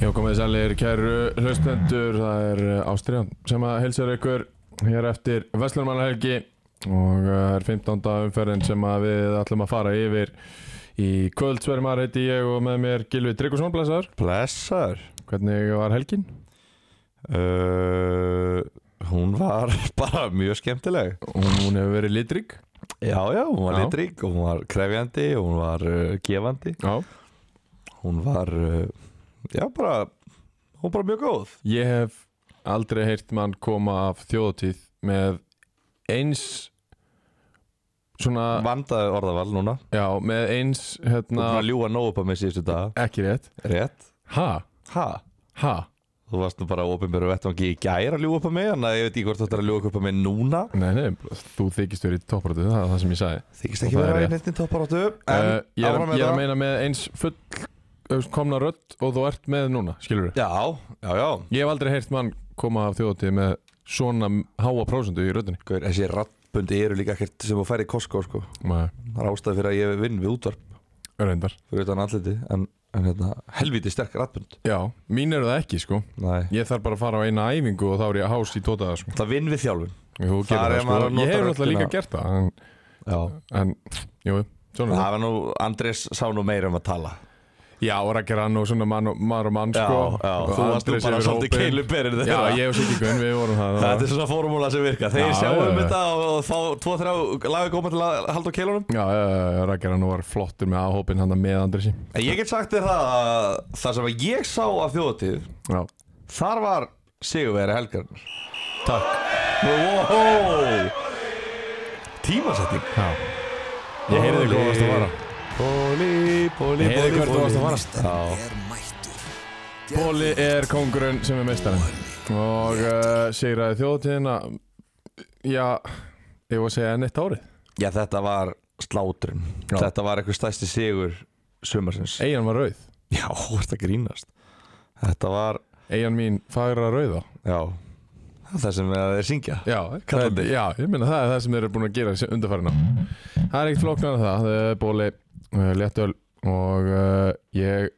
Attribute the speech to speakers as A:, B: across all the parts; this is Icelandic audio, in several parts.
A: Já, komið sælir, kæru hlustendur, það er Ástriðan sem að heilsar ykkur hér eftir Vestlurmannahelgi og uh, það er 15. umferðin sem að við ætlum að fara yfir í kvöldsvermar heiti ég og með mér Gilvi Tryggvason, blæsaður.
B: Blessar
A: Hvernig var helgin?
B: uh, Hún var bara mjög skemmtileg
A: Hún, hún hefur verið litrig.
B: Já, já, hún var
A: Já.
B: litrík og hún var krefjandi og hún var uh, gefandi
A: Já.
B: Hún var, uh, já, bara, hún var bara mjög góð
A: Ég hef aldrei heyrt mann koma af þjóðtíð með eins svona,
B: Vandaði orðaval núna
A: já, með eins,
B: Hún
A: hérna,
B: var ljúa nóg upp að mig síðustu dag
A: ekki rétt.
B: Rétt
A: Ha?
B: Ha?
A: Ha?
B: Þú varst nú bara ofinbjörðu vettvangi í gær að ljúa upp að mig Þannig að ég veit ekki hvort þú ættir að ljúa upp að mig núna
A: Nei, nei, þú þykist verið í topparötu, það er það sem ég sagði
B: Þykist
A: Og
B: ekki
A: það er
B: vera í
A: rétt.
B: neittinn topparáttu En
A: uh, Ég er,
B: áfram með
A: ég er
B: það.
A: að meina með eins full komna rödd og þú ert með núna, skilur við
B: Já, já, já
A: Ég hef aldrei heyrt mann koma af þjóðatíð með svona háa prósundu í röddunni
B: Gaur, Þessi rattbundi eru líka ekkert sem þú færi í Costco sko
A: Nei,
B: Það er ástæði fyrir að ég vinn við útvarp
A: reyndar
B: fyrir utan andliti en, en hérna, helviti sterk ratbund
A: Já, mín eru það ekki, sko
B: Nei.
A: Ég þarf bara að fara á eina æfingu og þá er ég hás í tótaða, sko
B: það vinn við þjálfun
A: Þú
B: Þar
A: gerir
B: er
A: það,
B: maður að
A: sko
B: nota
A: Ég hef náttúrulega
B: röddina.
A: líka gert það En,
B: já.
A: en jú, svona
B: það var nú, Andrés sá nú meira um að tala
A: er Já, og rækir hann og svona mann og maður og mann,
B: já,
A: sko
B: já,
A: Og
B: þú varst nú
A: Andrés
B: bara
A: yfir
B: svolítið
A: hópinn.
B: keiluberir
A: Já, ég og Siggi Gunn, við vorum það
B: þetta er svona fórmúla sem virka þeir
A: Já,
B: sjáum
A: já, já.
B: þetta og, og fá tvo, þrjá lagi koma til að halda á keilunum
A: Já, Rækjar hann var flottur með áhópin hann með Andresi
B: en ég get sagt þér það að það sem að ég sá af þjóðatíð
A: Já,
B: þar var Sigurveri Helgarnar
A: takk
B: wow. tímasetting
A: Já. Ég heyrði hvað þú varst að fara
B: Bóli, bóli,
A: Ég heyrði
B: bóli,
A: hvert þú varst að fara.
B: Já.
C: er mættur
A: Bóli er kongurinn sem er meistarinn og uh, sigraði þjóðtíðina já, ég var að segja enn eitt árið
B: Já, þetta var slátrun
A: Já.
B: Þetta var eitthvað stæsti sigur sumarsins
A: Eyjan var rauð,
B: Já, þú ert að grínast Þetta var,
A: Eyjan mín fagra rauða
B: já það er Það sem að þeir syngja
A: Já,
B: Kallandi.
A: það- já, ég minna það er það sem þeir eru búin að gera undarfærina Það er ekkert flóknar en það, það er bóli uh, léttöl og uh, ég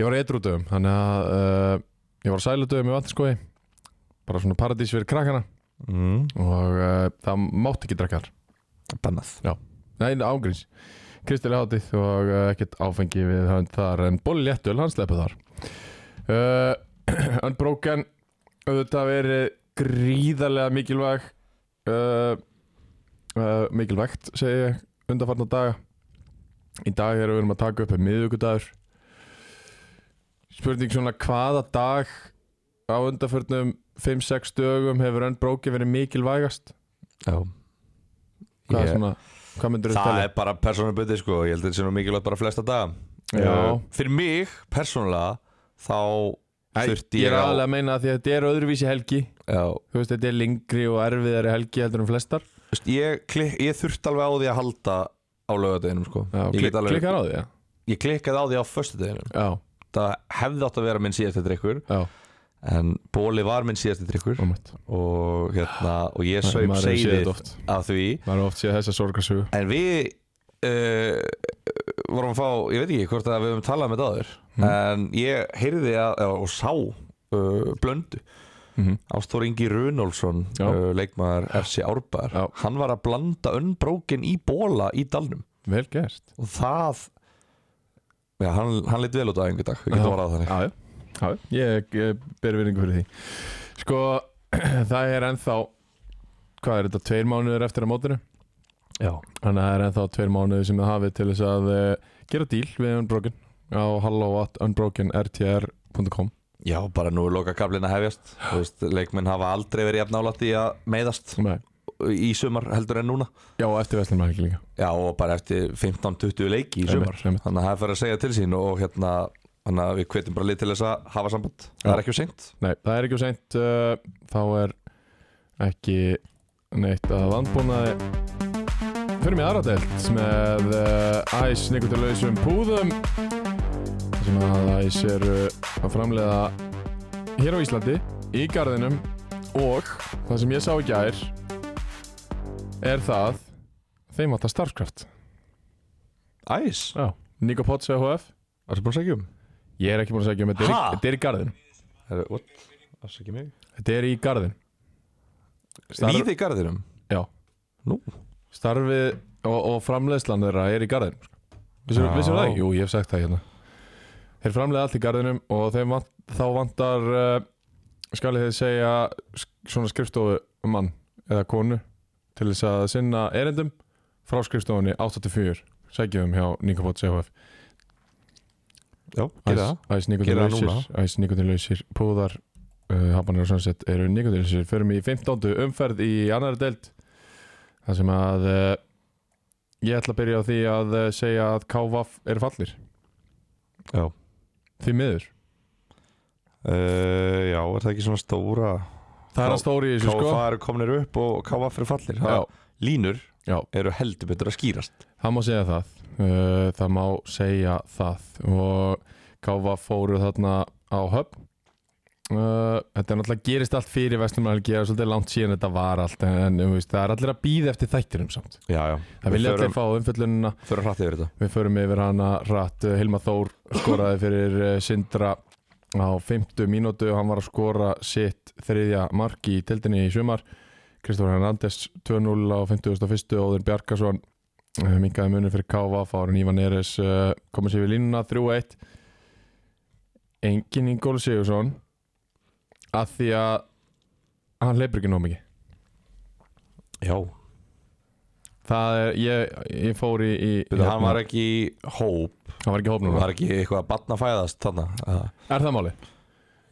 A: ég var eitthrúdöfum þannig að uh, ég var sæludöfum í vatnskói bara svona paradís fyrir krakkana
B: mm.
A: og uh, það mátti ekki drekka þar
B: Bannað
A: Nei, ángríns Kristilega hátíð og uh, ekkert áfengi við hönd þar en Bolli Léttöl, hann sleppu þar uh, Unbroken auðvitað verið gríðarlega mikilvæg uh, uh, mikilvægt segi ég, undanfarna daga í dag erum við erum að taka upp um miðvíkudagur spurning svona hvaða dag á undanförnum 5-6 dögum hefur Unbroken verið mikilvægast
B: Já
A: hvað,
B: Ég-
A: svona, hvað myndir
B: Það er bara persónubundi sko Ég held að þetta sé nú mikilvægt bara flesta daga
A: Já.
B: Eh, Fyrir mig, persónulega Þá
A: Æ,
B: þurfti
A: ég er
B: á-
A: aðalega að meina að því að þetta er öðruvísi helgi
B: Já
A: Þú veist, þetta er lengri og erfiðari helgi heldur en flestar
B: Þú veist, Ég, klik, ég þurfti alveg á því að halda á laugardeginum sko
A: Já,
B: ég,
A: klik,
B: get alveg,
A: Klikkar á því, já
B: ég klikkaði á því á föstudeginum
A: Já,
B: Það hefði átt að vera minn síðasti drikkur
A: já,
B: en bóli var minn síðasti drikkur
A: ómætt
B: og, hérna, og ég saup
A: Maður hefur séð
B: segið
A: þetta oft
B: af því
A: Maður hefur oft séð þessa sorgarsögu
B: en við uh, vorum að fá, ég veit ekki hvort að við höfum talað með þetta áður
A: Hmm.
B: en ég heyrði að, eða, og sá uh, blöndu
A: Mhm.
B: Ástór Ingi Runolfsson
A: Já.
B: uh, leikmaður FC Árbæðar
A: Já.
B: hann var að blanda unnbrókin í bóla í dalnum
A: Vel gert
B: og það já, hann, hann leitt vel út á einhver dag við getum varað þannig
A: Já, já, já, já. ég, ég ber vinningu fyrir því Sko, það er ennþá Hvað er þetta, tveir mánuður eftir að mótinu?
B: já.
A: Þannig að það er ennþá tveir mánuði sem þið hafið til þess að uh, gera díl við Unbroken á hello.unbrokenrtr.com
B: Já, bara nú er loka kaflin að hefjast Þú veist, Leikmenn hafa aldrei verið jafn nálætt í að meiðast
A: Nei.
B: í sumar heldur en núna
A: Já, og eftir Vestlum helgi líka
B: Já, og bara eftir 15-20 leiki í sumar
A: Einmitt, einmitt.
B: Þannig að það er fyrir að segja til sín og hérna Þannig að við hvetjum bara lið til þess að hafa samband Það er ekki of seint
A: Nei, það er ekki of seint uh, Þá er ekki neitt að landbúnaði Fyrir mig aðra delt með uh, æs nikotilöðsum púðum þar sem að æs eru að framleiða hér á Íslandi í garðinum og það sem ég sá í gær er það þeim átt að starfkraft
B: Æs
A: Já. Nico Potts EHF
B: Það er bara að segja um
A: Ég er ekki búin að segja um þetta er í-
B: Ha?
A: þetta er í garðinum
B: Herru, what? Það segja mig
A: Þetta er í garðin Starf-
B: Víði í garðinum
A: Já
B: Nú
A: Starfið og, og framleiðslan þeirra er í garðin Vissum
B: Já.
A: vissum við það? ekki? Jú, ég hef sagt það hérna Þeir framleiða allt í garðinum og þeim vant, þá vantar uh, skal ég þeir segja sk- svona skrifstofumann eða konu til þess að sinna erindum frá skrifstofunni 84 sækjum hjá Nikopot CHF
B: Já, gera
A: Æs,
B: það
A: æs
B: Gera það núna.
A: nikotinlausir Æs nikotinlausir púðar uh, Habanir og sunset eru nikotinlausir Förum í 15. umferð í annari deild Það sem að uh, Ég ætla að byrja á því að uh, segja að KVAF eru fallir
B: Já
A: Því miður
B: uh, Já, er það ekki svona stóra
A: Það er að stóri í þessu sko
B: KFA eru komnir upp og KFA fyrir fallir
A: Já,
B: það, Línur
A: já,
B: eru heldur betur að skýrast
A: það má segja það uh, Það má segja það Og KVAF fóru þarna á höfn Uh, þetta er náttúrulega gerist allt fyrir Vestlumælgi og svolítið langt síðan þetta var allt en, en um, veist, það er allir að býða eftir þættinum samt
B: Já, já
A: Það vilja allir fá umfjöllunina
B: Fyrir hratt yfir þetta
A: Við förum yfir hana rætt eh, Hilmar Þór skoraði fyrir eh, Sindra á 50 mínútu Hann var að skora sitt þriðja mark í tildinni í sumar Kristofur Hernandez 2-0 á 51 Óðin Bjarkason mingaði munið fyrir Káva Fárun Ívan Eres komið sér við línuna 3-1 Engin Ingól Sigursson að því að hann leipur ekki nóg mikið
B: Já
A: Það er, ég, ég fór í, í hérna,
B: Hann var ekki í hóp
A: hann var ekki
B: Hann
A: hópnum
B: var ekki eitthvað að batna fæðast þannig að
A: Er það máli?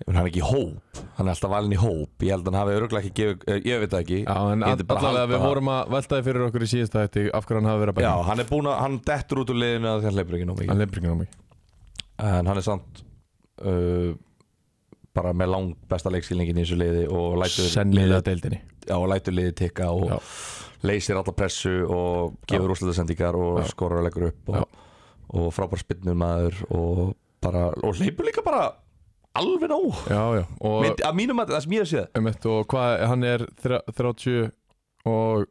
B: Hann er ekki í hóp Hann er alltaf valin í hóp Ég held að hann hafi öruglega ekki gefið, eh, Ég veit það ekki
A: Já, en
B: Ég myndi bara
A: allavega
B: halda
A: við
B: það.
A: vorum að veltaði fyrir okkur í síðasta hætti af hverju hann hafi verið að
B: Já,
A: bæta
B: hann er búin að, hann dettur út úr liðinu að því hann leipur ekki nóg mikið
A: Hann lefður ekki ná mikið
B: En hann er samt uh, bara með lang besta leikskilningin í þessu liði og lætur,
A: Sennilega deildinni
B: já, og lætur liði tikka og
A: Já.
B: leysir alla pressu og gefur úrslutasendingar og
A: Já.
B: skorur og leggur upp
A: Já.
B: og, og frábær spinnur maður og bara, og leipur líka bara alveg nóg
A: Já, já Og,
B: Mynd, að mínum að það sem ég hef séð
A: einmitt, og hvað, hann er þrjá- 30 og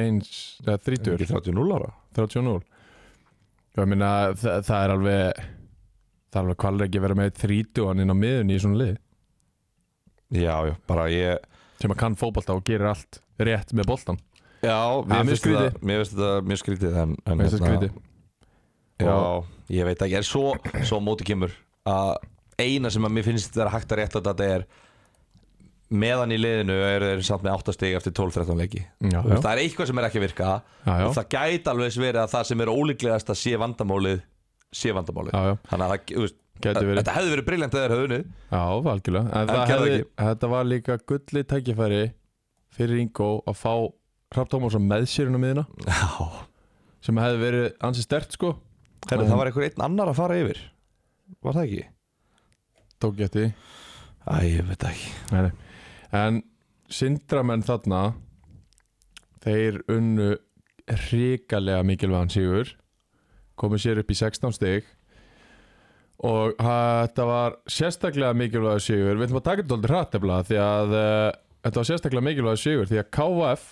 A: 1, eða 30
B: 30 0 ára
A: 30 og 0 Já, ég meina, það, það er alveg Það er alveg kvalir ekki að vera með 30 hann inn á miðun í svona lið
B: Já, já, bara ég
A: sem að kann fótbolta og gerir allt rétt með boltan
B: Já,
A: Ja,
B: mér
A: mjög
B: finnst
A: skrítið.
B: þetta Mér finnst þetta mjög skrítið en, en
A: Mér finnst þetta
B: hérna- Já, ég veit ekki En svo, svo á móti kemur að eina sem að mér finnst vera hægt að rétta þetta er meðan í liðinu eru þeir samt með 8 stig eftir 12-13 leiki
A: Já,
B: Þú veist, Það er eitthvað sem er ekki að virka
A: Já, já.
B: og það gæti alveg verið að það sem er ólíklegast að sé vandamálið sé vandamálið
A: Já, já.
B: Þannig að það, þú veist,
A: Gæti verið.
B: þetta hefði verið briljant að þeir höfðu unnið.
A: Já, algjörlega En það
B: gerði
A: hefði,
B: ekki.
A: þetta var líka gulli tækifæri fyrir Ingo að fá Hrafn Tómasson með sér inn á miðina
B: Já,
A: sem hefði verið ansi stert sko
B: Herru, það var einhver einn annar að fara yfir Var það ekki?
A: tók ég eftir því.
B: Æ, ég veit það ekki
A: Nei, nei. en sindramenn þarna þeir unnu hrikalega mikilvæðan sigur komu sér upp í 16 stig og ha- þetta var sérstaklega mikilvægur sigur við ætlum að taka þetta aldrei hratt eflag því að uh, þetta var sérstaklega mikilvægur sigur því að KF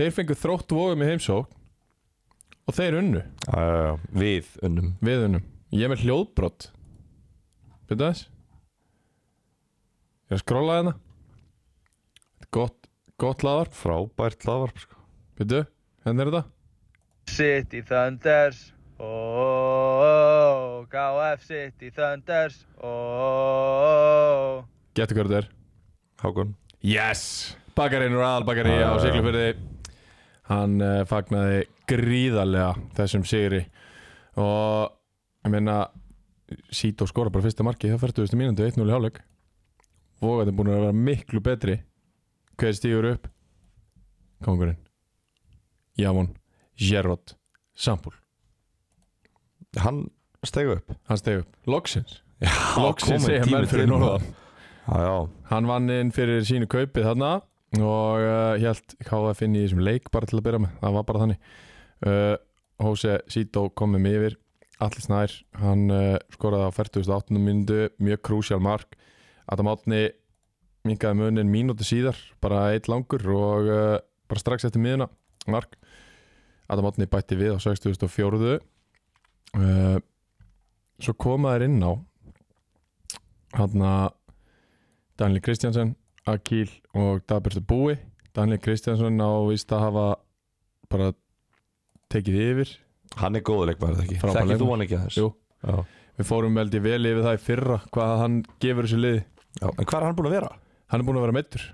A: þeir fengu þrótt vóðum í heimsókn og þeir unnu
B: Já, já, já. Við unnum
A: Við unum Ég er með hljóðbrott Byrðu þess Ég er að skrolla hérna Þetta er Gott, gott laðvarp
B: frábært laðvarp sko.
A: Byrðu, hérna er þetta
C: City Thunders oh, oh, oh, KF City Thunders oh, oh, oh.
A: Getur hvað þetta er
B: Hákon
A: Yes Bakarinn úr aðalbakari
B: Já,
A: á
B: já, já.
A: Siglufyrði Hann uh, fagnaði gríðarlega þessum sigri Og ég meina Sító skora bara fyrsta marki Það færtu þessu mínundu 1-0 í hálfleik Vógatin búin að vera miklu betri Hver stígur upp Kongurinn Jamon Gerrod Sambúl
B: Hann stegu upp
A: Hann steg upp Loksins
B: já,
A: Loksins
B: kominn
A: segja
B: tími
A: menn fyrir
B: til.
A: norðan
B: Já, já,
A: Hann vann inn fyrir sínu kaupið þarna og uh, held KF inn í þessum leik bara til að byrja með, það var bara þannig uh, Hose Sito komum yfir Allir Snær, hann uh, skoraði á 48. myndu, mjög krúsjál mark Adam Átni minkaði munin mínúti síðar, bara eitt langur og uh, bara strax eftir miðuna mark Adam Átni bætti við á 64. Uh, svo koma þær inn á hann að Daniel Kristjansson Akil og Dabirstu Búi Daniel Kristjánsson á vist að hafa bara tekið yfir
B: Hann er góður leikmaður er það ekki
A: Frábær
B: Þekkir þú
A: leikmaður.
B: hann ekki að þess
A: Jú. Við fórum veldi vel yfir það í fyrra hvað hann gefur þessu liði
B: Já, En hvað er hann búin að vera?
A: Hann er búin að vera meittur,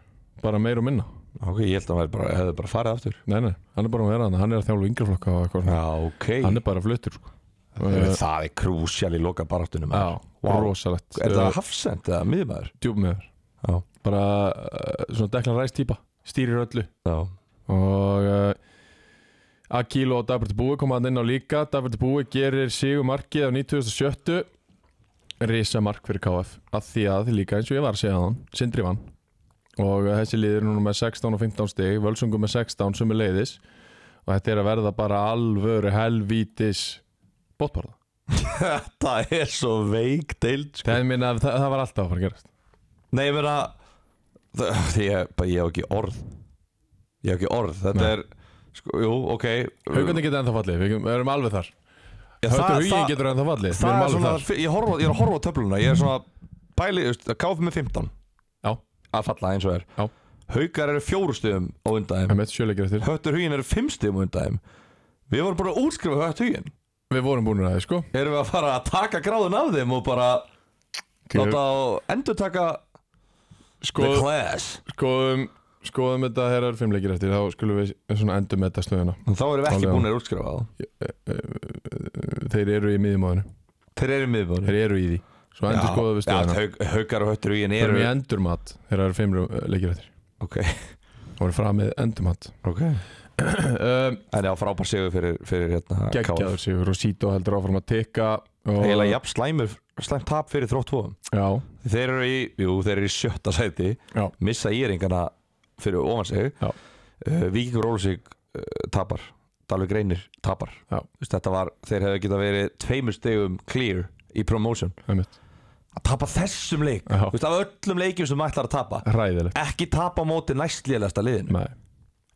A: bara meir og minna
B: Ok, ég held að hann væri bara, hefði bara farið aftur
A: Nei, nei, hann er bara að vera hann, hann er að þjálfa yngreflokka og eitthvað svona.
B: Já, ok
A: Hann er bara fluttur sko.
B: Þegar Eh, Það er krúsjál í loka baráttunum
A: Já,
B: Vá.
A: rosalegt uh,
B: Er það hafsend eða miðmaður?
A: Djúpmiður
B: Já.
A: Bara uh, svona deklan ræst típa, stýrir öllu
B: Já
A: og uh, Akil og Dabert Búi koma hann inn á líka Dabert Búi gerir sigur markið á 2007 risa mark fyrir KF að því að líka eins og ég var að segja hann Sindri vann og uh, þessi liður núna með 16 og 15 stig Völsungur með 16 sem er leiðis og þetta er að verða bara alvöru helvítis bóttbarða
B: Þetta er svo veik deild sko.
A: það, er minna, það, það var alltaf að fara að gerast
B: Nei, ég meina það- Því ég, bara, ég hef ekki orð Ég hef ekki orð Þetta
A: Nei.
B: er, sko, jú, ok
A: Haukandi getur ennþá fallið, við við erum alveg þar
B: Já,
A: Haukur Hugin getur ennþá fallið, við
B: það
A: erum
B: er
A: alveg
B: svona,
A: þar
B: ég, horfa, ég er að horfa á töfluna Ég er svona, bæli, you know, káf með 15
A: Já,
B: Að falla eins og er
A: Já.
B: Haukar eru fjóru stöðum á undan
A: það
B: þeim
A: með sjöleikir eftir
B: Höttur hugin eru fimm stöðum á undan þeim Við vorum bara að útskrifa hött hugin
A: Við vorum búin að það, sko
B: Erum við að fara að taka gráðun af þeim Og bara láta á endur taka The
A: Sko,
B: class
A: skoðum skoðum þetta þegar það eru fimm leikir eftir þá skulum við svona endum með þetta stöðuna
B: En Þá erum við ekki
A: Alveg.
B: búin að útskrifa það
A: þeir eru í miðjumóðinu,
B: Þeir eru miðbúin
A: þeir eru í því svo endur skoðum við stöðuna,
B: Haukar og höttur hugin
A: við erum
B: eru
A: í endurmat þegar það eru fimm leikir eftir
B: Ok,
A: þá erum framið endurmat
B: okay.
A: um,
B: En já, frábær sigur fyrir, fyrir hérna KF.
A: geggjaður sigur og Sito heldur áfram að tikka og,
B: Eiginlega jafn slæmur, slæmt tap fyrir þrótt fóðum
A: já,
B: Þeir eru í, jú, þeir eru í sjötta sæti
A: já,
B: Missa íringana fyrir ofan sig
A: Já.
B: uh, Víkingur Ólusík uh, tapar Dalvi Greinir tapar
A: Já.
B: Þess, Þetta var, þeir hefðu geta verið tveimur stegum clear í promotion
A: einmitt,
B: Að tapa þessum leik
A: Já.
B: Þú veist, af öllum leikjum sem ætlar að tapa
A: ræðilegt
B: Ekki tapa á móti næstlélegasta liðinu
A: Nei,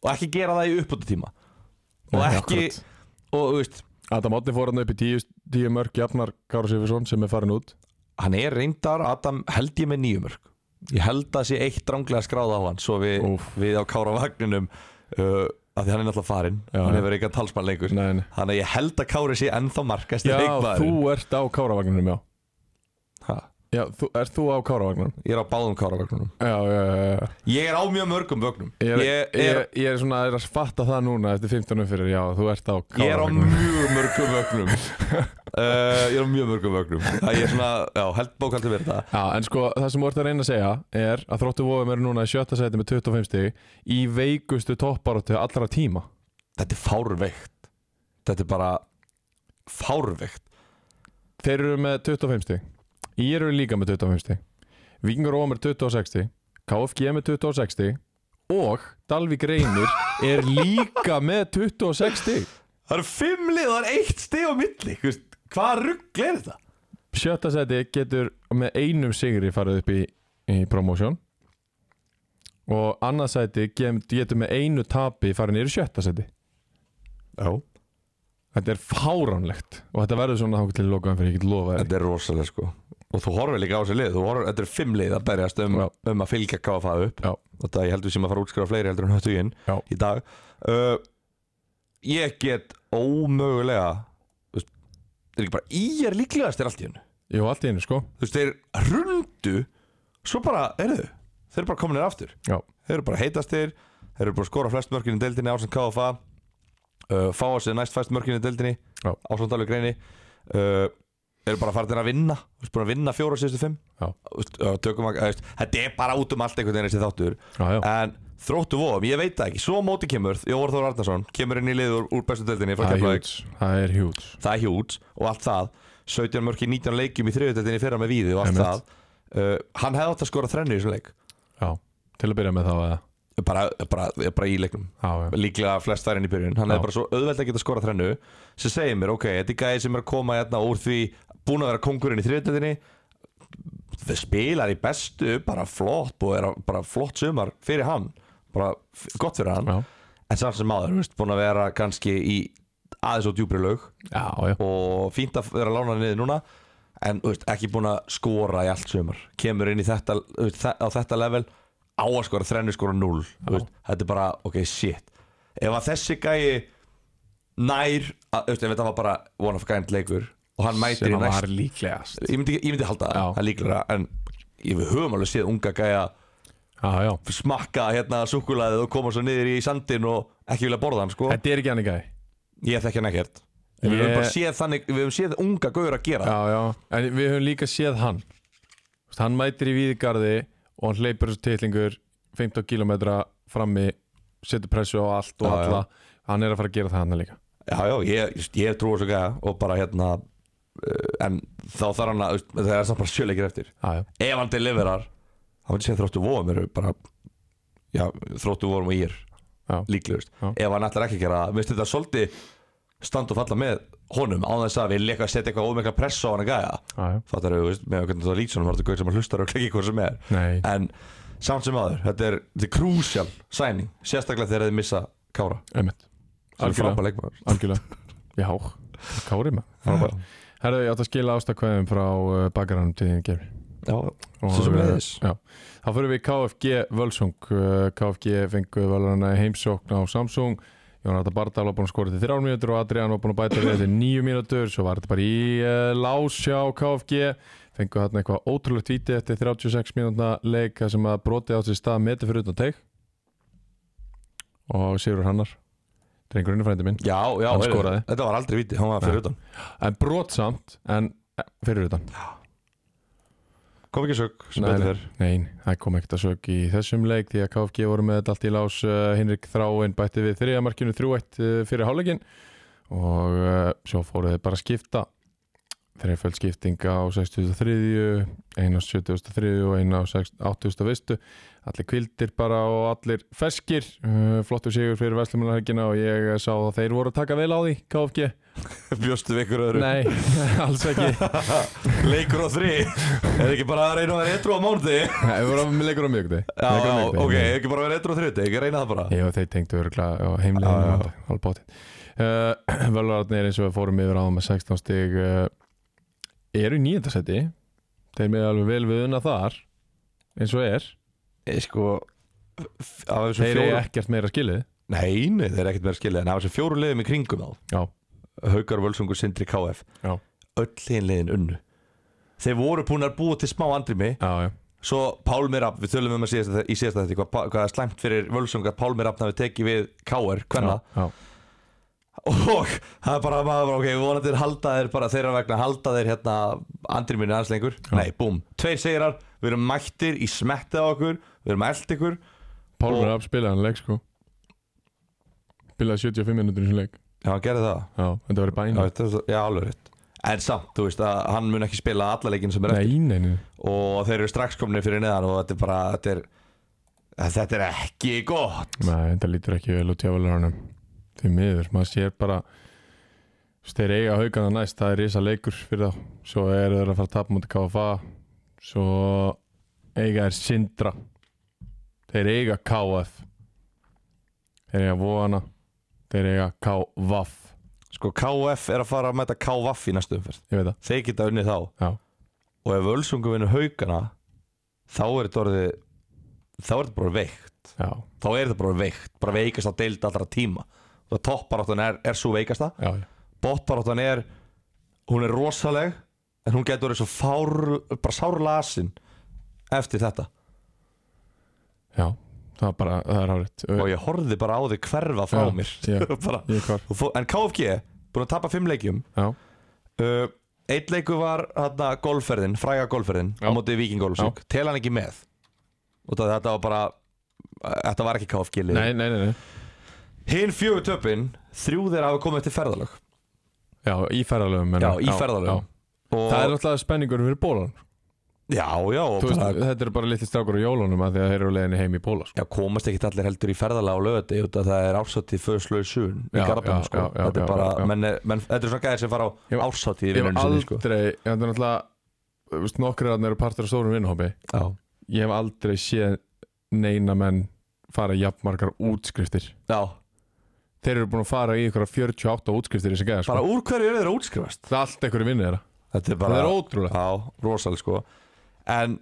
B: Og ekki gera það í uppbúta tíma Og
A: nei,
B: ekki,
A: akkurat.
B: og þú veist
A: Adam Otni fór hann upp í tíu, tíu mörg jafnar Kára Sifursson sem er farin út
B: Hann er reyndar, Adam, held ég með nýjumörk Ég held að sé eitt dranglega skráð á hann Svo við,
A: Úff.
B: við á Kára Vagninum uh, að Því hann er náttúrulega farinn
A: Já,
B: Hann
A: já.
B: hefur eitthvað talsmann lengur
A: nei, nei.
B: Þannig að ég held að Kári sé ennþá markast
A: já, þú ert á Káravagnunum já,
B: ha,
A: já þú, ert þú á Káravagnunum
B: Ég er á báðum Kára Vagnunum
A: já, já, já, já
B: Ég er á mjög mörgum vögnum
A: Ég er,
B: Ég
A: ég,
B: er,
A: ég, er svona er að fatta það núna eftir 15 fyrir, já, þú ert á
B: ég er á
A: káravagnum.
B: mjög mörgum vögnum uh, Ég er á mjög mörgum vögnum Það ég er svona, já, held bókaldi verið það
A: Já, en sko, það sem þú ert að reyna að segja er að þróttu vofum eru núna í sjötta seti með 25 stig í veikustu topparóttu allra tíma.
B: Þetta er fárveikt Þetta er bara fárveikt
A: Þeir eru með 25 stig. Í eru líka með 25 stig. Víkingur Ómar 26 stig. KFG með 26 stig. Og Dalvík Reynir er líka með 26 stig.
B: Það eru fimm lið, það er eitt stið á milli þú veist, Hvað rugg er þetta?
A: Sjötta seti getur með einum sigri farið upp í, í promotion og annað seti gem- getur með einu tapi farið niður í sjötta seti
B: Já
A: Þetta er fáránlegt og þetta verður svona þá til lokaðan fyrir ég get lofa þér
B: Þetta er rosalega sko Og þú horfir líka á þessi lið þú horfir, Þetta eru fimm lið að berjast um,
A: Já.
B: um að fylgja KFA upp
A: Já.
B: Þetta ég heldur sem að fara að útskrifa fleiri heldur en höttu í inn
A: Já.
B: í dag uh, Ég get ómögulega þú veist, Þetta er ekki bara Í er líklegast er allt í hennu
A: Jú, allt í einu sko
B: Þú veist, þeir rundu Svo bara, erðu, þeir eru bara kominir aftur
A: Já,
B: Þeir eru bara heitastir Þeir eru bara að skora flest mörkin í deildinni ásand KFA uh, Fá að sér næst fæst mörkin í deildinni
A: Já.
B: Ásand alveg greini uh, Eru bara farin að vinna Þú veist, búin að vinna fjóra síðustu fimm
A: Já.
B: Þú veist, uh, tökum að, þú veist, Þetta er bara út um allt einhvern veginn þessi þáttur
A: já, já,
B: En þróttu vóðum, ég veit það ekki Svo á móti kemur, Jóvar Þór Arnarsson Kemur inn í liður úr bestu deildinni frá
A: það er
B: Keflavík.
A: hjúts Það er hjúts
B: Það er hjút og allt það 17 mörki 19 leikjum í þriðuteldinni fyrra með víði og allt
A: Einmitt.
B: það uh, Hann hefði átt að skora þrennu í þessum leik
A: Já, til að byrja með þá eða
B: bara, bara, bara í leiknum
A: Já, já.
B: líklega flest þær inn í byrjun hann
A: Já.
B: er bara svo auðvelt að geta skorað þrennu sem segir mér, ok, þetta er gæði sem er að koma hérna úr því búin að vera kongurinn í þriðutöðinni það spilar í bestu, bara flott og er að- bara flott sumar fyrir hann bara f- gott fyrir hann
A: Já,
B: en samt sem maður, veist, búin að vera kannski í aðeins og djúpri lög
A: já, já.
B: og fínt að vera að lána niður núna en þú veist, ekki búin að skora í allt sömur kemur inn í þetta þú veist, þe- á þetta level á að skora þrennu skora 0 veist, þetta er bara, ok, shit ef að þessi gæi nær, að, þú veist, ef þetta var bara one of a kind leikur og hann mætir
A: Sem
B: í
A: að var
B: næst
A: líklegast
B: ég myndi, ég myndi halda það,
A: Já.
B: það er líklega en ég við höfum alveg séð unga gæja
A: Já, já
B: smakka hérna súkulaðið og koma svo niður í sandin og ekki vilja borða hann sko
A: Þetta er ekki hann í gæði
B: ég þekki hann ekkert við
A: Ég-
B: höfum bara séð þannig, við höfum séð unga gauður að gera það.
A: Já, já En við höfum líka séð hann Þú veist, Hann mætir í víðgarði og hann hleypur þessu titlingur 15 km frammi setur pressu á allt og
B: Já, já.
A: alla Hann er að fara að gera það hann líka
B: Já, já, ég, ég- ég trú þessu gæða og bara hérna uh, en þá þarf hann að, þú veist, það er samt bara sjöleikir eftir
A: Já, já
B: ef hann deliverar þá myndi ég segja þróttu vóum eru bara já, þróttu vóum og ég
A: Já.
B: líklegust,
A: Já.
B: ef hann ætlar ekki að gera það minnst þetta svolítið stand og falla með honum á þess að við leika að setja eitthvað ómengla press á hann að gæða
A: Já, já.
B: fattar þau, veist, með hvernig það lýts honum var þetta gauð sem að hlustar og ekki hvað sem er
A: Nei.
B: en samt sem aður, þetta er, þetta er crucial sæning, sérstaklega þegar þið missa Kára,
A: Einmitt.
B: sem er
A: Algjörlega.
B: frábær leikmaður
A: Algjörlega Já, Kári maður Frábær. Herðu, ég átt að skila ástakvæðum frá uh, bakaranum til þín gerfi
B: Já,
A: Og,
B: Svo sem
A: eh,
B: leiðis.
A: já. Þá fyrir við í KFG Völsung Eh, KFG fengu völurna heimsókn á Samsung Jónata Bardal var búin að skora til þrjár mínútur og Adrian var búin að bæta við til nýju mínútur svo var þetta bara í uh, lásjá KFG fengu þarna eitthvað ótrúlegt víti eftir 36 mínútna leika sem að broti átt sér stað meti fyrir utan teik og Sigur Hannar drengurinn er frændi minn
B: Já, já,
A: Hann
B: heyrðu,
A: skoraði.
B: Þetta var aldrei viti, hann var fyrir utan
A: en brot samt en eh, fyrir utan
B: Kom ekki sög, sem
A: Nei,
B: betur
A: nei,
B: fyrr
A: nei, það kom ekkert að sök í þessum leik því að KFG voru með þetta allt í lás uh, Hinrik Þráin bætti við þriðamarkinu 3-1 uh, fyrir háluleikin og uh, svo fóruð þeir bara að skipta þreiföld skiptinga á 63 einn á 73 og einn á 81 allir kvildir bara og allir feskir uh, flottur sigur fyrir Veslumunarhækina og ég eh, sá að þeir voru að taka vel á því KFG
B: Bjóstu við ykkur öðru
A: Nei, alls ekki
B: Leikur á þri Er ekki bara að reyna að vera etru á mánuði Já,
A: Nei, við vorum leikur á mjögdi
B: já, ok, er ekki bara að vera etru á þriði Ekki að reyna það bara
A: Já, þeir tengdu örgulega á
B: Já, já.
A: heimleginu alveg bótið. Uh, Völararnir eins og við fórum yfir á með 16 stig uh, eru í nýjöndasetti þeir með alveg vel við unna þar eins og er
B: Ég sko f- af þessum
A: þeir eru
B: fjórum-
A: ekkert meira skilið
B: Nei, nei, þeir eru ekkert meira skilja En af þessum fjóru liðum í kringum þá
A: Já,
B: Haukar, Völsungur, Sindri, KF
A: Já.
B: Öll hinn liðin unnu Þeir voru búin að búa til smá andrimi
A: já, já,
B: Svo Pálmi Rapp, við tölum um að síðast, í síðasta þetta hvað, hvað er slæmt fyrir Völsung að Pálmi Rapp hafi tekið við KR, hvenna
A: já,
B: og það er bara maður bara, ok, vonandi er halda þeir bara þeirra vegna halda þeir hérna andri minni aðeins lengur, nei, búm, tveir sigrar við erum mættir í smettið á okkur við erum eld ykkur,
A: Pálmur
B: Og-
A: Rapp spilaði hann leik sko spilaði 75 minútur í þessum leik
B: já, hann gerði það
A: Já, þetta var í
B: já,
A: bæna
B: þetta er- já alveg rétt, en samt, þú veist að hann mun ekki spila alla leikin sem er
A: Nei, nei, nei,
B: eftir og þeir eru strax komni fyrir neðan og þetta er bara, þetta er þetta er ekki gott
A: nei, þetta lítur ekki vel út hjá Völararnum því miður, maður sér bara þú veist, þeir eiga haugana næst, það er risa leikur fyrir þá, svo eru þeir að fara að tapa mútið KFA svo eiga þeir Sindra þeir eiga KF þeir eiga Vóana þeir eiga KVAF
B: sko, KF er að fara að mæta KVF í næstu umferð
A: ég veit það,
B: þeir geta unnið þá
A: já,
B: og ef Völsungur vinnur haugana þá er þetta orðið þá er þetta bara veikt
A: já,
B: þá er þetta bara veikt, bara veikast að deildi allra tíma það topparáttan er, er svo veikasta
A: já, já,
B: botparáttan er hún er rosaleg en hún getur verið svo fár bara sárlasin eftir þetta
A: já. það er bara, það er hárétt
B: og ég horfði bara á þig hverfa frá
A: Já,
B: mér
A: já.
B: bara,
A: ég hvar,
B: Og fó- en KFG, búin að tapa fimm leikjum
A: já,
B: uh, eitt leiku var hérna golfferðin, fræga golfferðin á
A: Já.
B: móti vikingólusík, tel hann ekki með og það, þetta var bara þetta var ekki KFG lið
A: nei, nei, nei, nei.
B: hinn fjögur töpin, þrjú þeirra hafa komið til ferðalög
A: já, í ferðalöfum
B: já, í ferðalög
A: það er
B: og
A: alltaf spenningur fyrir bólan
B: Já, já, og
A: Þú veist,
B: bara
A: þetta eru bara litli strákur á jólunum að því að þeir eru leiðinni heim í Póla sko.
B: Já, komast ekki allir heldur í ferðalega á lögati út að það er ársatíð föðslöðu sun í
A: Já,
B: Garabæn,
A: já,
B: sko.
A: já, já,
B: þetta er
A: já,
B: bara,
A: já, já.
B: menn, er- menn, þetta er svona gæðir sem fara
A: Ég
B: á
A: hef-
B: ársatíð í
A: Ég hef
B: vinnunum sinni, sko.
A: aldrei, ég hef náttúrulega þú veist, nokkrir þarna eru partur af stórum vinnhópi
B: Já,
A: ég hef aldrei séð neina menn fara jafnmargar útskriftir
B: já,
A: þeir eru búin að fara í ykkur 48 útskriftir í þessi gæða sko.
B: bara úr hverju eru þeir að útskrifast?
A: það er allt einhverju vinnu þeirra
B: Þetta er
A: það
B: bara,
A: er ótrúlega
B: já, rosal, sko. En,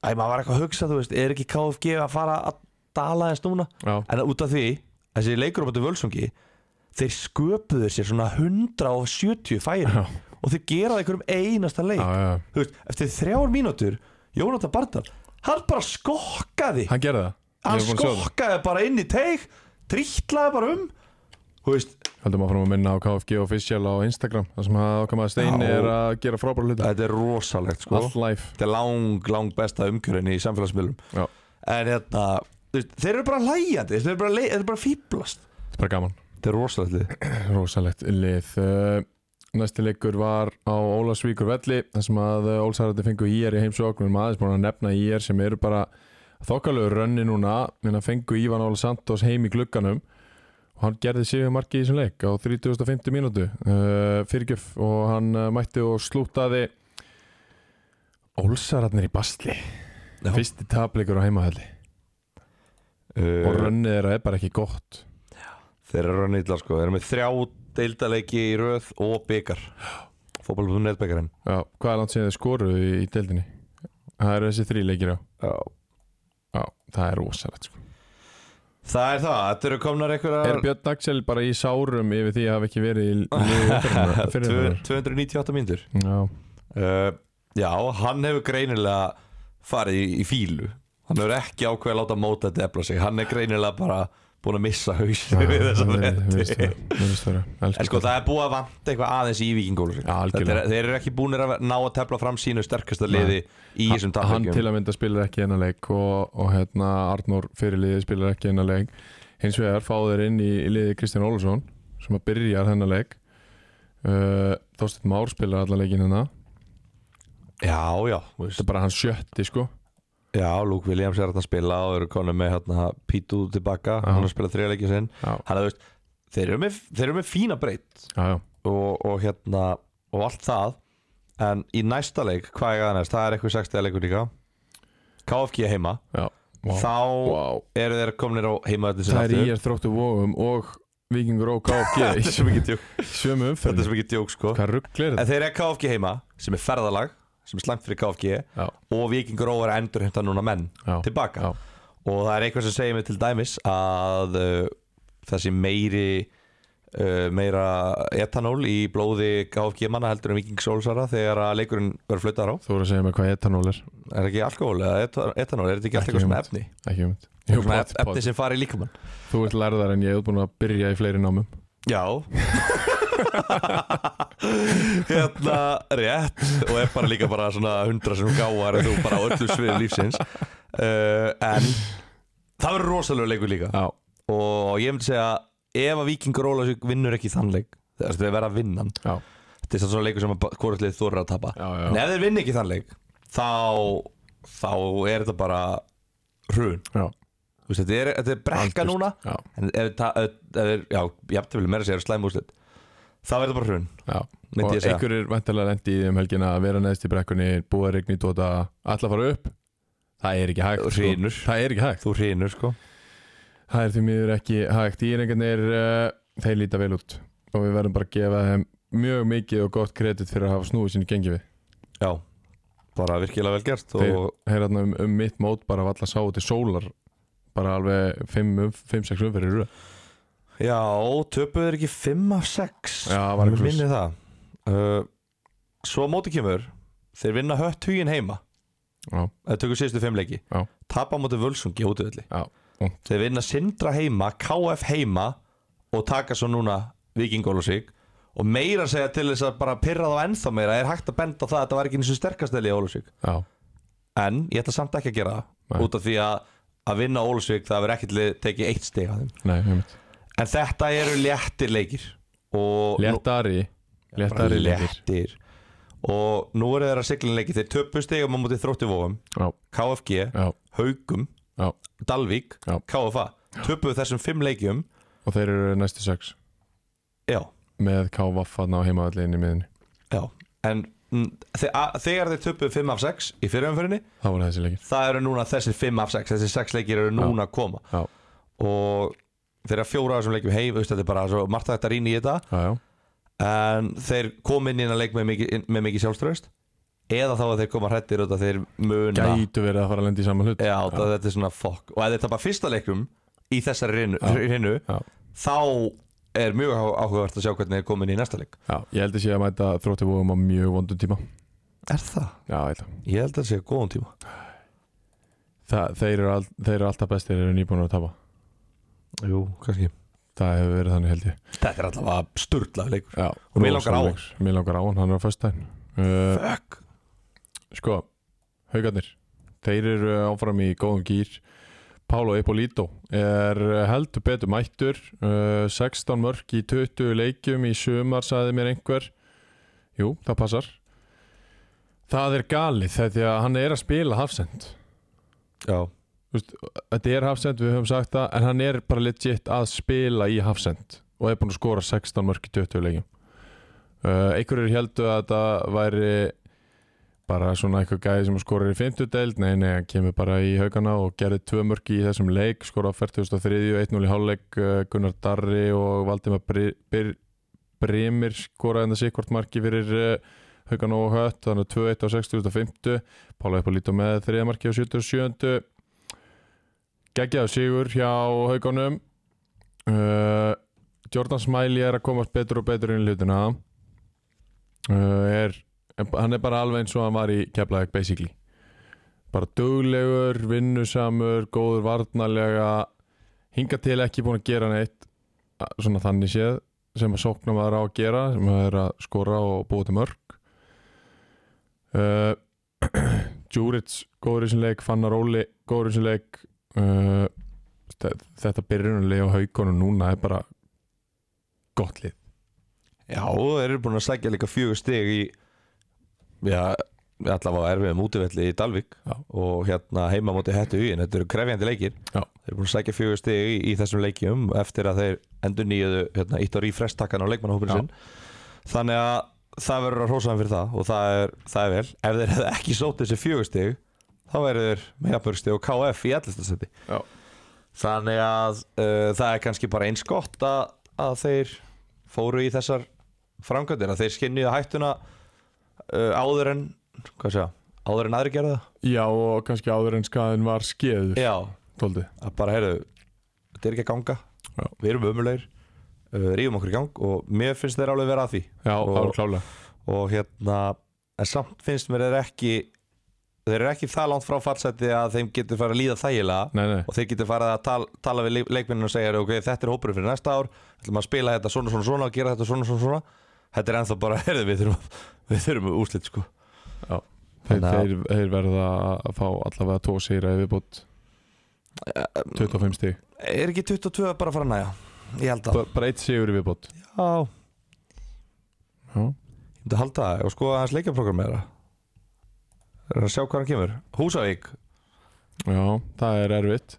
B: æ, maður var eitthvað að hugsa, þú veist, er ekki KFG að fara að dala þess núna?
A: já,
B: En út af því, þessi leikur um þetta völsungi, þeir sköpuðu sér svona 170 færi
A: Já.
B: og þeir geraði einhverjum einasta leik.
A: já, já.
B: þú veist, eftir þrjár mínútur Jónatan Bardal, hann bara skokkaði, hann,
A: hann gerði það
B: Ah,
A: Ég er búinn að sjá það.
B: skokkaði bara inn í teig drittlaði bara um þú veist,
A: Haldum áfram að minna á KFG official á Instagram þar sem að okkar maður Steini
B: Já.
A: er að gera frábæra hluti
B: þetta er rosalegt sko
A: Allt life
B: þetta er lang, lang besta umkjörin í samfélagsmiðlum
A: Já.
B: en þetta, þú veist, þeir eru bara hlægjandi þeir eru bara, le- þeir eru bara fýblast
A: Þetta er bara gaman
B: þetta er rosalegt lið.
A: Rósalegt lið Uh, Næsti leikur var á Ólasvíkur velli þar sem að Ólsarandi fengu IR í heimsókn við erum aðeins búin að nefna IR sem eru bara þokkalegu rönni núna minna fengu Ívan Óla Santos heim í glugganum og hann gerði sigur marki í þessum leik á 30.50 mínútu uh, fyrirgjöf og hann uh, mætti og slútaði Ólsararnir í basli
B: Já.
A: fyrsti tapleikur á heimahalli og
B: uh,
A: rönnið þeirra er bara ekki gott
B: þeir eru að nýtla sko, þeir eru með þrjá deildaleiki í röð og byggar fótballbúðum neðbyggarinn
A: Já, hvað er langt síðan þið skoruðu í, í deildinni? Það eru þessi þrý leikir á Já, það er rosalegt sko
B: það er það, þetta eru komnar einhverjar
A: Er Björn Axel bara í sárum yfir því að hafa ekki verið í liði umferðarinnar- fyrir
B: Tvö-
A: það?
B: 298 myndur
A: Já,
B: uh, Já, hann hefur greinilega farið í, í fílu Hann hefur ekki ákveð að láta móta þetta efla sig Hann er greinilega bara búin að missa hausin við þessa bretti En sko það er búið að vanta eitthvað aðeins í vikingólu
A: Já, algjörlega.
B: Þeir eru ekki búinir að ná að tefla fram sínu sterkasta liði í þessum
A: Hann
B: tapleikjum
A: til að mynda spilar ekki enna leik og, og hérna Arnór fyrirliði spilar ekki enna leik hins vegar fá þeir inn í, í liði Kristján Ólafsson sem að byrjar hennar leik uh, Þorsteinn Már spilar allan leikinn hennar
B: Já, já, þú
A: þetta
B: veist.
A: er bara hans sjötti sko
B: já, Luke Williams er þarna að spila og eru konum með hérna, Pítu tilbaka,
A: Já.
B: hann er að spila þriðleikja sinn
A: Já,
B: Hann er, þú veist, þeir eru með, þeir eru með fína breytt
A: já, já
B: og, og hérna og allt það en í næsta leik, hvað er það næst? Það er eitthvað 60 leikur líka KFG heima,
A: Já, vá.
B: þá
A: Vá.
B: eru þeir komnir á heimaðið
A: Það er í er þróttu vóum og Vikingur og KFG
B: Þetta er svo
A: í
B: mikið djók,
A: sömu
B: þetta er
A: umferð
B: svo mikið djók sko
A: Hvað ruggl er
B: En
A: þetta?
B: þeir eru KFG heima, sem er ferðalag sem er slæmt fyrir KFG
A: Já,
B: og Vikingur Ó er að endurheimta núna menn
A: já,
B: tilbaka
A: já,
B: og það er eitthvað sem segir mig til dæmis að uh, þessi meiri uh, meira etanól í blóði KFG manna heldur en Vikings Ólsara þegar að leikurinn verður flötaðar á
A: Þú voru að segja mér hvað etanól er
B: Er það ekki alkohól eða eta- etanól, er
A: Ekki
B: þetta ekki alltaf eitthvað svona
A: hugmynd.
B: efni?
A: Ekki um
B: Jú, svona pot, efni sem fari í líkamann
A: Þú ert lærðar en ég er búin að byrja í fleiri námum
B: Já Hérna rétt og er bara líka bara svona hundra sem gáar en þú bara á öllu sviðum lífsins uh, En það verður rosalega leikur líka
A: Já,
B: og ég myndi segja ef að Víkingur Ólafsvík vinnur ekki þann leik þess að þeir verða að vinna hann
A: já,
B: þetta er samt svona leikur sem hvortlið þú eru að tapa
A: já, já,
B: en ef þeir vinna ekki þann leik þá, þá er þetta bara hrun
A: já.
B: Þú veist, þetta er, þetta er brekka
A: Algjört.
B: núna
A: Já,
B: en ef það ef- ef er, já, jafnvel meira að segja slæm úrslit þá er það bara hrun
A: já
B: Myndi
A: Og
B: ég segja.
A: einhverjir vantarlega lendi í því um helgina að vera neðst í brekkunni búa regni tóta Alla fara upp Það er ekki hægt sko.
B: Hrynur.
A: Það er ekki hægt
B: þú hrynur sko
A: Það er því miður ekki hægt Íringarnir, uh, þeir líta vel út og við verðum bara að gefa þeim mjög mikið og gott kredit fyrir að hafa snúið sinni gengi við
B: já, bara virkilega vel gert og
A: Þeir heyrðarna um, um mitt mót bara valla sá út í sólar bara alveg 5-6 umferðir í röð.
B: já, töpuður ekki 5 af 6
A: Já, var eitthvað
B: minni það uh, svo á móti kemur þeir vinna hött hugin heima
A: Já.
B: það tökur síðustu 5 leiki
A: Já.
B: tapa á móti völsungi á útvöldi
A: Já, vont.
B: þeir vinna sindra heima, KF heima og taka svo núna vikingólusík og meira að segja til þess að bara pyrra þá ennþá meira er hægt að benda á það að þetta var ekki eins og sterkastæli í Ólusvík
A: Já,
B: en ég ætla samt ekki að gera það
A: Nei.
B: út af því að að vinna Ólusvík það verður ekkert lið tekið eitt stig af þeim
A: nei, heimitt
B: en þetta eru léttir leikir og
A: Léttari,
B: bara
A: léttari leikir
B: léttir og nú eru þeir að sigla leiki þeir töpu stegum á móti þrótti vóum
A: já,
B: KFG,
A: já,
B: Haugum,
A: já
B: Dalvík
A: Já.
B: KFA, töpu þessum fimm leikjum
A: og þeir eru næstu sex
B: já,
A: með K-Vaffarn á heimaðallegin í miðinni
B: já en mm, þe- a- þegar þeir töpu fimm af sex í fyrirumfyrinni,
A: það voru þessi leikir
B: það eru núna þessir fimm af sex þessir sex leikir eru núna að koma
A: já,
B: og þeir eru fjóra af þessum leikjum heim, veist, þetta er bara svo margt hægt að rýna í þetta
A: já, já,
B: en þeir kom inn í að leik með mikið, inn- með mikið sjálfströðst eða þá að þeir koma hrættir út að þeir muna
A: gætu verið að fara að lenda í saman hlut
B: já, já. þetta er svona fokk og ef þeir tapa fyrsta leikum í þessari rinu, rinu
A: Já.
B: þá er mjög áhu- áhugavert að sjá hvernig þeir komin í næsta leik
A: já, ég held að sé að mæta þrótti vóum á mjög vondum tíma
B: er það?
A: já, ég held að
B: Ég held að það sé góðum tíma
A: Þa, þeir, eru all, þeir eru alltaf bestir eru nýbúinur að tapa
B: Jú, kannski
A: það hefur verið þannig held ég
B: Þetta er allavega sturlað leikur
A: já,
B: Og mig langar á hann.
A: mér langar á hann, hann er á föstudaginn uh,
B: Fuck
A: sko, haugarnir þeir eru áfram í góðum gýr Pálo Eppolito er uh, heldur betur mættur uh, 16 mörg í 20 leikjum í sumar sagði mér einhver jú, það passar það er galið þegar að hann er að spila hafsend
B: Já,
A: þetta er hafsend, við höfum sagt það en hann er bara legit að spila í hafsend og er búin að skora 16 mörg í 20 leikjum uh, einhverjir heldur að þetta væri bara svona eitthvað gæði sem skorar í 50 deild, nei nei, hann kemur bara í haugana og gerði tvö mörg í þessum leik skorar 43, 1-0 í hálfleik uh, Gunnar Darri og Valdimar Bri- Bir- Brimir skoraði þetta sikkvort marki fyrir uh, haugana og hött, þannig að 2-1 á 60.50 Pála upp að líta með þriða marki á 77 geggjaðu sigur hjá haugunum uh, Jordan Smiley er að komast betur og betur inn í hlutina uh, er, hann er bara alveg eins og hann var í Keflavík basically bara duglegur, vinnusamur góður varnarlega hinga til ekki búin að gera neitt a- svona þannig séð sem að sókna maður á að gera sem maður er að skora og búa til mörg uh, Júrits góður í sinni leik, Fannar Óli góður í sinni leik uh, þe- þetta byrjunarlega á haugunum núna er bara gott lið
B: já og þeir eru búin að sækja líka fjögur stig í Já, allavega erfiðum útivelli í Dalvik
A: Já.
B: og hérna heima móti hættu í en þetta eru krefjandi leikir
A: Já.
B: þeir eru búin að sækja fjögur stig í, í þessum leikjum eftir að þeir endur nýjuðu hérna, ítt á rífrestakkan á leikmannahópinu
A: Já.
B: sinn þannig að það verður að hrósa hann fyrir það og það er, það er vel ef þeir hefðu ekki sótt þessi fjögur stig þá verður þeir með jafnbörgstig og KF í allistasetti
A: Já.
B: þannig að uh, það er kannski bara eins gott að, að þeir fóru í þessar framkvæmdir að þeir skinniðu hættuna uh, áður en hvað segja, áður en aðri gerða
A: já og kannski áður en skaðin var skeður
B: já,
A: tóldi
B: að bara heyrðu þetta er ekki að ganga,
A: Já.
B: við erum ömulegir uh, rífum okkur í gang og mér finnst þeir alveg vera að því
A: já
B: Og-
A: það var klálega
B: og hérna, en samt finnst mér þeir ekki þeir eru ekki það langt frá fallseti að þeim getur farið að líða þægilega
A: nei nei
B: og þeir getur farið að tala, tala við leik- leikmennina og segja ok, þetta er hópurinn fyrir næsta ár ætlum að spila þetta svona svona svona og gera þetta svona svona svona þetta er ennþá bara, heyrðu, við þurfum, við þurfum úrslit sko
A: þeir,
B: Þannig að-
A: þeir, þeir verða að fá allavega tvo sýra ef við bútt 25 stík
B: Er ekki 22 bara að fara að næja? Ég held að
A: bara, bara eitt sigur í viðbót
B: Já, ég
A: já.
B: myndi halda það og sko að hans leikjaprogram er að er að sjá hvað hann kemur Húsavík,
A: já, það er erfitt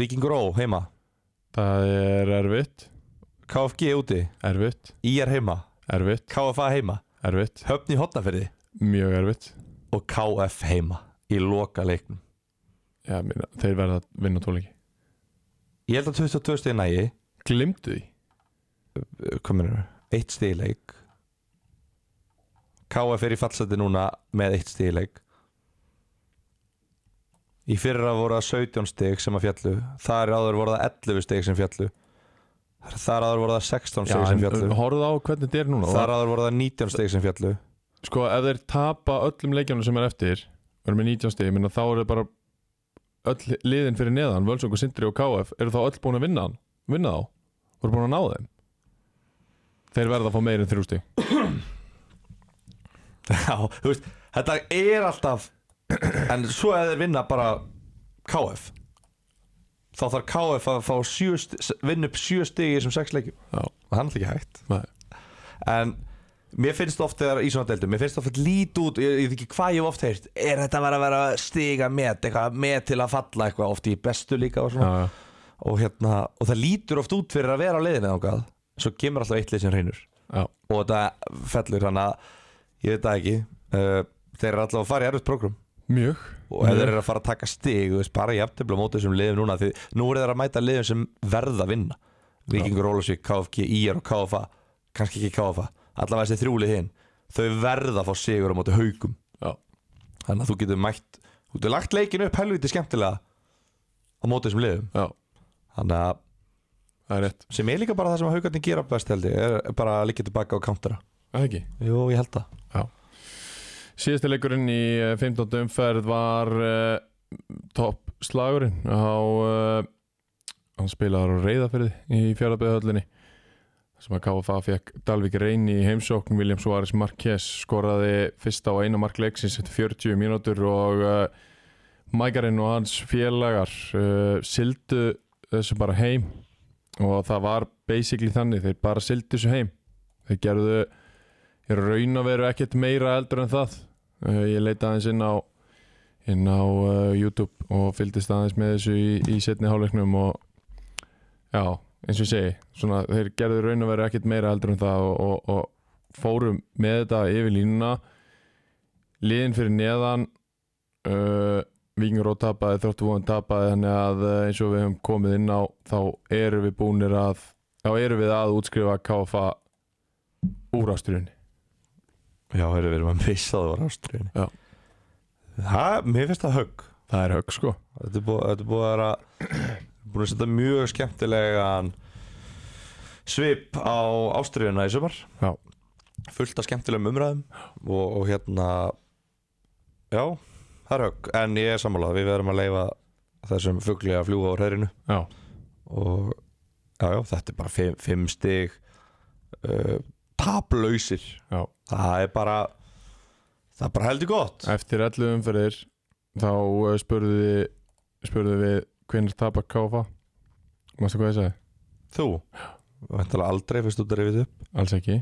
B: Víkingur Ó heima
A: það er erfitt
B: KFG úti,
A: erfitt,
B: IR heima
A: erfitt,
B: KFA heima,
A: erfitt
B: Höfni Hotnaferði
A: mjög erfitt
B: og KF heima í loka leiknum
A: já, minna, þeir verða að vinna tóleiki
B: Ég held að 22 stegin nægi
A: glimtu því
B: hvað mennum við, eitt stig í leik KF er í fallseti núna með eitt stig í leik í fyrra voru það 17 stig sem að fjallu þar áður voru það 11 stig sem fjallu þar áður voru það
A: Já,
B: 16 stig sem
A: en
B: fjallu
A: horfðu á hvernig þetta er núna Það-
B: þar áður voru það 19 stig sem fjallu
A: sko ef þeir tapa öllum leikjanum sem er eftir verður með 19 stig, minna þá eru bara öll liðin fyrir neðan Völsungur, Sindri og KF, eru þá öll búin að vinna hann vinna þá, voru búin að ná þeim þeir verða að fá meir en þrjú stig
B: Já, þú veist, þetta er alltaf en svo ef þeir vinna bara KF þá þarf KF að fá sjö, st- vinna upp 7 stig í þessum 6 leikjum
A: Já.
B: og hann er ekki hægt
A: Nei.
B: en Mér finnst oft þegar í svona deildum, mér finnst oft lít út, ég, ég veit ekki hvað ég hef oft heyrt Er þetta bara að vera stiga met, eitthvað met til að falla eitthvað, oft í bestu líka og svona
A: Já, já.
B: og, hérna, og það lítur oft út fyrir að vera á leiðinni þangað Svo kemur alltaf eitt leið sem reynur
A: Já,
B: Og þetta fellur hann að, ég veit það ekki uh, Þeir eru alltaf að fara í erfitt prógram
A: mjög
B: Og ef þeir eru að fara að taka stig, þú veist, bara jafntefla á móti þessum liðum núna Því nú eru þeir að mæta liðum sem verða að vinna Víkingur Ólasvík, KFG, IR og KFA kannski ekki KFA Allavega þessi þrjúlið hinn Þau verða að fá sigur á móti haugum
A: Já.
B: Þannig að þú getur mætt Þú getur lagt leikin upp helviti skemmtilega Á móti þessum liðum
A: Já,
B: Þannig að
A: það er rétt
B: sem er líka bara það sem haugarnir gera best held ég Er bara að líka tilbaka á countera
A: Er Það ekki
B: Jú, ég held það
A: Síðasti leikurinn í eh, 15. umferð var uh, topp slagurinn á uh, hann spilaði á reyðafyrði í fjárðabæðhöllinni sem að KFA fekk Dalvik Reyn í heimsókn William Suárez Marquez skoraði fyrsta og eina markleiksins eftir 40 mínútur og uh, Mækarinn og hans félagar uh, sildu þessu bara heim og það var basically þannig, þeir bara sildu þessu heim þeir gerðu í raun og veru ekkert meira eldur en það uh, ég leita aðeins inn á inn á uh, YouTube og fylgdist aðeins með þessu í, í setni hálfleiknum og já, eins og ég segi svona, þeir gerðu í raun og veru ekkert meira eldur en það og, og, og fórum með þetta yfir línuna liðin fyrir neðan uh, Víkingur og tapaði, þróttu vóðan tapaði þannig að uh, eins og við höfum komið inn á þá erum við búnir að þá erum við að útskrifa KFA úr ásturinni
B: Já, heyrðu, við erum að missa það var ástriðinni
A: Já.
B: Það, mér finnst það högg
A: Það er högg sko
B: Þetta er búið, þetta er búið að vera búin að setja mjög skemmtilegan svip á ástriðuna í sumar
A: Já.
B: fullt af skemmtilegum umræðum og, og hérna já, það er högg en ég er sammálað, við verðum að leifa þessum fugli að fljúga á hreirinu
A: Já,
B: og já, já, þetta er bara fimm, fimm stig uh, taplausir
A: Já.
B: það er bara það er bara heldur gott
A: eftir 11 umferðir þá eh, spurðu við spurðu við hvernig tapar KFA Mástu hvað ég sagði?
B: þú, væntalega aldrei fyrst út að rifið upp
A: Alls ekki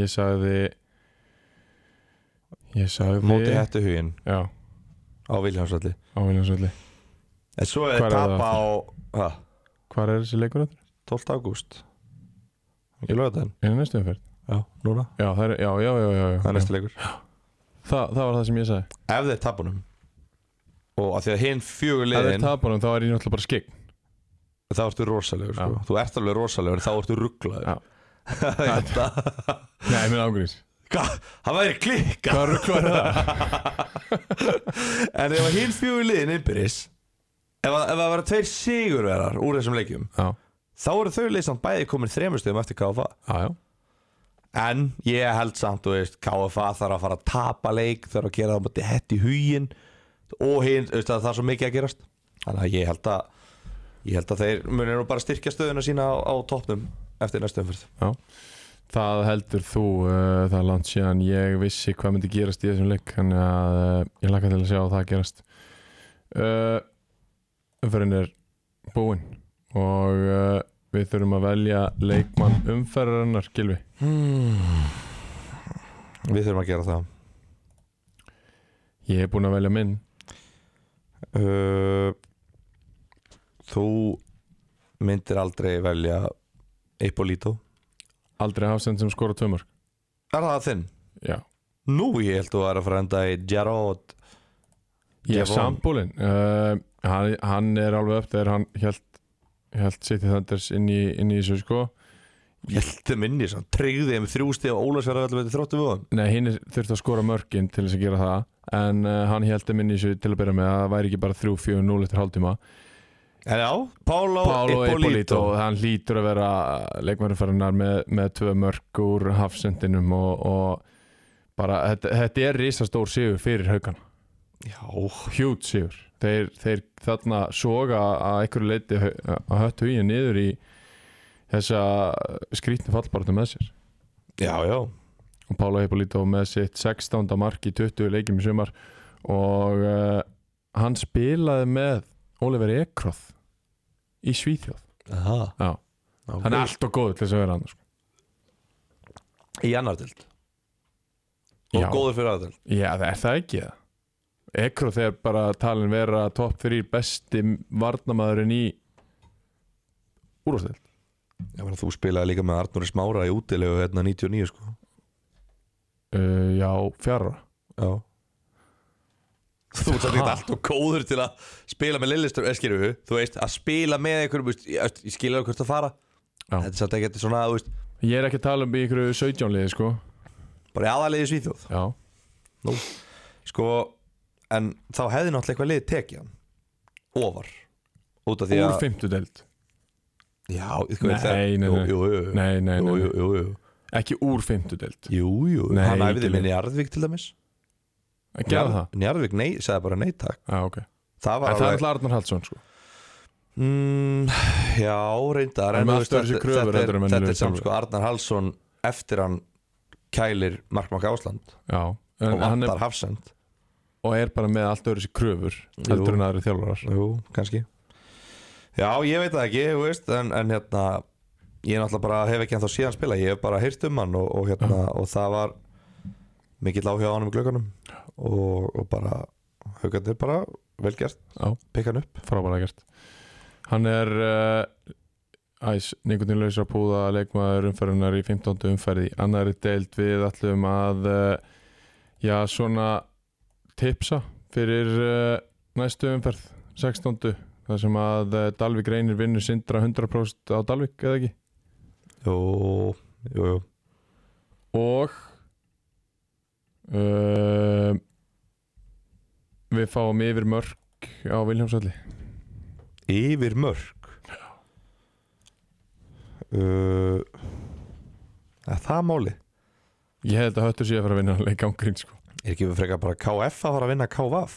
A: Ég sagði Ég sagði
B: móti hættu huginn
A: Já,
B: á Viljámsvalli
A: á Viljámsvöldi
B: en svo er
A: Hvar er
B: tapa á
A: það?
B: ha,
A: Hvar er þessi leikur þetta?
B: 12. ágúst ég lögði það
A: Er það næstu umferð?
B: já, núna,
A: Já, það er, já, já, já, já, já.
B: það er næsta leikur
A: það, það var það sem ég sagði
B: ef þeir tapunum og af því að hinn fjögur
A: Ef þeir
B: liðin
A: tapar honum þá er ég náttúrulega bara skikk
B: þá ertu rosalegur sko. þú ert alveg rosalegur en þá ertu
A: Já.
B: rugglaður þetta
A: Nei, minn ángurins
B: Hvað? Það væri klikka
A: Hvað rugl var það?
B: En ef að hinn fjögur liðin innbyrðis Ef að ef að það vera tveir sigurverar úr þessum leikjum
A: Já,
B: Þá eru þau lið samt bæði komin þremur stöðum eftir KFA
A: já, já
B: En ég held samt, þú veist, KFA þarf að fara að tapa leik Þarf að gera það á móti hett í hugin Og hinn, þú veist, það það er svo mikið að gerast Þannig að ég held að Ég held að þeir munir nú bara styrkja stöðuna sína á, á toppnum Eftir næstu umfyrð
A: Það heldur þú, uh, það er langt síðan ég vissi hvað myndi gerast í þessum leik þannig að uh, ég laka til að sjá að það gerast uh, Umferðin er búin og uh, við þurfum að velja leikmann umferðarinnar, Gilvi
B: hmm. Við þurfum að gera það
A: Ég er búinn að velja minn
B: Uh, Þú myndir aldrei velja Eipolító
A: Aldrei hafsend sem skora tvömörk
B: Er það þinn?
A: Já,
B: Nú ég held þú er að frenda í Gerard
A: ég
B: Ég
A: er
B: von.
A: sambúlin uh, hann, hann er alveg upp þegar hann held, held City Thunders inn í, inn í þessu sko
B: Hjælti minni sann, tryggði þeim þrjústi og Ólasverðarveldu með þróttu vöðum
A: Nei, hinn þurfti að skora mörkin til þess að gera það en uh, hann heldur minni þessu til að byrja með að það væri ekki bara 3-4-0 eftir hálftíma
B: En já, Pálo
A: Pálo Ippolito,
B: Eipolító
A: hann hlýtur að vera leikmærufarinnar með, með tvö mörk úr hafsendinum og, og bara, þetta, þetta er risastór sigur fyrir haugana,
B: Já,
A: hjút sigur þeir, þeir þarna soga að einhverju leiti að höttu í niður í þessa skrítni fallbaratu með sér
B: já, já
A: og Pála Hippolito með sitt 16. mark í 20 leikjum í sumar og uh, hann spilaði með Oliver Ekroth í Svíþjóð
B: Aha,
A: Já.
B: okay.
A: hann er alltaf góð til þess að vera hann sko.
B: í annar dild og
A: Já.
B: góður fyrir aðra dild
A: Já, það er það ekki það Ekro þegar bara talin vera topp 3 besti varnamaðurinn í úrústild
B: Ég meina, þú spilaði líka með Arnur Smára í útilegu hérna 99 sko
A: uh, Já, fjara
B: Já Þú ert samt ekki
A: Ha?
B: allt og góður til að spila með Lillistur, eskir við, þú veist, að spila með einhverjum, veist, ég, veist, ég skilja hvert að fara
A: Já.
B: Þetta er samt ekki þetta svona, þú veist,
A: Ég er ekki að tala um í ykkur 17 liði sko
B: bara í aðalegi Svíþjóð
A: Já,
B: Nú. Sko, en þá hefði náttúrulega eitthvað liðið tekið hann Ofar Út af því
A: úr
B: að
A: 50 deild
B: Já, sko, það-
A: Nei, nei,
B: jú,
A: nei.
B: jú, jú, jú.
A: Nei, nei, nei,
B: jú,
A: nei.
B: jú, jú, jú.
A: Ekki úr 50 deild
B: Jú, jú,
A: Nei,
B: hann æfði
A: ekki
B: minni í Arðvík til dæmis
A: Gerða það?
B: Njarðvík, nei, sagði bara nei takk
A: Já, ok
B: Það var
A: En það er alltaf Arnar Hallsson sko
B: Mm, já, reyndar
A: Hann er
B: en
A: með
B: þú veist,
A: allt öðruvísi
B: þetta-
A: kröfur
B: Þetta
A: heldur en
B: er,
A: menn
B: þetta
A: eru
B: er samt
A: sjálfir.
B: sko Arnar Hallsson eftir hann kælir Markmark Ásland
A: Já
B: og
A: en hann
B: vantar
A: er,
B: Hafsend
A: og er bara með allt öðru sér kröfur heldur en aðri þjálfarar
B: Jú, kannski Já, ég veit það ekki, þú veist en, en hérna, ég náttúrulega bara hef ekki ennþá síðan spila, ég hef bara heyrt um hann og, og hérna, og það var mikill áhuga á hann um glöggunum og, og bara, haugarnir bara vel gert,
A: Já,
B: pikka hann upp
A: frábæra gert Hann er uh, æs, nikotinlausra púða leikmaður umferðunar í 15. umferði annari deild við allum að uh, já, svona tipsa fyrir uh, næstu umferð 16. þar sem að uh, Dalvik reynir vinnur sindra 100% á Dalvik eða ekki
B: Jú, jú, jú
A: og uh, við fáum yfir mörk á Viljámsvalli
B: Yfir mörg uh, Er það máli?
A: ég held að höttur sé að fara að vinna hann leik ángrín sko.
B: Er ekki við frekar bara KF að fara að vinna KVaf?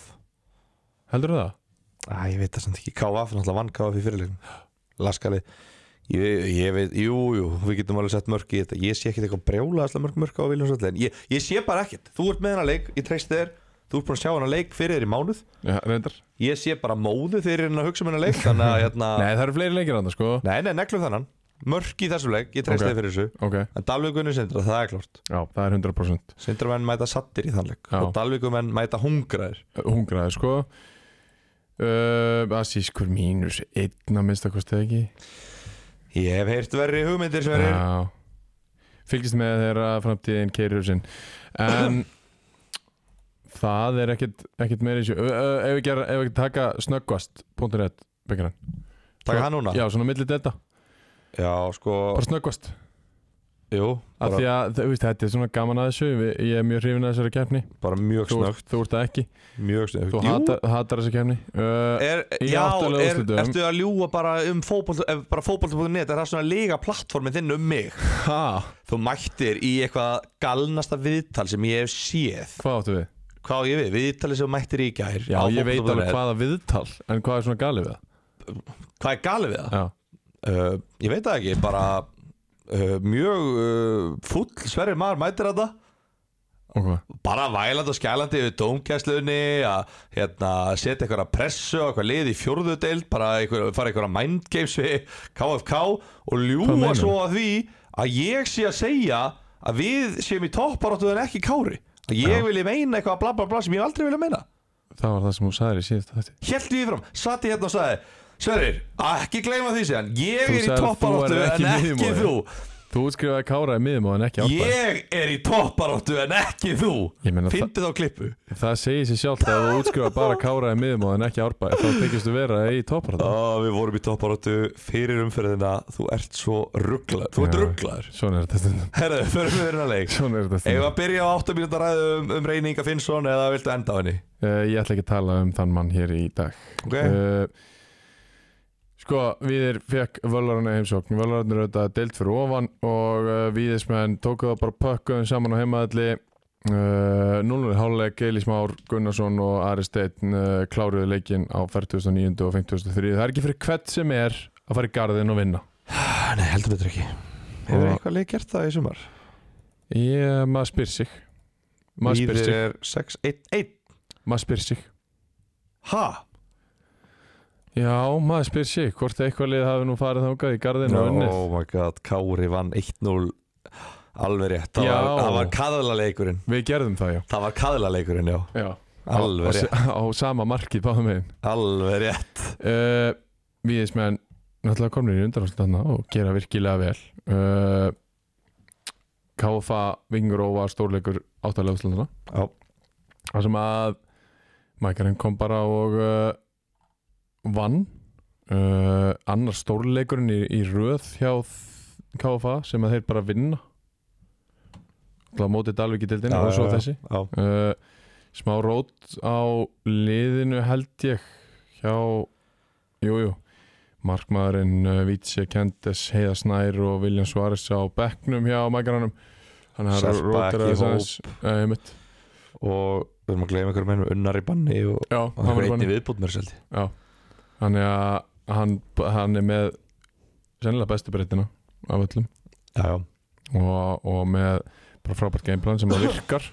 A: heldur það?
B: Æ, ég veit það samt ekki KVaf, náttúrulega vann KVaf í fyrirleikin Laskali ég, ég veit, jú, jú, við getum alveg sett mörg í þetta Ég sé ekkit eitthvað brjólaðslega mörg mörg á Viljónsvöld En ég, ég sé bara ekkit, þú ert með hana leik, ég treysti þér Þú ert búin að sjá hana leik fyrir þér í mánuð
A: Já, reyndar
B: Ég sé bara móðu fyrir hennar að hugsa um hennar leik Þannig að, hérna,
A: Nei, það eru fleiri leikir annars sko
B: nei, nei, neglum þannan Mörg í þessum leik, ég
A: Ok.
B: treysti þér fyrir þessu
A: Ok,
B: En Dalvíkunni sindra, það er klart
A: já, það er 100%
B: Sindramenn mæta sattir í þannleik
A: Já.
B: Og Dalvíkumenn mæta hungraðir
A: Hungraði sko uh, Asískur mínus Einn að minnsta kosti ekki
B: Ég hef heyrt verri hugmyndir sverir
A: Já Fylgist með þeirra framtíðin keirir sinn En Það er ekkit, ekkit meira í sjö uh, uh, Ef ekki, ef ekki taka snöggvast.net byggjaran
B: Takk hann núna
A: Já, svona milli delta
B: Já, sko
A: Bara snöggvast
B: Jú,
A: Af
B: bara,
A: því að þú veist, þetta er svona gaman að þessu Við- Ég er mjög hrifin að þessari kefni
B: bara mjög
A: Þú,
B: snögt
A: þú ert það ekki
B: Mjög snögt
A: Þú
B: Jú, E-
A: hatar, hatar þessa kefni uh,
B: er,
A: í
B: Já,
A: áttalega
B: er,
A: úrslitum.
B: ertu að ljúga bara um fótbolt ef Bara fótbolt.net Er það svona líka plattformin þinn um mig
A: Ha?
B: Þú mættir í eitthvað galnasta viðtal sem ég hef séð
A: Hvað áttu við?
B: Hvað á ég við? Viðtali sem þú mættir í gær
A: Já,
B: á
A: ég veit alveg
B: fótbolti.net.
A: hvaða viðtal En hvað er svona galið við það?
B: Hvað er galið við það?
A: Já,
B: uh, ég veit það ekki, bara uh, mjög uh, full sverri maður mætir þetta
A: og hvað?
B: bara væland og skælandi yfir dómkæslunni að hérna, setja einhverja pressu og eitthvað lið í fjórðu deild bara einhver, fara einhverja mindgames við KFK og
A: Hvað
B: ljúa
A: meinarðu?
B: svo að því að ég sé að segja að við séum í topparóttu en ekki kári að ég
A: Já.
B: vilji meina eitthvað bla bla bla sem ég hef aldrei vilja meina
A: Það var það sem hún sagði í síðasta þætti
B: Helt því fram, satt ég hérna og sagði Sverir, ekki gleyma því síðan Ég
A: Þú
B: er í
A: sagðir að þú
B: topparóttu
A: værir
B: en
A: ekki í
B: ekki
A: miðjumóði.
B: þú
A: Þú útskrifaði Kára í miðum og en ekki áttbæði
B: Ég er í topparóttu en ekki þú
A: Ég meina
B: Fyndu þá klippu
A: Það segir sér sjálft að ef þú útskrifaði bara Kára í miðum og en ekki árbæði Þá þykist þú vera í topparata
B: Ó, Við vorum í topparóttu fyrir umferðina Þú ert svo rugglaður Þú ert
A: Já.
B: rugglaður
A: Svona er þetta stundum
B: Herðu, förum við hérna leik
A: Svona er þetta
B: Ef
A: stundum
B: að byrja á 8 mínúta ræðu um, um reyninga Finnsson eða viltu enda á henni
A: uh, Ég ætla ekki að tala um þann mann hér í dag
B: Ok,
A: uh, Sko, Víðir fekk völarana heimsókn Völararnir auðvitað deilt fyrir ofan og uh, Víðismenn tóku það bara pökkuðum saman á heimaðalli uh, 0-0 háluleik Eilis Már Gunnarsson og Ari Steinn uh, kláruðu leikinn á 49. og 53. Það er ekki fyrir hvert sem er að fara í garðin og vinna
B: Ah, nei, heldur betur ekki Hefur
A: Og-
B: eitthvað leik gert það í sumar?
A: Ég, maður spyr sig maður spyr
B: Víðir
A: sig,
B: er 6-1-1
A: maður spyr sig
B: Ha?
A: Já, maður spyr sig hvort eitthvað lið hafi nú farið þangað í garðin og unnið
B: Oh my god, Kári vann 1-0 Alveg rétt, það var,
A: Já.
B: það var kaðlaleikurinn
A: Við gerðum það, já.
B: Það var kaðlaleikurinn, já
A: já.
B: Alveg
A: á,
B: rétt,
A: á sama markið báðum megin.
B: alveg rétt
A: uh, Víðismenn náttúrulega komnir í undanáttanna og gera virkilega vel uh, KFA Vingur og var stórleikur áttalega úslandana
B: Já,
A: þar sem að mækarinn kom bara og uh, vann uh, annar stórleikurinn í, í röð hjá þ- KFA sem að þeir bara vinna Það mótið Dalvík í dildinu
B: Já,
A: og svo
B: já, já.
A: þessi
B: já,
A: uh, smá rót á liðinu held ég hjá jújú jú. markmaðurinn uh, Vítsi Kendes Heiða Snær og Viljan Svaris á bekknum hjá mækaranum hann er
B: Selpa
A: rótar
B: ekki í
A: að þess aðeins Eh,
B: og við erum að gleyma einhverjum einum unnar í banni og
A: já,
B: og
A: hann
B: hann
A: var
B: er einni
A: bara
B: viðbútt mér seldi
A: hann er, að- hann, hann er með sennilega bestu breytina af öllum
B: Já, já
A: og, og með bara frábært gameplan sem að virkar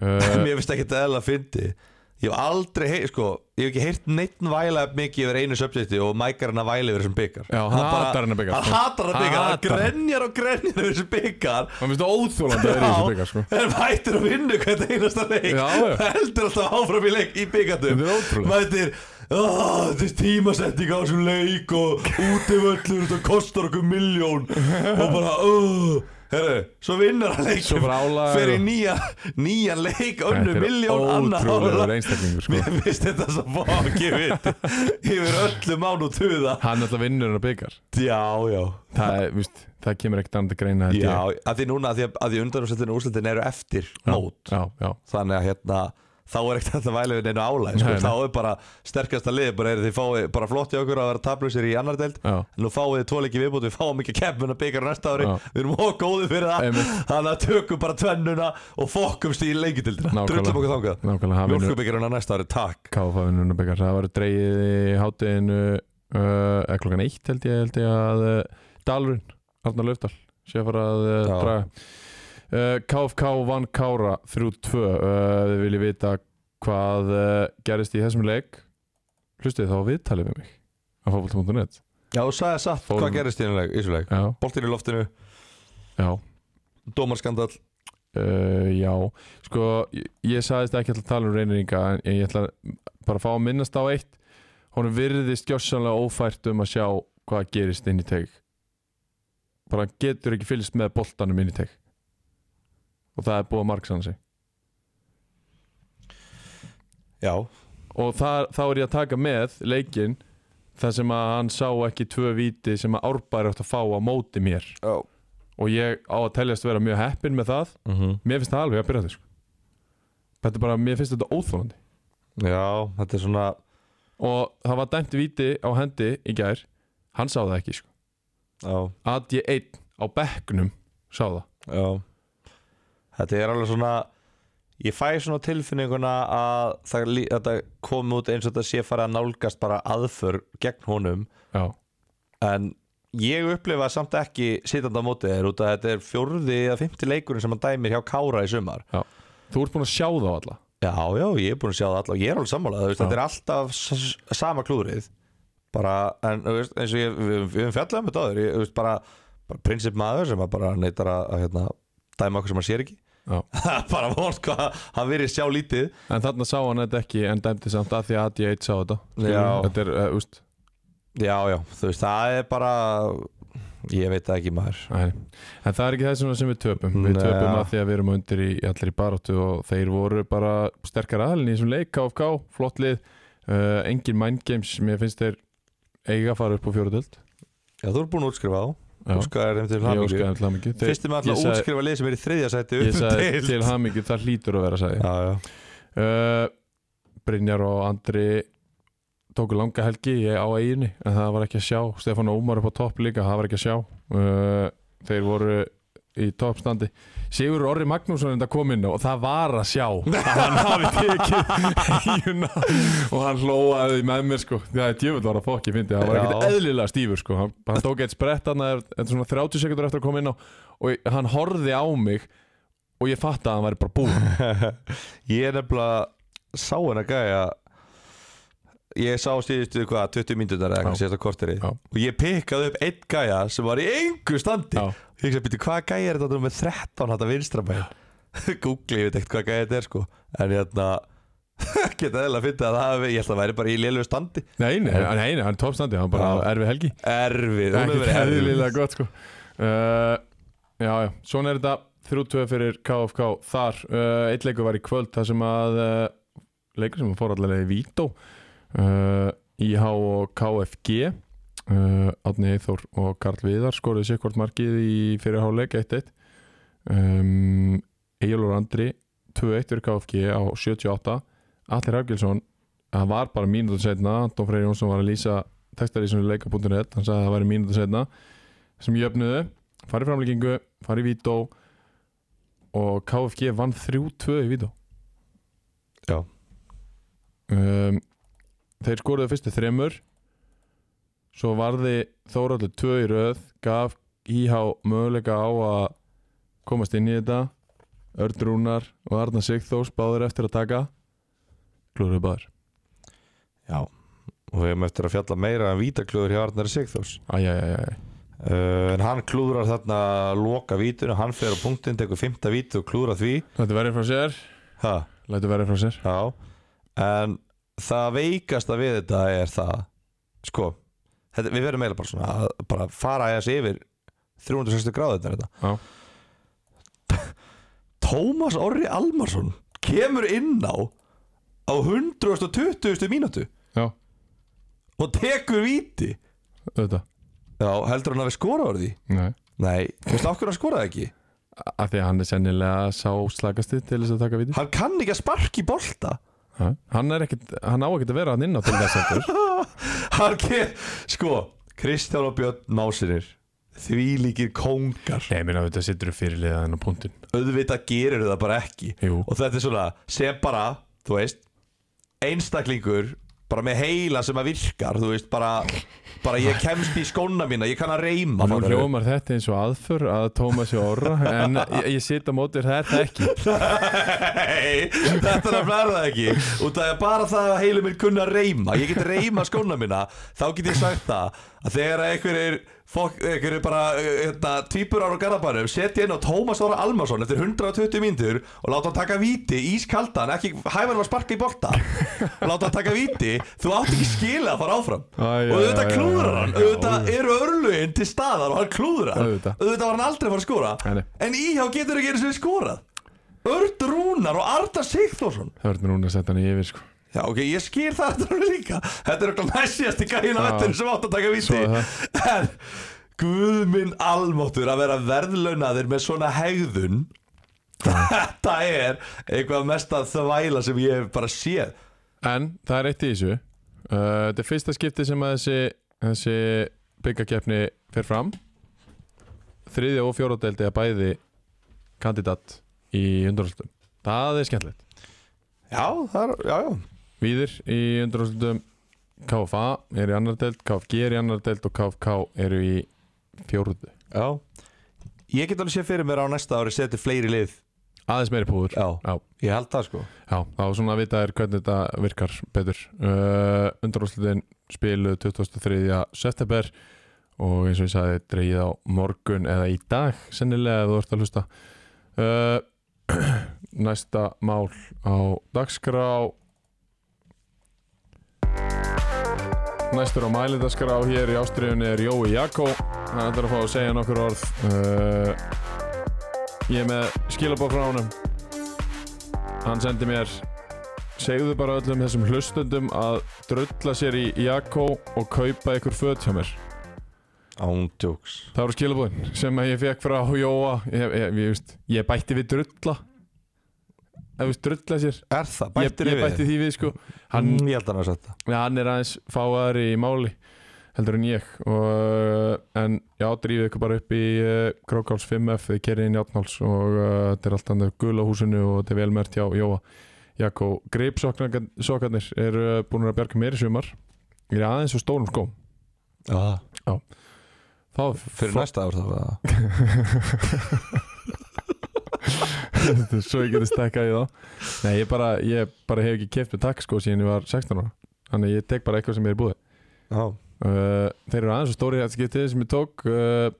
A: uh,
B: Mér finnst ekki þetta eðla að fyndi Ég hef aldrei heyrt, sko Ég hef ekki heyrt neittn væla jafn mikið yfir einu subjekti og mækar hann að væla yfir þessum byggar
A: Já, hann hatar hann að bikar. sko.
B: Hann hatar hann að byggar, hann
A: Hatar hann.
B: grenjar og grenjar yfir þessum byggar
A: hann finnst það óþjólandi að vera í þessu byggar sko.
B: En mætir að vinna hvert einasta leik
A: Já, já.
B: Heldur alltaf áfram í leik í
A: Þetta
B: byggandum
A: er ótrúlegt.
B: Mætir "Ah, Þetta er tímasetning á þessum leik og útivöllur þetta kostar okkur miljón og bara "Ugh." Herru, svo vinnar hann leik
A: Svo bara álag
B: Fer í
A: og-
B: nýja, nýja leik önnu
A: Þetta er
B: miljón annar
A: ótrúlegur
B: álag
A: einstaklingur sko.
B: Mér finnst þetta svo fokki vitt Yfir öllu mánu tuða
A: hann alltaf vinnur hann að byggar
B: Já, já
A: það, er, víst, það kemur ekkert annað að greina held ég.
B: Já, að því núna að því, að því undanúrsettinu úrsletin eru eftir mót
A: já, já,
B: þannig að hérna þá er ekkert hægt að væla við neina álæg sko.
A: Nei, nei.
B: þá er bara sterkasta lið bara er þið fáið bara flott í okkur að vera tablusir í annar deild
A: Já.
B: nú fáið þið tvoleiki viðbútt við fáum ekki keppin að byggja næsta ári
A: Já.
B: við erum ógóðið fyrir það
A: Einmitt.
B: þannig að tökum bara tvennuna og fokkumst í leikidildina
A: Nákvæmlega.
B: drullum okkur þangað
A: nákvæmlega hann vinnur
B: mjölkubyggjaruna næsta ári, takk
A: KFA vinnur hann að byggar það var dreigið í hátteginu uh, eða klokkan eitt held ég, held ég að uh, Dalurinn, Arnar Löfdal sé að fara að uh,
B: Já.
A: draga uh, KFK vann Kára 3-2 uh, við viljum vita hvað uh, gerist í þessum leik hlustið þá á viðtalið við mig á fókbalt.net
B: Já, og sagði satt,
A: Fórum-
B: hvað gerist í þennan leik- í þessum leik?
A: já,
B: Boltinn í loftinu,
A: já
B: dómarskandall
A: Uh, já, sko ég, ég sagðist ekki alltaf að tala um reyninga en en ég ætla bara að fá að minnast á eitt honum virðist gjössanlega ófært um að sjá hvað gerist inn í teg bara hann getur ekki fylgst með boltanum inn í teg og það er búið að marksanna sig
B: Já,
A: og það, þá er ég að taka með leikinn þar sem að hann sá ekki tvö víti sem að árbæri átt að fá á móti mér
B: já
A: og ég á að teljast vera mjög heppin með það
B: Mhm.
A: mér finnst það alveg að byrja þetta sko. þetta er bara, mér finnst þetta óþólandi
B: Já, þetta er svona
A: og það var dæmt viti á hendi í gær, hann sá það ekki sko.
B: Já,
A: að ég einn á bekknum sá það
B: Já Þetta er alveg svona Ég fæ svona tilfinninguna að það, lí- þetta kom út eins og þetta sé fara að nálgast bara aðför gegn honum
A: já,
B: en ég upplifa samt ekki sitandi á móti þér út að þetta er fjórði eða fymti leikurinn sem hann dæmir hjá Kára í sumar
A: já. þú ert búin að sjá það alla
B: Já, já, ég er búin að sjá það allavega, ég er alveg sammála þú veist, þetta er alltaf s- sama klúrið bara, en þú veist, eins og ég við við höfum fjallað um þetta áður, ég þú veist, bara, bara prinsip maður sem að bara neytar að, að hérna, dæma okkur sem hann sér ekki
A: já.
B: bara vonst hvað hann verið sjá lítið
A: en þarna sá hann þetta ekki en dæmti samt að því að ég einn sá þetta Skilur
B: Já.
A: við? þetta er, uh, úst
B: já, já, þú veist, það er bara ég veit það ekki maður
A: Nei. En það er ekki þessum sem við töpum Við
B: Nei.
A: töpum að því að við erum undir í allir í baróttu og þeir voru bara sterkar aðalinn í þessum leik KFK, flott lið uh, engin mindgames, mér finnst þeir eiga að fara upp á fjóruðöld
B: já, þú er búin að útskrifa á,
A: Ég
B: útskrifaði þeim til
A: óskaði
B: hlammingu
A: þeim til hamingju Þeir-
B: fyrstum við
A: ég
B: alltaf að
A: sagði-
B: útskrifa lið sem er í þriðja sæti
A: Ég
B: upp um
A: sagði
B: deild
A: til hamingju, það hlýtur að vera sagði
B: já, já,
A: uh, Brynjar og Andri tóku langa helgi ég á eiginni en það var ekki að sjá, Stefán Ómar upp á topp líka það var ekki að sjá uh, þeir voru í toppstandi Sigur Orri Magnússon enda kom inn og það var að sjá að hann hafi tekið híuna og hann hlóaði með mér sko það er djöfull var að fokki fyndi það var ekkert
B: Já.
A: eðlilega stífur sko hann, hann tók eitt sprett hann eftir svona 30 sekundur eftir að koma inn á og hann horfði á mig og ég fatt að hann væri bara búinn
B: ég er nefnilega sá henn að gæja ég sá síðustu hvað 20 mínútur
A: Já.
B: eða eitthvað síðasta korteri
A: Já.
B: og ég pikkaði upp einn gæja sem var í engu standi
A: Já.
B: Ég hugsa, býttu, hvað gæði er þetta með 13 hætta vinstrabæn? Google, ég veit ekkert hvað gæði þetta er sko En hérna Geta eðla að finna að það hafi- Ég held að það væri bara í lélugu standi
A: Nei, nei, hann, nei, nei, hann er toppstandi, hann er bara
B: Já.
A: erfi helgi
B: Erfið, hún hefur
A: Ekki
B: verið erfið
A: eðlilega gott sko uh, Já, já, svona er þetta 3-2 fyrir KFK þar uh, Eitt leikur var í kvöld þar sem að uh, leikur sem fór allavega í Vító uh, IH og KFG uh, Átni Eithor og Karl Viðar skoruðu sér hvort markið í fyrirháleik 1-1 um, Egilur Andri 2-1 fyrir KFG á 78 Allir Hafgilsson það var bara mínútur setna Anton Freyr Jónsson var að lýsa textarísinu leika.net hann sagði að það væri mínútu setna sem jöfnuðu, farið framleggingu farið vító og KFG vann 3-2 í vító
B: Já.
A: um, þeir skoruðu fyrstu þremur svo varði Þóraldur 2 í röð gaf IH möguleika á að komast inn í þetta Örn Rúnar og Arna Sigþós báður eftir að taka klúruðu báður
B: Já, og við hefum eftir að fjalla meira en vítaklúður hjá Arnar Sigþórs
A: Æjæjæjæj
B: uh, En hann klúðrar þarna loka vítunum, hann fer á punktinn, tekur fymta vítu og klúðrar því
A: Lætu verið frá sér
B: ha,
A: Lætu verið frá sér
B: Já, en það veikasta við þetta er það Sko, þetta, við verðum eiginlega bara svona að bara fara aðeins yfir 360 gráður þetta
A: Já.
B: Tómas Orri Almarsson kemur inn á á 120. mínútu
A: Já,
B: og tekur víti
A: auðvitað
B: Já, heldur hann að við skora orði?
A: Nei
B: Nei, veistu af hverju hann skoraði ekki?
A: Af því að hann er sennilega sá slagasti til þess að taka viti
B: Hann kann ekki að sparki bolta
A: ha? Hann er ekkit, hann á ekkit að vera hann inn á til þess heldur
B: Hann kem, sko Kristján og Björn Másinir Því líkir kóngar
A: Nei, minn að þetta sittur fyrirliðað hann á punktin
B: Auðvitað gerir það bara ekki
A: Jú.
B: Og þetta er svona, sem bara, þú veist Einstaklingur Bara með heila sem að virkar Þú veist, bara, bara ég kemst í skóna mína Ég kann að reyma
A: Nú
B: fattar þú?
A: hljómar þetta eins og aðför að Tómas í orra En ég, ég sit á móti þér, það er þetta ekki
B: Nei, þetta er nefnilega er það ekki Út af því að bara það að heilum minn kunna reyma Ég get reyma skóna mína Þá get ég sagt það Að þegar einhverjir fólk, einhverjir bara hérna, Týpur ára á garðabænum Setja inn á Tómas Þóra Almarsson Eftir 120 myndur Og láta hann taka víti ískaldan Ekki hæfa hann að sparka í bolta og Láta hann taka víti Þú átt ekki skilið að fara áfram
A: Æ, já,
B: Og auðvitað
A: já, já,
B: klúðrar hann
A: já,
B: Auðvitað eru örlögin til staðar og hann klúðrar
A: Auðvitað.
B: var hann aldrei að fara að skora
A: Nei, nei.
B: En íhjá getur ekki einu sinni skorað Örd Rúnar og Arda Sigþórsson
A: Það verður núna að setja hann yfir sko
B: Já ok, ég skil það þetta alveg líka Þetta er okkur næstjast í gæðina
A: Já.
B: vettinu sem átt að taka
A: Svo
B: viti
A: er
B: En guð minn almáttur að vera verðlaunaðir með svona hegðun Þetta er eitthvað mest að þvæla sem ég hef bara séð
A: En það er eitt í þessu uh, Þetta er fyrsta skipti sem að þessi, þessi byggakefni fer fram Þriðja og fjóradeldi að bæði kandidat í undanúrslutum Það er skemmtilegt
B: Já, það er, já, já
A: Víðir í undanúrslutum KFA er í annar deild, KFG er í annar deild og KFK eru í fjórðu
B: Já Ég get alveg séð fyrir mér á næsta ári setja fleiri lið
A: Aðeins meiri púður
B: Já,
A: Já,
B: ég held það sko
A: já þá svona að vita er hvernig þetta virkar betur uh, Undanúrslutin spiluð 23. september og eins og ég sagði dreigið á morgun eða í dag sennilega ef þú ert að hlusta uh, Næsta mál á dagskrá Næstur á mælindaskrá hér í ástriðunni er Jói Jakko Hann ætlar að fá að segja nokkur orð uh, Ég er með skilabók frá honum Hann sendi mér Segðu bara öllum þessum hlustundum að drulla sér í Jakko og kaupa ykkur föt hjá mér
B: Ándjóks
A: Það voru skilabóðin sem að ég fekk frá Jóa Ég, ég, ég, ég, veist, ég bætti við drulla Ef við drulla sér
B: Er það?
A: Ég,
B: Bættir
A: ég bætti því við sko Hann
B: Mm, Ég held að hann að setja
A: Já, hann er aðeins fáaðar í máli heldur en ég og, en já, drífið ykkur bara upp í uh, Krókáls 5F, þið kerið inn í Átnáls og uh, þetta er allt annað gula húsinu og þetta er velmert hjá Jóa Jakko, greipsokkarnir eru uh, búin að bjarga mér í sumar ég er aðeins og stórum skóm
B: Já,
A: þá
B: fyrir
A: fó-
B: næsta ár það var það
A: svo ég geti stekkað í þá Nei, ég bara, ég bara hef ekki keft með takk sko síðan ég var 16 ára þannig að ég tek bara eitthvað sem ég er búið
B: Já,
A: Eh, Uh, þeir eru aðeins og stóri hættskiptið sem ég tók uh,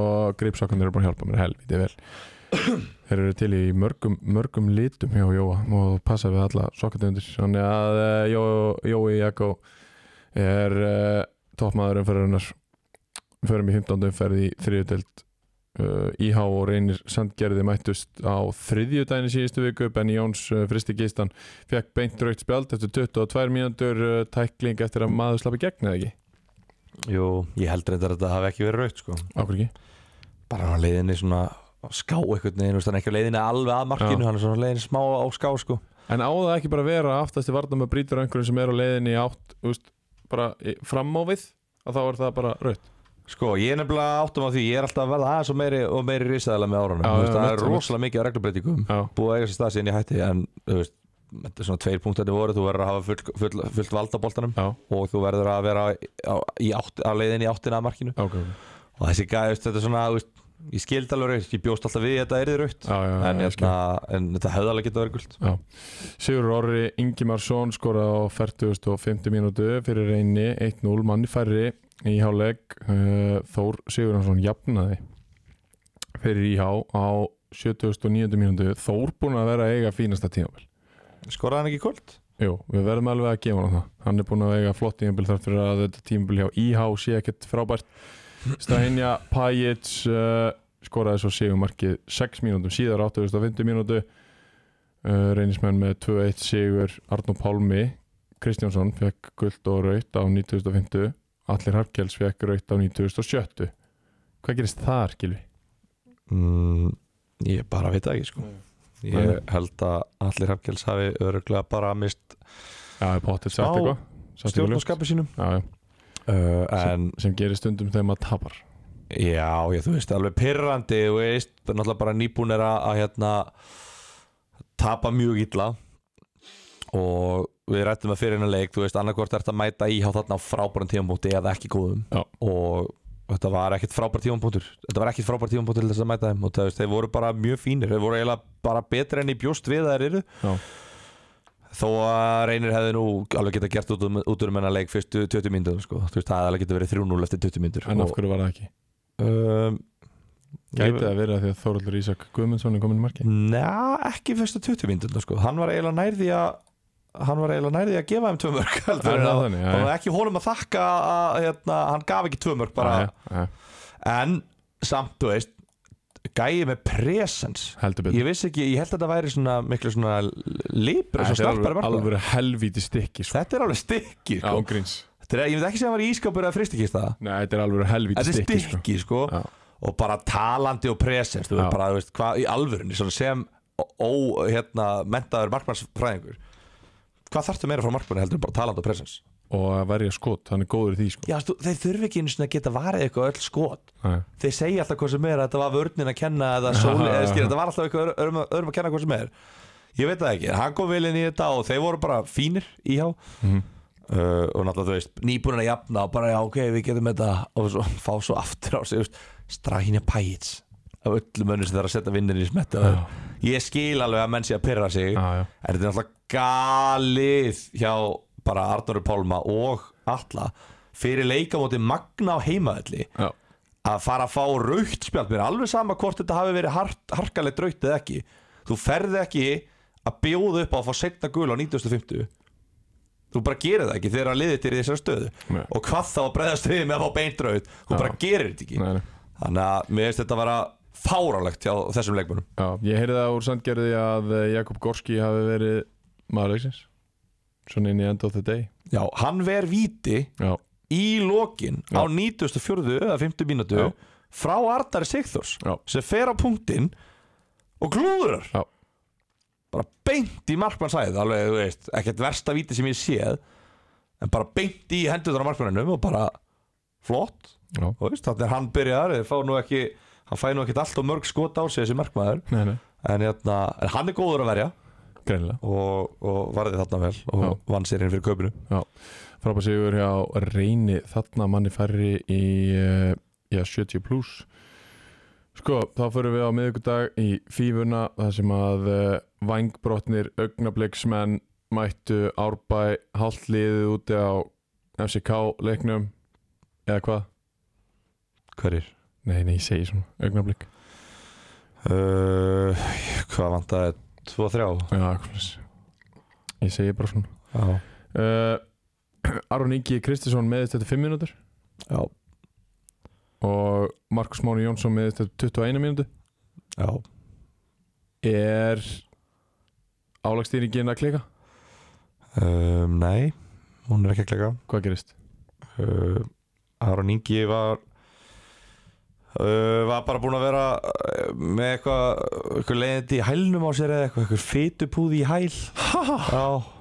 A: og gripsokkarnir eru búin að hjálpa mér helviti vel þeir eru til í mörgum, mörgum litum hjá Jóa og passa við alla sokkarnir þannig að eh, Jó, Jói Jakko er uh, toppmaður umferðarinnar við förum í 15. umferð í þriðutelt uh, IH og reynir sandgerði mættust á þriðjudaginu síðustu viku Benny Jóns uh, fristi gistan fekk beint raukt spjald eftir 22 mínútur uh, tækling eftir að maður slappi gegn eða ekki
B: Jú, ég held reyndar að þetta hafi ekki verið raut sko.
A: Akkur ekki?
B: bara hann á leiðinni svona á ská einhvern veginn, þú veist, hann er ekki á leiðinni alveg að
A: Já.
B: markinu hann er svona á leiðinni smá á ská sko.
A: En á það ekki bara að vera aftast í varnum að brýtur einhverjum sem er á leiðinni í átt úst, bara í- fram á við að þá er það bara raukt
B: sko, ég er nefnilega áttum á því ég er alltaf að verða aðeins og meiri, og meiri risaðilega með árunum
A: Já,
B: Þú veist,
A: já,
B: það
A: mitt,
B: er
A: mitt.
B: rosalega mikið á reglubreitingum
A: Já,
B: búið að eiga sér stað síðan ég hætti en þú veist, þetta er svona tveir punktandi voru þú verður að hafa full, full, fullt vald á boltanum
A: já,
B: og þú verður að vera á, á, í átt, á leiðinni í áttina að markinu
A: ok, ok
B: og þessi gæði, þetta er svona þú veist, ég skild alveg raut, ég bjóst alltaf við að þetta er raut
A: Já, já,
B: en,
A: já, ég skil.
B: hérna, en þetta hefði alveg getað verið gult
A: Sigur Orri Ingimarsson skoraði á 40.50 mínútu fyrir reyni 1-0 manni færri í háleg Þór Sigurðansson jafnaði fyrir íhá á 70.90 mínútu Þór búin að vera að eiga fínasta tímabil
B: skoraði hann ekki í kvöld?
A: Jú, við verðum alveg að gefa hann það hann er búin að eiga flott tímabil þar fyrir að þetta tímabil hjá íhá sé ekkert frábært Stahinja Pajic uh, skoraði svo sigumarkið 6 mínútum síðar á 80.50 mínútu uh, reynismenn með 2-1 sigur Arnó Pálmi Kristjánsson fekk guld og raut á 9050 Allir Harkels fekk raut á 9070 Hvað gerist þar, Gilvi?
B: Mm, ég bara veit það ekki sko.
A: Nei.
B: Ég held að allir Hafkels hafi öruglega bara mist
A: Já, potið sagt
B: Smá
A: eitthvað Sagt eitthvað ljótt.
B: stjórnarskapu sínum
A: Já, já,
B: uh, En
A: sem gerist stundum þegar maður tapar
B: já, ég, þú veist, alveg pyrrandi Þú veist, náttúrulega bara nýbúin er að, að hérna, tapa mjög illa og við rættum að fyrir hennar leik þú veist, annarkvort er þetta að mæta í á þarna á frábæran tímapunkti eða ekki góðum
A: Já.
B: og þetta var ekkert frábært tímapunktur þetta var ekkert frábært tímapunktur til þess að mæta þeim og það, veist, þeir voru bara mjög fínir, þeir voru eiginlega bara betri enn í bjóst við að þeir eru
A: Já.
B: þó að reynir hefði nú alveg geta gert út, um, út úr menna leik fyrstu 20 myndur sko. þú veist, það hefði alveg geta verið 3-0 eftir 20 myndur
A: En af hverju var það ekki?
B: um,
A: Gæti það verið að því að Þóraldur Ísak Guðmundsson er komin í marki?
B: Næ, ekki fyrstu 20 mínútur sko. hann var eiginlega nærði að hann var eiginlega nærði að gefa þeim tvö mörg heldur,
A: Er
B: en
A: það
B: að-
A: þannig? Já,
B: það
A: já.
B: var ekki honum að þakka að hérna, hann gaf ekki tvö mörg bara,
A: Já, já, já.
B: en samt, þú veist gæi með presens
A: Heldur betur
B: ég vissi ekki, ég held að þetta væri svona miklu svona líbra,
A: Þetta
B: svo
A: er alveg-
B: snarpari markmaður.
A: alveg helvíti stykki sko.
B: þetta er alveg stykki sko.
A: Ángríns
B: Þetta er- ég veit ekki sem að hann var í ískapur eða fristikista
A: Nei, þetta er alveg helvíti
B: þetta er
A: stykki sko.
B: stykki sko.
A: Já.
B: og bara talandi og presens þú veist
A: Já.
B: bara, þú veist, hvað í alvörunni svona sem ó, hérna, mentaður markmannsfræðingur hvað þarftu meira frá markmanni heldur en bara talandi og presens
A: Og að verja skot, hann er góður í því sko.
B: já, stu, þeir þurfi ekki einu svona að geta varið eitthvað öll skot
A: Nei.
B: þeir segja alltaf hvað sem er að þetta var vörnin að kenna eða
A: Já,
B: sóli,
A: já,
B: eða
A: já.
B: skýr, þetta var alltaf eitthvað öðrum, öðrum að kenna hvað sem er ég veit það ekki, en hann kom vel inn í þetta og þeir voru bara fínir í hjá
A: Mhm.
B: uh, og náttúrulega þú veist, nýbúin að jafna og bara já ok, við getum þetta og svo, fá svo aftur á sig, þú veist, strahinja pæits af öllum önnum sem það er að setja vinnin í smetta
A: Já.
B: ég skil alveg að menn sé að pyrra sig
A: Já, já.
B: en þetta er náttúrulega galið hjá bara Arnóru Pálma og Alla fyrir leikamóti Magna á heimaðalli
A: Já.
B: að fara að fá raukt spjald mér er alveg sama hvort þetta hafi verið hart, harkalegt raukt eða ekki þú ferði ekki að bjóða upp á að fá setna gul á 1950 þú bara gerir það ekki þegar að liðið þér í þessari stöðu
A: Nei.
B: og hvað þá að breyðast við með að fá beint raukt þú bara gerir þetta ekki
A: Nei, nei.
B: þannig að mér finnst þetta að vera fárálegt hjá þessum leikmönum
A: Já, ég heyrði það úr sandgerði að eh, Jakob Gorski hafi verið maður leiksins Svona inn í end of the day
B: já, hann ver víti
A: Já,
B: í lokin
A: Já.
B: á 94. eða 50 mínútu
A: Já.
B: frá Arnari Sigþórs
A: Já.
B: sem fer á punktinn og klúðurar
A: Já.
B: bara beint í markmannsæð alveg, þú veist, ekkert versta víti sem ég séð en bara beint í hendunar á markmannunum og bara flott
A: já,
B: Þú veist, þannig er hann byrjaðar þeir fá nú ekki, hann fæ nú ekkert allt og mörg skot á sig þessi markmaður
A: nei, nei,
B: en, hérna, en hann er góður að verja
A: greinilega
B: og, og varði þarna vel og
A: Já.
B: vann sér inn fyrir kaupinu
A: Frábær sigur hjá Reyni þarna manni færri í eh, já, 70 pluss Sko, þá förum við á miðvikudag í fífuna þar sem að uh, vangbrotnir augnabliksmenn mættu árbæ hálfliðið úti á FCK leiknum eða hvað?
B: hverjir?
A: Nei, nei, ég segi svona, augnablík
B: uh, Hvað vantaði? 2-3
A: Já, akkurat Ég segi bara svona
B: Já,
A: uh, Aron Ingi Kristinsson meðist þetta 5 mínútur
B: já,
A: og Markus Máni Jónsson meðist þetta 21 mínútu
B: já.
A: Er álagstýringin að klika?
B: Um, Nei, hún er ekki að klega
A: Hvað gerist?
B: uh, Aron Ingi var uh, var bara búinn að vera uh, með eitthvað eitthvað leiðandi í hælnum á sér eða eitthvað, eitthvað fitupúði í hæl Já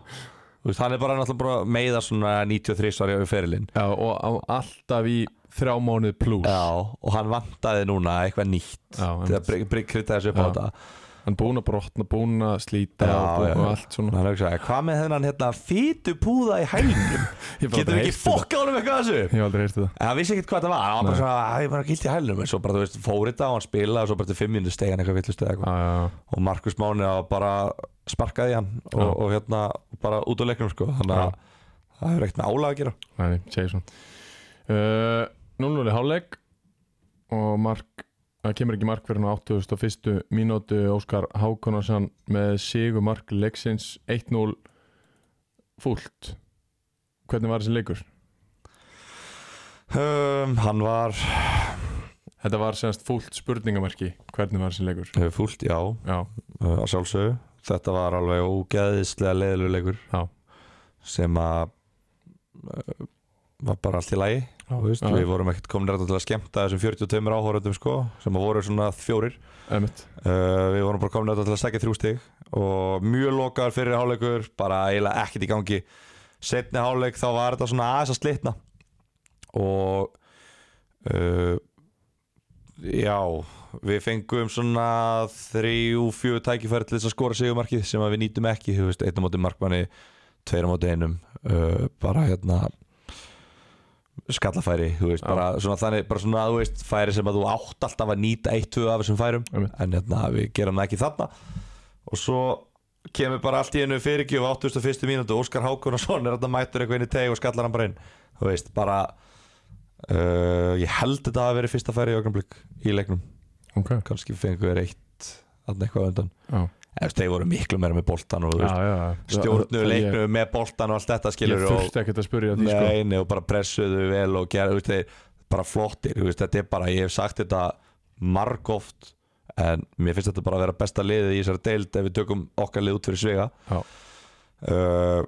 B: Þú veist, hann er bara náttúrulega bara að meiða svona 93 svar í ferilinn
A: Já, og á- alltaf í þrjá mánuð pluss
B: Já, og hann vantaði núna eitthvað nýtt
A: Já,
B: til
A: einmitt.
B: að bry- bry- krydda þessu upp á
A: Já.
B: þetta
A: hann búin að brotna, búin að slíta
B: Já,
A: og, búinn
B: já,
A: og
B: já.
A: allt svona
B: Hann hugsaði, "Eh, hvað með þennan hérna fitupúða í hælnum?
A: Ég hef
B: Getur
A: aldrei
B: við ekki
A: heyrt þetta.
B: fokkað honum eitthvað af þessu?
A: Ég hef aldrei heyrti það
B: En hann vissi ekkert hvað það var, hann var bara
A: Nei.
B: svona, að ég bara gilt í hælnum En svo bara, þú veist, fór þetta og hann spilaði og svo bara til fimm minnur stegan eitthvað villust eða eitthvað
A: Já, já, já.
B: Og Markus Máni að bara sparkaði í hann og,
A: Já.
B: og hérna bara út á leiknum sko Þannig að það hefur ekkert með álag að gera
A: Nei, nei, segi svona uh, 0-0 í hálfleik og mark, það kemur ekki mark fyrir á 81. mínútu Óskar Hákonarsson með sigur mark leiksins 1-0 fúlt hvernig var þessi leikur?
B: um, Hann var
A: Þetta var semst fúlt spurningamarki hvernig var þessi leikur?
B: uh, fúlt, já, uh,
A: Já,
B: að sjálfsögðu Þetta var alveg ógeðislega leiðilegur leikur
A: Já.
B: Sem að uh, var bara allt í lagi
A: já,
B: Þú veist, Við vorum ekkert komin rætt til að skemmta þessum 42 áhórundum sko Sem að voru svona fjórir
A: Ömmit,
B: Uh, við vorum bara komin auðvitað til að segja þrjú stig og mjög lokaður fyrir hálfleikur bara eiginlega ekkert í gangi setni hálfleik þá var þetta svona aðeins að slitna og uh, já við fengum svona þrjú, fjögur tækifæri til þess að skora sigumarkið sem að við nýtum ekki þú veist, einn á móti markmanni, tveir á móti einum uh, bara hérna skallafæri, þú veist,
A: Já.
B: bara svona þannig, bara svona, þú veist, færi sem að þú átt alltaf að nýta eitt, tvö af þessum færum
A: Einmitt.
B: en hérna, við gerum það ekki þarna og svo kemur bara allt í einu fyrirgjöf á 81. mínútu Óskar Hákonarsson er þarna mætur eitthvað inn í teg og skallar hann bara inn þú veist, bara uh, ég held þetta að verið fyrsta færi í augnablik í leiknum,
A: ok
B: kannski fengu við eitt þarna eitthvað á undan
A: Já,
B: en þú veist, þeir voru miklu meira með boltan og þú
A: já,
B: veist,
A: já
B: stjórnu
A: Það-
B: leiknum með boltan og allt þetta
A: Ég,
B: skilur
A: ég
B: og
A: þurfti ekkert að spurja því sko.
B: Nei, nei, og bara pressuðu vel og gera, þú veist, þeir bara flottir, þú veist, þetta er bara, ég hef sagt þetta margóft en mér finnst þetta bara að vera besta liðið í þessari deild ef við tökum okkar lið út fyrir svega
A: Já.
B: uh,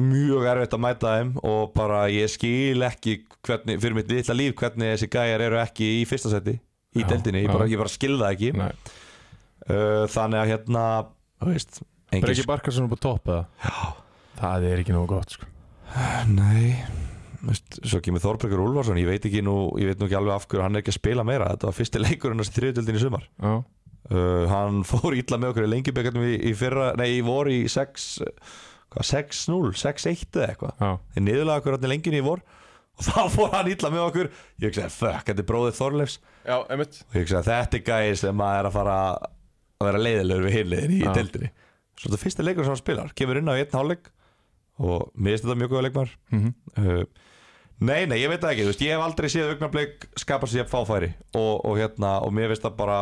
B: Mjög erfitt að mæta þeim og bara ég skil ekki hvernig, fyrir mitt litla líf hvernig þessi gæjar eru ekki í fyrsta seti í
A: Já,
B: deildinni, ég bara,
A: já.
B: ég bara skil það ekki
A: Nei.
B: uh, Þannig að hérna, þú veist, engin
A: Breki Barkarsson upp á topp eða? Já Það er ekki nógu gott sko.
B: Nei Veist, Svo kemur Þorbergur Úlfarsson Ég veit ekki nú, ég veit nú ekki alveg af hverju hann er ekki að spila meira Þetta var fyrsti leikur hann í þriðutöldin í sumar
A: Já,
B: uh, Hann fór illa með okkur í lengjubikarnum í, í fyrra, nei, í vor í 6 hvað, 6-0, 6-1 eða eitthvað
A: já
B: Þeir niðurlega okkur hann í lengjunni í vor Og þá fór hann illa með okkur Ég hugsaði, fuck, þetta er bróðið Þorleifs
A: Já, einmitt
B: Og ég hugsaði, þetta er gæði sem að er að fara að vera leiðilegur við hinliðin í
A: Já.
B: deildinni Svo þetta er fyrsti leikur sem hann spilar Kemur inn á einn hálfleik Og mér finnst þetta mjög góða leikmar Uh, Nei, nei, ég veit það ekki, þú veist, ég hef aldrei séð augnablik skapa sér jafn fáfæri og, og hérna, og mér finnst það bara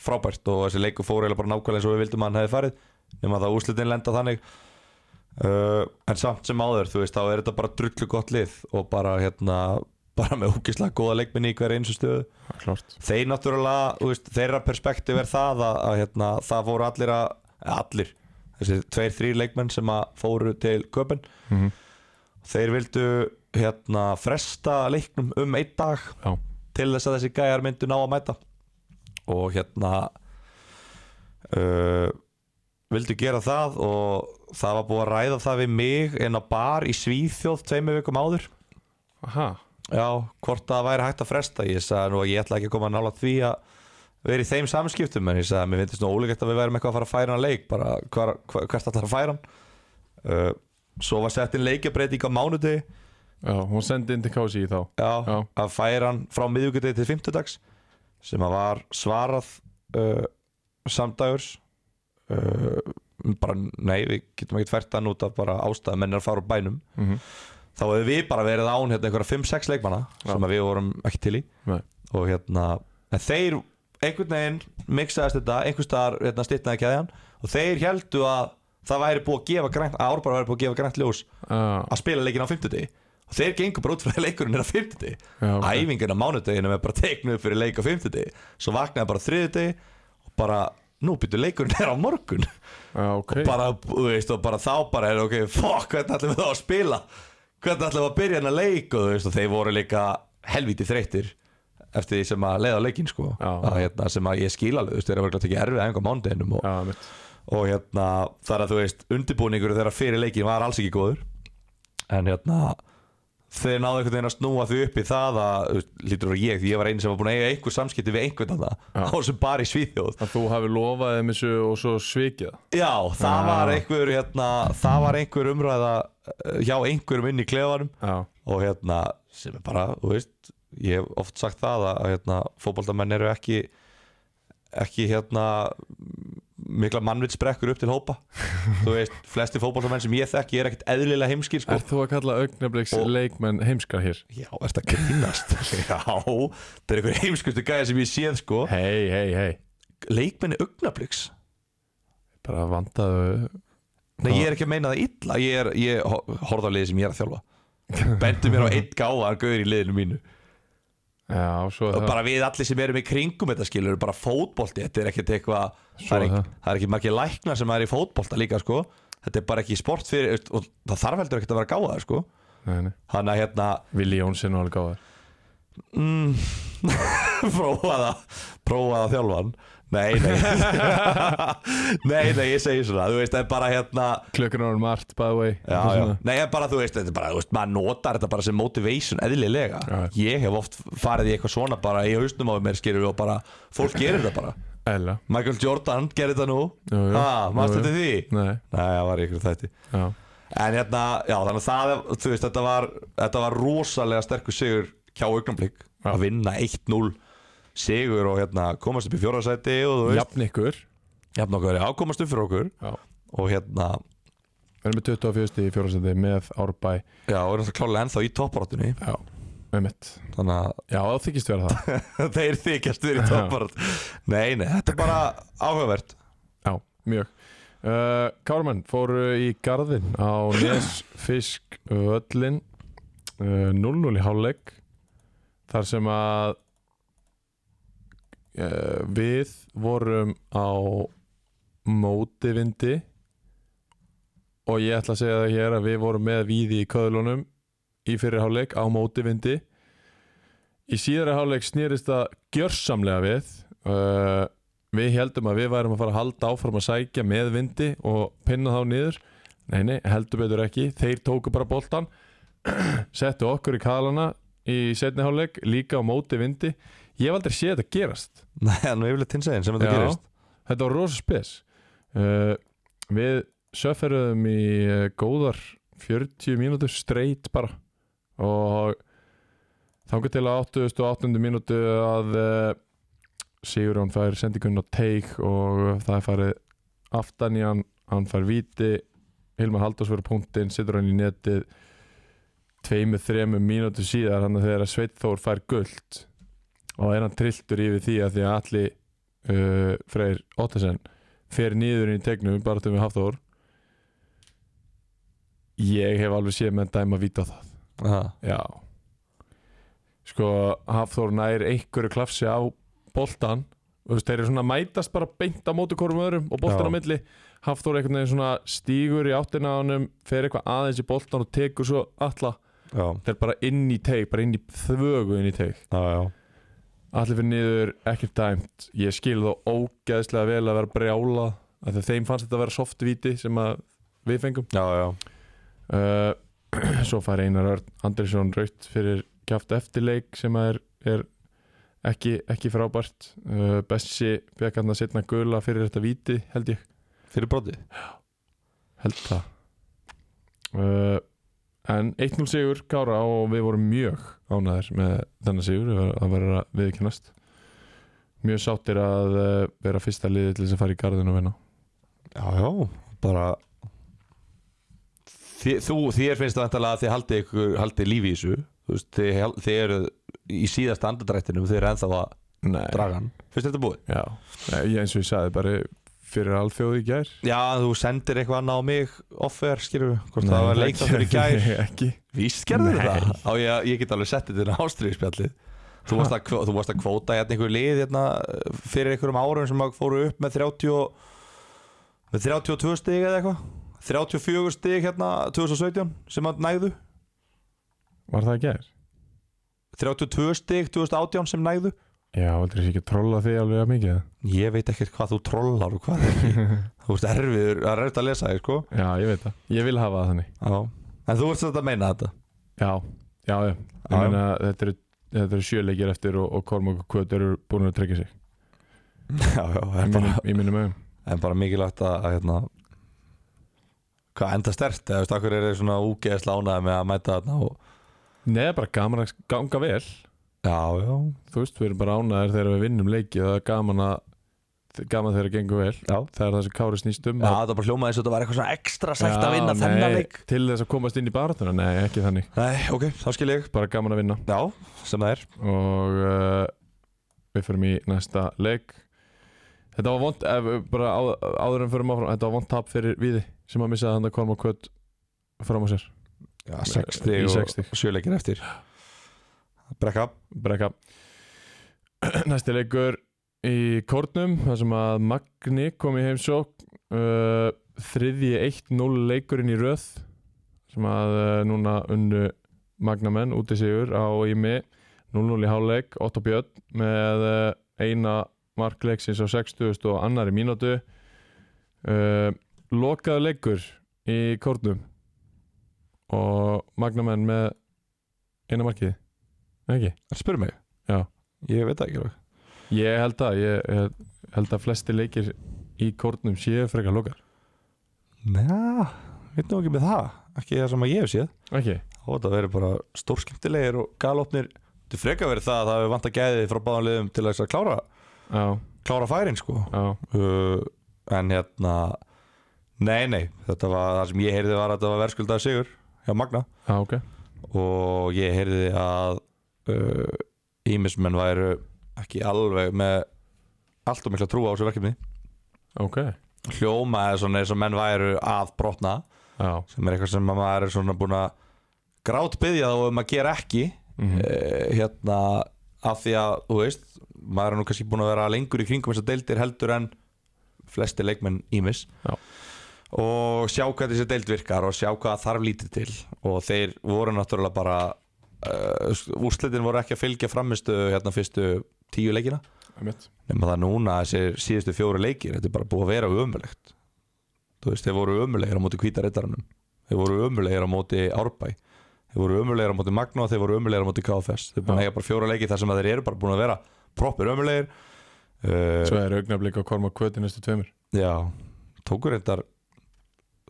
B: frábært og þessi leiku fór eiginlega bara nákvæmlega eins og við vildum að hann hefði farið nema það úslitin lenda þannig uh, en samt sem áður, þú veist, þá er þetta bara drullu gott lið og bara hérna bara með ógislega góða leikminni í hverja eins og stöðu
A: Klart
B: þeir náttúrulega, þú veist, þeirra perspektíf er það að, að hérna, það fóru allir að, eða allir, þessi tveir, þrýr leikmenn sem að fóru til köpinn
A: Mhm.
B: þeir vildu hérna fresta leiknum um einn dag
A: Já.
B: til þess að þessi gæjar myndu ná að mæta og hérna uh, vildu gera það og það var búið að ræða það við mig inn á bar í Svíþjóð tveimur vikum áður
A: Aha
B: Já, hvort það væri hægt að fresta Ég sagði nú að ég ætla ekki að koma nála því að vera í þeim samskiptum en ég sagði að mér finnst nú ólíkert að við værum eitthvað að fara að færa hann leik bara hvar, hvar, hvert ætlar að færa hann uh, Svo var sett inn leikjabreiting á mánudegi
A: Já, hún sendi inn til Kási í þá
B: já,
A: Já.
B: að færa hann frá miðvíkudegi til fimmtudags sem að var svarað uh, samdægurs uh, bara nei, við getum ekki fært hann út af bara ástæðum en er að fara úr bænum
A: Mhm.
B: þá hefur við bara verið án hérna, einhverja 5-6 leikmanna sem að við vorum ekki til í
A: Nei.
B: og hérna en þeir einhvern veginn mixaðist þetta einhvers staðar hérna, stittnaði keðjan og þeir heldu að það væri búið að gefa grænt að Árbara væri búið að gefa grænt ljós
A: Já,
B: að spila leikin á 50 og þeir gengur bara út frá að leikurinn er á
A: Já,
B: 50
A: ok.
B: æfingin á mánudeginum er bara teiknuð upp fyrir leik á 50 svo vaknaði bara þriðudegi og bara nú byttu leikurinn er á morgun
A: já, ok
B: bara, þú veist, og bara þá bara er ok, fuck, hvernig ætlum við þá að spila hvernig ætlum við að byrja hennar leik og, þú veist, og þeir voru líka helvíti þreyttir eftir því sem að leiða leikinn sko,
A: Já.
B: að, hérna, sem að ég skil alveg, þú veist, þeir eru verið að tekja erfið aðeins á mánudeginum og,
A: Já, mitt
B: og hérna, þar að þú veist, undirbúningur þeirra fyrir leikin var alls ekki góður en hérna þeir náðu einhvern veginn að snúa því upp í það að, þú veist, lítur og ég, því ég var einu sem var búin að eiga einhver samskipti við einhvern að
A: Já.
B: á sem bara í Svíþjóð
A: Að þú hafi lofað þeim þessu og svo svikið það.
B: Já, það
A: Já.
B: var einhver hérna, það var einhver umræða eh, hjá einhverjum inn í klefanum
A: Já,
B: og hérna, sem er bara, þú veist ég hef oft sagt það að hérna, fótboldamenn eru ekki ekki hérna mikla mannvitsbrekkur upp til hópa þú veist, flesti fótboldamenn sem ég þekki er ekkert eðlilega heimskir sko.
A: er þú að kalla augnabliks
B: Og-
A: leikmenn heimskar hér?
B: Já, er þetta grínast? Já, það er einhver heimskustu gæði sem ég séð sko.
A: Hei, hei, hei
B: leikmenni augnabliks
A: Bara vandaðu
B: Nei, ég er ekki að meina það illa Ég, er, ég ho- horfði á liðið sem ég er að þjálfa Bendu mér á einn gáðan gauður í liðinu mínu
A: Já, svo er
B: Og
A: það
B: bara við allir sem erum í kringum þetta skilur Bara fótbolti, þetta er ekkert eitthvað
A: Svo
B: það,
A: er
B: er ekki-
A: það.
B: það er ekki margir læknar sem er í fótbolta líka sko Þetta er bara ekki sport fyrir veist, Og það þarf heldur ekkert að vera gáðar sko
A: Nei, nei.
B: Þannig að hérna
A: Vili Jónsson var alveg gáður
B: prófaða prófaða þjálfan Nei, nei Nei, nei, ég segi svona Þú veist, það er bara hérna
A: Klukkan ára margt, by the way
B: já, já. Nei, en bara þú veist, þetta er bara, þú veist, maður notar þetta bara sem motivation eðlilega
A: Já.
B: Ég hef oft farið í eitthvað svona bara í hausnum á mér skilur og bara, fólk gerir þetta bara
A: Ella
B: Michael Jordan gerir þetta nú
A: Jú, jú.
B: Ha,
A: Jú,
B: maður
A: jú.
B: þetta því?
A: Nei,
B: Nei, það var í ykkur þætti
A: já
B: En hérna, já, þannig að það, þú veist, þetta var, þetta var rosalega sterkur sigur hjá augnablík
A: Já.
B: Að vinna 1-0 sigur og hérna komast upp í fjórðarsæti og þú veist,
A: Jafn ykkur
B: jafn okkur, já, komast upp fyrir okkur
A: Já
B: Og hérna,
A: Við erum með 24 stig í fjórarsæti með Árbæ
B: já, og er náttúrulega klálega ennþá í topparáttunni
A: Já Með mitt
B: Þannig að
A: Já, það þykist vera það
B: þeir þykjast verið topparat Nei, nei, þetta er bara áhugavert
A: Já, mjög uh, Kármann fóru í garðin á Nesfisk völlin uh, 0-0 í hálfleik þar sem að uh, við vorum á mótivindi og ég ætla að segja það hér að við vorum með víði í köðlunum í fyrir hálfleik á mótivindi í síðari hálfleik snýrist það gjörsamlega við uh, við heldum að við værum að fara að halda áfram að sækja með vindi og pinna þá niður nei, nei, heldur betur ekki þeir tóku bara boltan settu okkur í kalana í setni hálfleik, líka á móti vindi ég hef aldrei séð þetta gerast
B: Nei, nú yfirleitt hins eginn sem þetta
A: Já.
B: gerist
A: þetta var rosa spes uh, við söfferðum í uh, góðar 40 mínútur straight bara og þangar til að 88. mínútu að uh, Sigurjón fær sendingunni á teik og það er farið aftan í hann, hann fær viti Hilmar Haldós verið punktinn, situr hann í netið tveimur, þremur mínútu síðar þannig að þegar Sveit Þór fær guld og er hann trilltur yfir því að því að allir uh, Freyr Ottesen fer niður inn í tegnum bara til við Hafþór ég hef alveg séð menn dæma víta á það
B: Aha.
A: já sko Hafþór nær einhverju klafsi á boltan Þú veist, þeir eru svona að mætast bara beint á móti hvorum öðrum og boltan
B: Já.
A: á milli Hafþór einhvern veginn svona stígur í áttina á honum fer eitthvað aðeins í boltan og tekur svo alla
B: Já,
A: þeir bara inn í teig, bara inn í þvögu inn í teig
B: já, já
A: Allir fyrir niður, ekkert dæmt Ég skil þó ógeðslega vel að vera brjála af því að þeim fannst þetta að vera softvíti sem að við fengum
B: Já, já,
A: uh, Svo fær Einar Örn Andrisson raut fyrir kjáft eftirleik sem að er, er ekki, ekki frábært uh, Bessi fekk hann að setna gula fyrir þetta víti held ég,
B: fyrir broti
A: held það uh, En 1-0 sigur Kára og við vorum mjög ánæðir með þennan sigur að vera viðkennast Mjög sáttir að uh, vera fyrsta liði til þess að fara í garðin og vinna
B: Já, já, bara Þi, Þú, þér finnst það vantalega að þið haldið ykkur, haldið lífi í þessu Þú veist, þið, hal- þið eru í síðasta andadrættinum, þið eru ennþá að
A: Nei,
B: dragan Fyrst þetta búið?
A: já Nei, ég, eins og ég sagði bara fyrir alþjóð í gær
B: Já, þú sendir eitthvað annað á mig offer, skilur við Hvort það var leikþáttur í gær
A: Nei, ekki
B: Víst
A: Nei.
B: gerður það? Á, ég, ég get alveg sett þetta inn á ástriðspjallið Þú varst að, kvó- þú varst að kvóta hérna einhver lið hérna, fyrir einhverjum árum sem að fóru upp með 30 og- með 32 stig eða eitthvað 34 stig hérna 2017 sem að nægðu
A: Var það í gær?
B: 32 stig 2018 sem nægðu
A: Já, heldur þessi ekki að trolla þig alveg að mikið
B: Ég veit ekkert hvað þú trollar og hvað ekki Þú veist erfiður, það er erfitt að lesa þig sko
A: Já, ég veit það Ég vil hafa það þannig
B: Já En þú veist þetta að meina þetta
A: Já, já, já Ég
B: Já, já.
A: meina þetta eru, þetta eru sjöleikir eftir og, og Kormok og Kvöt eru búin að tryggja sig
B: Já, já,
A: Í
B: en bara,
A: mínum, í mínum augum
B: en bara mikilvægt að, að hérna, hvað enda stert eða þú veist, akkur er þeir svona úgeðsla ánæði með að mæta þarna og
A: Nei, það er bara gaman að ganga vel
B: já, já,
A: Þú veist, við erum bara ánæðir þegar við vinnum leiki og það er gaman að gaman þegar það gengur vel
B: já,
A: Það er það sem Kári snýst um
B: já
A: að-
B: það bara hljómaði eins og þetta var eitthvað svona ekstra sætt að vinna
A: Já,
B: þennan
A: nei,
B: leik
A: Til þess að komast inn í baratuna, nei, ekki þannig
B: Nei, ok, þá skil ég
A: Bara gaman að vinna
B: Já, sem það er
A: Og uh, við förum í næsta leik Þetta var vond ef, Bara á, áður en förum áfram Þetta var vond tap fyrir Víði Sem að missaði hann að koma kvöld Fram á sér
B: Já,
A: sex í
B: stig og-
A: sex stig.
B: og sjöleikir eftir Brekka
A: Brekka Næsti leikur í Kórnum þar sem að Magni kom í heimsók uh, Þriðji 1-0 leikurinn í röð sem að uh, núna unnu Magnamenn út í sigur á Ími 0-0 í háleik, Otto Björn með uh, eina markleiksins á 60 og annari mínútu uh, Lokaðu leikur í Kórnum og Magnamenn með eina markið, Nei, ekki?
B: Spyr mig
A: Já.
B: Ég veit það ekki alveg
A: Ég held að ég, ég held að flesti leikir í kórnum séu frekar lokar
B: Næ, veit nú ekki með það Ekki það sem að ég hef séð
A: Ekki?
B: og þetta verið bara stórskemmtilegir og galopnir þetta er frekar verið það að það hefur vant að gæði frá báðan liðum til þess að klára,
A: Já,
B: klára færin sko
A: já,
B: uh, en hérna nei nei, þetta var það sem ég heyrði var að þetta var verðskuldað sigur hjá Magna
A: já, ok
B: og ég heyrði að uh, ímismenn væru ekki alveg með allt og mikla trú á þessu verkefni
A: Ok,
B: hljómaði svona eins og menn væru að brotna
A: já,
B: sem er eitthvað sem að maður er svona búin að grátbyðja þá um að gera ekki mm
A: Mhm. Eh,
B: hérna af því að, þú veist, maður er nú kannski búin að vera lengur í kringum þess að deildir heldur en flesti leikmenn ímis
A: Já.
B: og sjá hvað þessi deild virkar og sjá hvað þarf lítið til og þeir voru náttúrulega bara uh, úrslitin voru ekki að fylgja framistu hérna fyrstu tíu leikina
A: einmitt
B: nema það núna þessi síðustu fjóru leikir þetta er bara búið að vera ömulegt þú veist, þeir voru ömulegir á móti kvítarittarunum þeir voru ömulegir á móti Árbæ þeir voru ömulegir á móti Magna og þeir voru ömulegir á móti KFS þeir búin að
A: Já.
B: eiga bara fjóra leiki þar sem að þeir eru bara búin að vera proppir ömulegir uh,
A: Svo er augnablík á korma kvöti næstu tveimur
B: já, tókur reyndar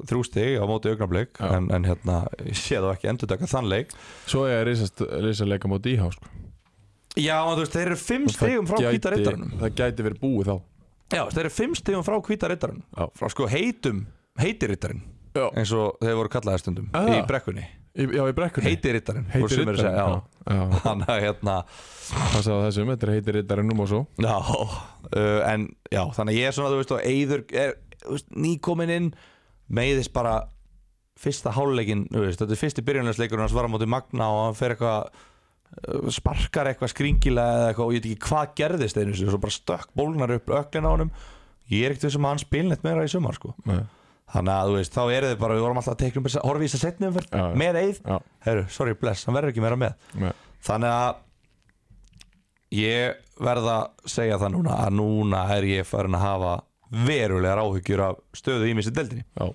B: þrjú stig á móti augnablik
A: Já.
B: en, en hérna, ég sé þá ekki endur taka þann leik
A: Svo er reysa leika mót íhá sko.
B: já, en þú veist, þeir eru fimm
A: Og það
B: stigum frá
A: gæti-
B: kvítarittarunum
A: Það gæti verið búið þá
B: Já, þeir eru fimm stigum frá kvítarittarinn
A: Já.
B: frá sko heitum heitirrittarinn
A: Já.
B: eins og þeir voru kallaði stundum
A: Ah.
B: í brekkunni
A: Í, Já, í brekkunni
B: heitirrittarinn voru
A: Heitir
B: sumir að
A: rittarinn
B: segja,
A: Já,
B: já.
A: já,
B: þannig að hérna
A: það sagði þessum Þetta er heitir rittarinn um og svo
B: já, uh, en já, þannig að ég er svona þú veist og eiður er þú veist, nýkomin inn meiðist bara fyrsta hálfleikin þú veist, þetta er fyrsti byrjunarleikur hans var á móti Magna og hann fer eitthvað uh, sparkar eitthvað skringilega eða eitthvað og ég veit ekki hvað gerðist einu sinni svo bara stökk bólgnar upp öklin á honum ég er ekkert við sem að hann spilnett meira í sumar sko
A: Nei.
B: Þannig að þú veist, þá eru þið bara, við vorum alltaf að teiknum horfið í þess að setni umferð,
A: Já, já.
B: með eið
A: Já,
B: Herru, sorry, bless, hann verður ekki meira með
A: nei.
B: Þannig að ég verð að segja það núna að núna er ég farin að hafa verulegar áhyggjur af stöðu í missi deldinni
A: já,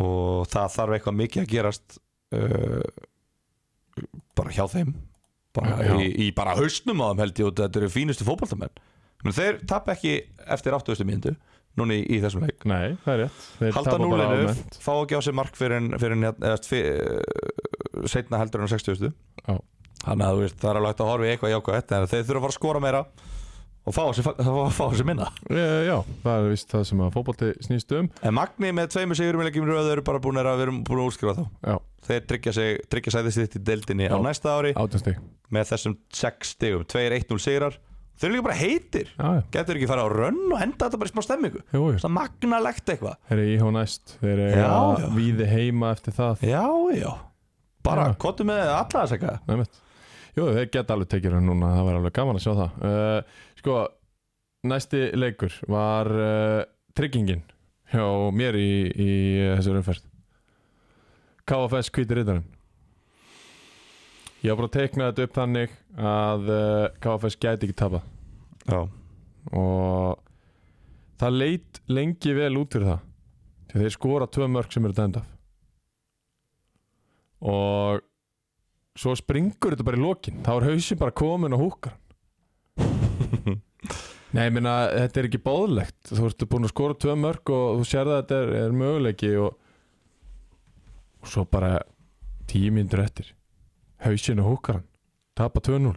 B: og það þarf eitthvað mikið að gerast uh, bara hjá þeim bara
A: Já.
B: í, í bara hausnum á þeim held ég og þetta eru fínustu fótboltamenn Men þeir tap ekki eftir 80. mínútu núna í, í þessum leik
A: nei, það er rétt Þeir
B: halda
A: tapa bara
B: núlinu,
A: almennt.
B: fá ekki á sig mark fyrir, en- fyrir, en- eða, fyrir setna heldur en á 60
A: Já.
B: þannig að þú veist, það er alveg hægt að horfa í eitthvað jákvæmt en þeir þurfa að fara að skora meira og fá á sig, fá, fá á sig minna
A: Eh, Já, það er vist það sem að fótbolti snýst um
B: en Magni með tveimur sigurum í leikjum í röð eru bara búin að vera búin að útskrifa þá
A: Já,
B: þeir tryggja, sig, tryggja sæði sitt í deildinni á
A: Já.
B: næsta ári
A: átjánsti
B: með þessum 6 stigum 2-1-0 sigrar Þeir eru líka bara heitir
A: Já, já,
B: Getur ekki fara á rönn og henda þetta bara í smá stemmingu
A: jú, jú
B: Svona magnalegt eitthvað
A: Þeir eru íhá næst Þeir
B: Já,
A: eru
B: já.
A: víði heima eftir það
B: Já, já Bara
A: Já.
B: kottu með alla þess eitthvað
A: Næmitt. Jú, þeir geta alveg tekið hann núna, það var alveg gaman að sjá það. Uh, sko, næsti leikur var uh, tryggingin hjá mér í, í uh, þessari umferð. KFS kvítir yttarinn. Ég var bara að teikna þetta upp þannig að uh, KFS gæti ekki tapa
B: Já,
A: og það leit lengi vel út fyrir það því að þeir skora tvö mörg sem eru dæmd af og svo springur þetta bara í lokin þá er hausin bara komin og húkar hann. Nei, ég meina, þetta er ekki bóðlegt þú ertu búin að skora tvö mörg og þú sér að þetta er, er möguleiki og, og svo bara tíu mínútur eftir hausin og húkar hann tapa 2-0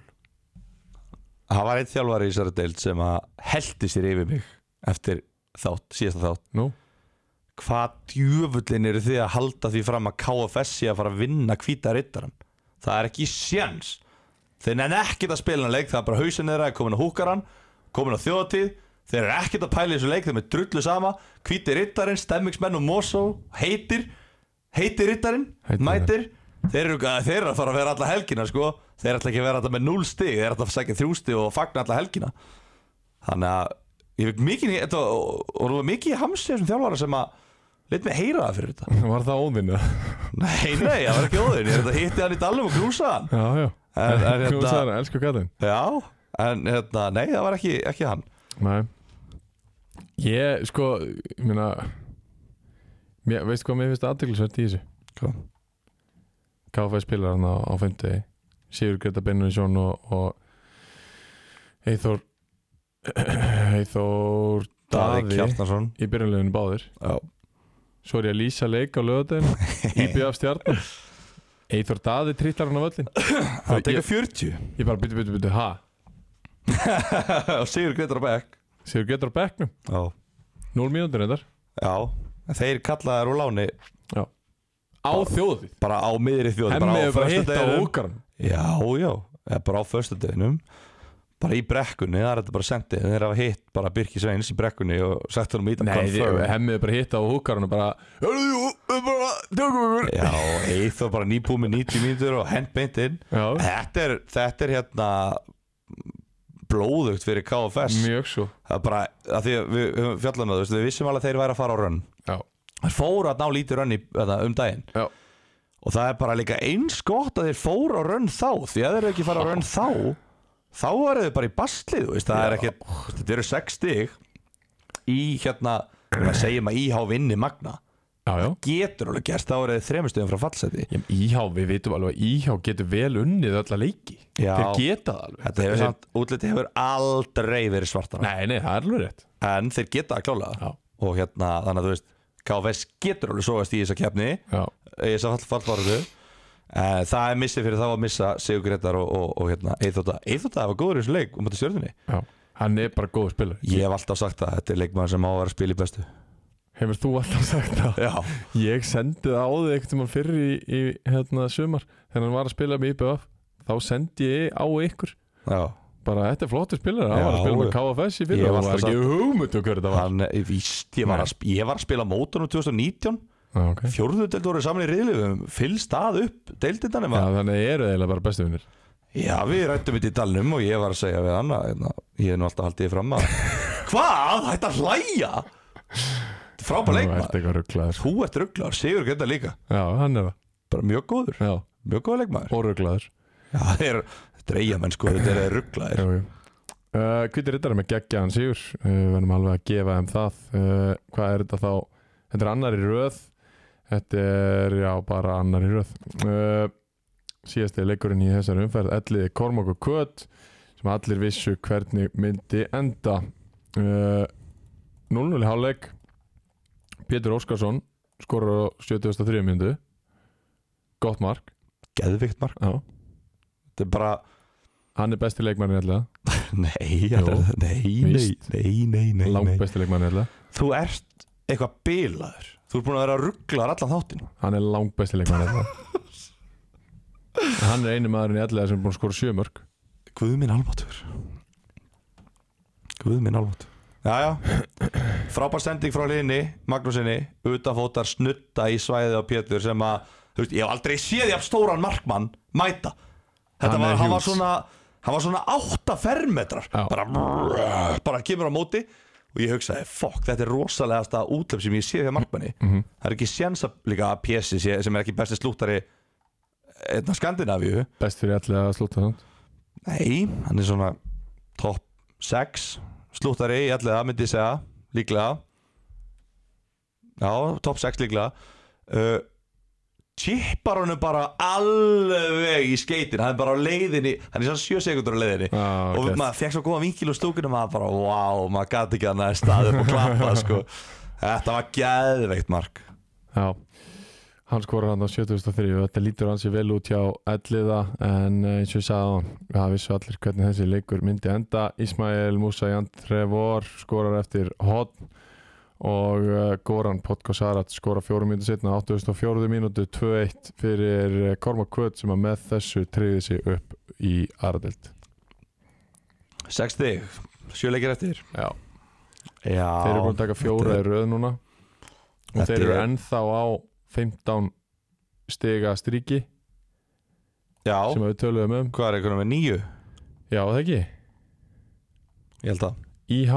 B: það var einn þjálfari í þessari deild sem að heldi sér yfir mig eftir þátt, síðasta þátt
A: Nú,
B: Hvað djöfullin eru þið að halda því fram að KFS sé að fara að vinna hvíta rittaran? Það er ekki sjans Þeir nenni ekkert að spila hann leik Það er bara hausin þeirra, er komin á húkaran Komin á þjóðatíð Þeir eru ekkert að pæla í þessu leik, þeim er drullu sama Hvíti rittarinn, stemmingsmenn og mosó Heitir, heitir rittarinn
A: Heitir.
B: Mætir Þeir eru, eh, þeir eru að fara að vera alla helgina sko Þeir ætla ekki að vera þetta með 0 stig Þeir ætla að sækja 3 stig og fagna alla helgina Þannig að Ég veit mikið, þetta var- og það var mikið í hamsi þessum þjálfara sem að Leit mig heyra það fyrir þetta
A: var það óðinu?
B: Nei, nei, það var ekki óðin Ég er þetta hitti hann í dalnum og grúsa hann
A: Já, já,
B: En- en hérna-
A: knúsar, elsku kallinn
B: Já, en hérna, nei, það var ekki, ekki hann
A: Nei Ég, sko, ég meina mér, Veistu hvað mér finnst aðteglisvert í þessu?
B: Hvað?
A: KFS spilar hann á, á fymti Sigur Greta Benuninsson og, og Eithor Eithor
B: Daði
A: Daði
B: Kjartnarsson
A: í byrjunleginu báðir
B: Já,
A: Svo er ég að lýsa leik á lögadeginu IBF stjarnar Eithor Daði trillar hann á völlin
B: hann tekur
A: ég,
B: 40
A: ég bara byttu, byttu, byttu, ha
B: og Sigur Grettar á Beck
A: Sigur Greta á bekknum,
B: Já,
A: 0 mínútur reyndar
B: já en þeir kallaðar úr láni
A: Á þjóðið
B: bara á miðri þjóð
A: Hemmi
B: á
A: hefur bara hitt á
B: föstudeginum.
A: ókaran
B: Já, já, eða bara á föstudeginum bara í brekkunni, það er þetta bara sendið þeir hafa hitt bara Birki Sveins í brekkunni og sett hann um ítan
A: Nei, þið- hemmið er bara hitta á húkarinn og bara Hörðu, jú, við bara tökum ykkur
B: Já, Eithor bara nýbúið með 90 mínútur og hent beint inn
A: Já,
B: þetta er, þetta er hérna blóðugt fyrir KFS
A: mjög svo
B: það er bara, að því að við höfum fjallað með þú veist, við vissum alveg að þeir væri að fara á rönn
A: Já,
B: þeir fóru að ná lítið rönn í, eða, um daginn
A: já,
B: og það er bara líka eins gott að þeir fóru á rönn þá því að þeir eru ekki fara á rönn þá þá eru þeir bara í baslið þú veist, það er ekki, þetta eru sex stig í hérna hvað segjum að íhá vinni magna
A: já, já.
B: getur alveg gerst, þá eru þeir þremur stöðum frá fallseti
A: Ég, Íhá, við vitum alveg að Íhá getur vel unnið öll að leiki
B: Já.
A: Þeir geta það alveg
B: þetta hefur samt, útliti hefur aldrei verið svartara
A: Nei, nei, það er alveg rétt
B: en þeir geta að klála
A: Já.
B: og hérna, þannig að þú veist KFS getur alveg sógast í þessa keppni
A: Já,
B: í þessa fall, fallvarðu það er missið fyrir þá að missa Sigur Gretar og, og, og hérna, Eithóta Eithóta var góður í þessu leik um þetta stjörnunni
A: já Hann er bara góð spilar
B: ég hef alltaf sagt það, þetta er leikmann sem á að vera að spila í bestu
A: Hefur þú alltaf sagt það?
B: já,
A: Ég sendi það á þig einhvern tímann fyrir í, í hérna, sumar Þegar hann var að spila með IBF Þá sendi ég á ykkur
B: já
A: Bara, þetta er flottur spilar Hann var að
B: Já.
A: spila með KFS í fyrir
B: Ég hef
A: Það var
B: alltaf
A: ekki hugmyndu hver þetta var
B: Hann, ég víst, ég var, að, sp- ég var að spila mótunum 2019,
A: Já, ok
B: fjórðu deild voru saman í riðlifum, fyll stað upp deildindanum,
A: Já, þannig að eru eiginlega bara bestu vinnir
B: já við rættum þetta í dalnum og ég var að segja við hann að hérna, ég er nú alltaf haldið fram að hvað, hætt að hlæja Þetta er frábær leikmann
A: ert eitthvað rugglaður
B: Þú ert rugglar, Sigur Grettar líka
A: Já, hann er það
B: bara mjög góður,
A: Já,
B: mjög góður leikmaður
A: og rugglaður
B: Já, það er dreigamenn sko, þetta er rugglaðir
A: Hviti rittari Uh, með geggjaðan sigur uh, verðum alveg að gefa þeim það uh, Hvað er þetta þá? Þetta er annar í röð Þetta er, já, bara annar í röð uh, Síðasti leikurinn í þessari umferð Elliði Kormok og Kvöt sem allir vissu hvernig myndi enda uh, 0-0 í hálfleik Pétur Óskarsson skorur á 73 myndu Gott mark
B: Geðvikt mark,
A: Já.
B: þetta er bara
A: Hann er besti leikmann í allega
B: Nei, þetta er, nei, nei,
A: víst.
B: nei, nei, nei,
A: Langt
B: nei.
A: besti leikmann í allega
B: Þú ert eitthvað bilaður Þú ert búin að vera rugglar allan þáttin
A: Hann er langt besti leikmann í allega Hann er einu maðurinn í allega sem er búin að skora sjö mörg
B: Guð minn almatur Guð minn alvot Jæja, frábær sending frá hlinni Magnúsinni, utanfótar snutta í svæðið á Pétur sem að þú veist, ég hef aldrei séð jafn stóran markmann mæta Þetta
A: Hann
B: var,
A: er
B: hann
A: huge.
B: var svona hann var svona átta fermetrar
A: Já.
B: bara, bara kemur á móti og ég hugsaði, fokk, þetta er rosalegasta útlöf sem ég sé hjá markmanni
A: Mhm.
B: það er ekki séns að líka að Pési sé, sem er ekki besti slúttari einna Skandinavíu
A: Best fyrir allir að slúta þannig
B: Nei, hann er svona top 6 slúttari í allega, myndi ég segja, líklega Já, top 6 líklega uh, Chippar honum bara alveg í skeitin Hann er bara á leiðinni, hann er svona 7 sekundur á leiðinni
A: Já,
B: Og
A: ok.
B: maður fekk svo góða vinkil úr stúkunum Maður bara, wow, maður gæti ekki hann að staða upp og klappa sko. Þetta var geðveikt mark
A: Já Hann skorar hann á 73 og þetta lítur hans vel út hjá elliða en eh, eins og ég sagði á hann það vissu allir hvernig þessi leikur myndi enda Ismail Musa Jan Trevor skorar eftir hotn og uh, Goran Potko Sarat skorar fjórum mínútu setna 84 mínútu 2-1 fyrir eh, Korma Kvöt sem að með þessu treyði sig upp í Ardild
B: 6 stig, 7 leikir eftir
A: Já
B: Já,
A: Þeir eru búin að taka fjóra í röð núna og
B: Þetta
A: þeir eru
B: er-
A: ennþá á 15 stiga stríki
B: Já,
A: sem við töluðum um
B: hvað er einhvern veginn með 9?
A: Já, það ekki
B: Ég held að
A: IH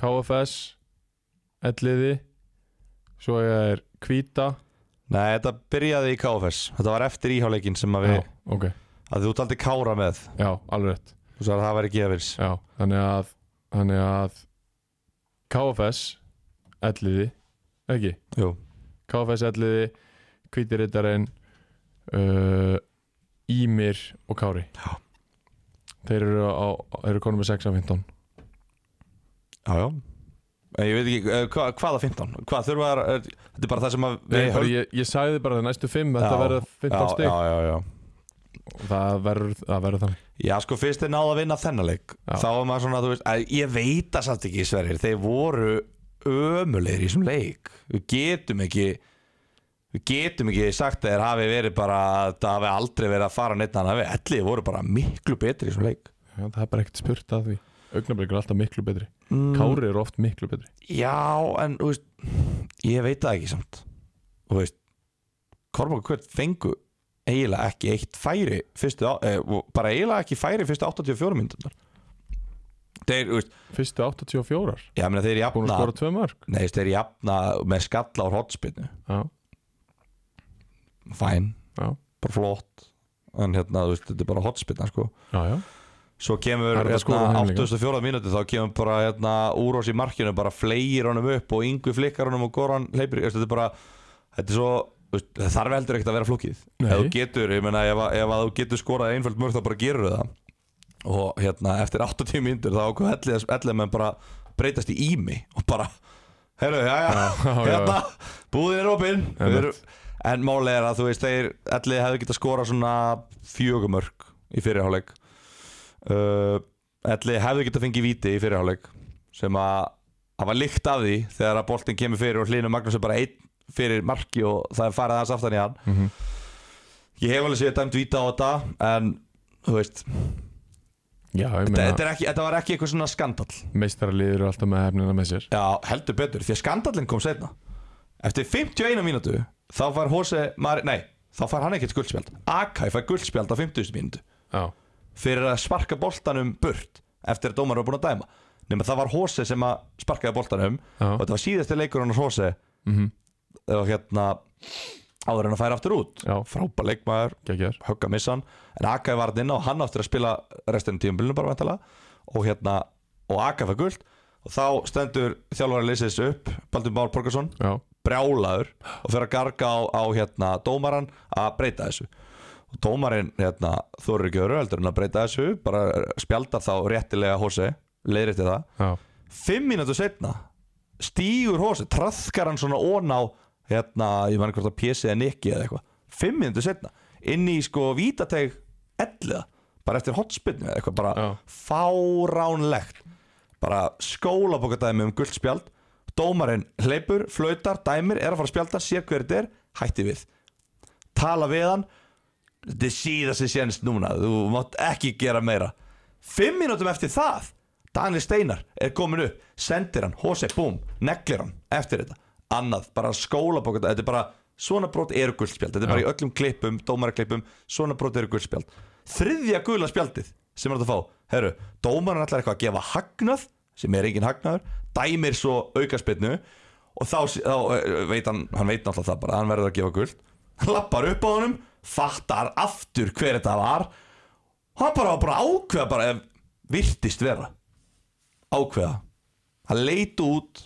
A: KFS Elliði Svo er Kvíta
B: Nei, þetta byrjaði í KFS Þetta var eftir íháleikin sem að við
A: Já, ok,
B: að þú taldi Kára með
A: já, alveg rétt
B: Þú sagði að það væri gefils
A: já. Þannig að Þannig að KFS Elliði Ekki,
B: Jú,
A: KFS Elliði Kvítirittarinn uh, Ímir og Kári
B: Já.
A: Þeir eru, á, eru konum með 6 af 15
B: já, já En ég veit ekki, eh, hva, hvaða 15? Hvað þurfa að, er- þetta er bara það sem að
A: Nei, bara,
B: höldum-
A: ég, ég sagði bara að næstu 5 Þetta
B: Já,
A: verða 15
B: já,
A: stig
B: já, já, já
A: Það verður það verður þannig
B: Já, sko, fyrst þeir náðu að vinna þennan leik
A: Já.
B: Þá er maður svona, þú veist, að ég veit það samt ekki Sverrir, þeir voru ömulegir í þessum leik Við getum ekki Við getum ekki sagt að þeir hafi verið bara Það hafi aldrei verið að fara neitt annað Ellið voru bara miklu betri í þessum leik
A: Já, það er bara ekkert spurt að því Augnablík er alltaf miklu betri
B: Mm.
A: Kári eru oft miklu betri
B: Já, en þú veist, ég veit það ekki samt Þú veist Kormáka Kvöld fengu eiginlega ekki eitt færi fyrstu, á- eh, og bara eiginlega ekki færi fyrstu 84 myndunar Þeir, þú veist,
A: Fyrstu 84
B: já, meina
A: Búin
B: þeir jafna
A: að skora tvö mörg
B: Nei, þeir jafna með skalla á hotspinnu
A: Já,
B: Fæn,
A: já,
B: bara flott En hérna, þú veist, þetta er bara hotspinna, sko
A: já, já.
B: Svo kemur
A: Harða
B: hérna,
A: skoraði hann líka.
B: 84 mínúti þá kemur bara hérna, úrós í markinu bara fleir honum upp og yngvi flikkar honum og Goran hleypir veistu, þetta er bara þetta er svo þú veist, það þarf heldur ekkert að vera flókið
A: Nei.
B: ef þú getur, ég meina ef, að- ef að þú getur skorað einföld mörg þá bara gerur það og hérna eftir 80 mínútur þá ákveð ellið elli menn bara breytast í ími og bara Herru, já, já,
A: Já, já, já.
B: hérna, búðin er opinn Við
A: Einmitt.
B: erum- En málið er að þú veist, þeir allir hefðu getað skorað svona fjögumörk í fyrirháleik uh, Allir hefðu getað fengið víti í fyrirháleik sem að það var líkt af því þegar að boltinn kemur fyrir og hlýnum Magnús er bara einn fyrir marki og það er farið aðeins aftan í hann
A: Mm
B: Ég hef alveg séð dæmt víta á þetta en þú veist,
A: já ég
B: þetta,
A: meina
B: þetta, er ekki, þetta var ekki eitthvað svona skandall
A: Meistaralið eru alltaf með hefnina með sér
B: Já, heldur betur, því að skandallin kom setna Eftir 51 mínútu þá fær Hose, Mari, nei þá fær hann ekkert guldspjald Akai fær guldspjald á 50 mínútu
A: Já,
B: fyrir að sparka boltanum burt eftir að dómar var búin að dæma nema það var Hose sem að sparkaði boltanum
A: já,
B: og þetta var síðasti leikur hann Hose
A: mm -hmm.
B: og hérna áður en að færa aftur út
A: já,
B: frábær leikmaður,
A: geggjör
B: högg að missa hann en Akai var hann inn á, hann áttur að spila restinu tíumbilinu bara vantala og hérna, og Akai fær guld og þá stendur þjálfari leysins upp Baldur Már Borgarsson
A: Já,
B: brjálaður og fyrir að garga á, á hérna, dómaran að breyta þessu og dómarinn hérna, þorir ekki öru heldur en að breyta þessu bara spjaldar þá réttilega hósi leiðir til það
A: já,
B: fimm mínútu setna stígur hósi, trafkar hann svona ón á hérna, ég man hvort að pési eða nikki eða eitthvað, fimm mínútu setna inn í sko vítateg elliða, bara eftir hotspinnu eða eitthvað, bara
A: Já.
B: fáránlegt bara skólabokadæmi um guldspjald dómarinn hleypur, flautar, dæmir er að fara að spjalda, sér hver þetta er, hætti við tala við hann þetta er síðast sem séns núna, þú mátt ekki gera meira fimm mínútum eftir það Daniel Steinar er komin upp sendir hann, Hose, búm, neglir hann eftir þetta, annað, bara skólabók þetta er bara, svona brot eru guldspjald þetta er bara í öllum klippum, dómaraklippum svona brot eru guldspjald þriðja gula spjaldið sem er að fá herru, dómarinn ætlar eitthvað að gefa hagnað sem er engin hagnaður, dæmir svo aukaspinnu og þá, þá eh, veit hann, hann veit náttúrulega það bara hann verður að gefa guld, hann lappar upp á honum fattar aftur hver þetta var hann bara, bara ákveða bara ef virtist vera ákveða hann leiti út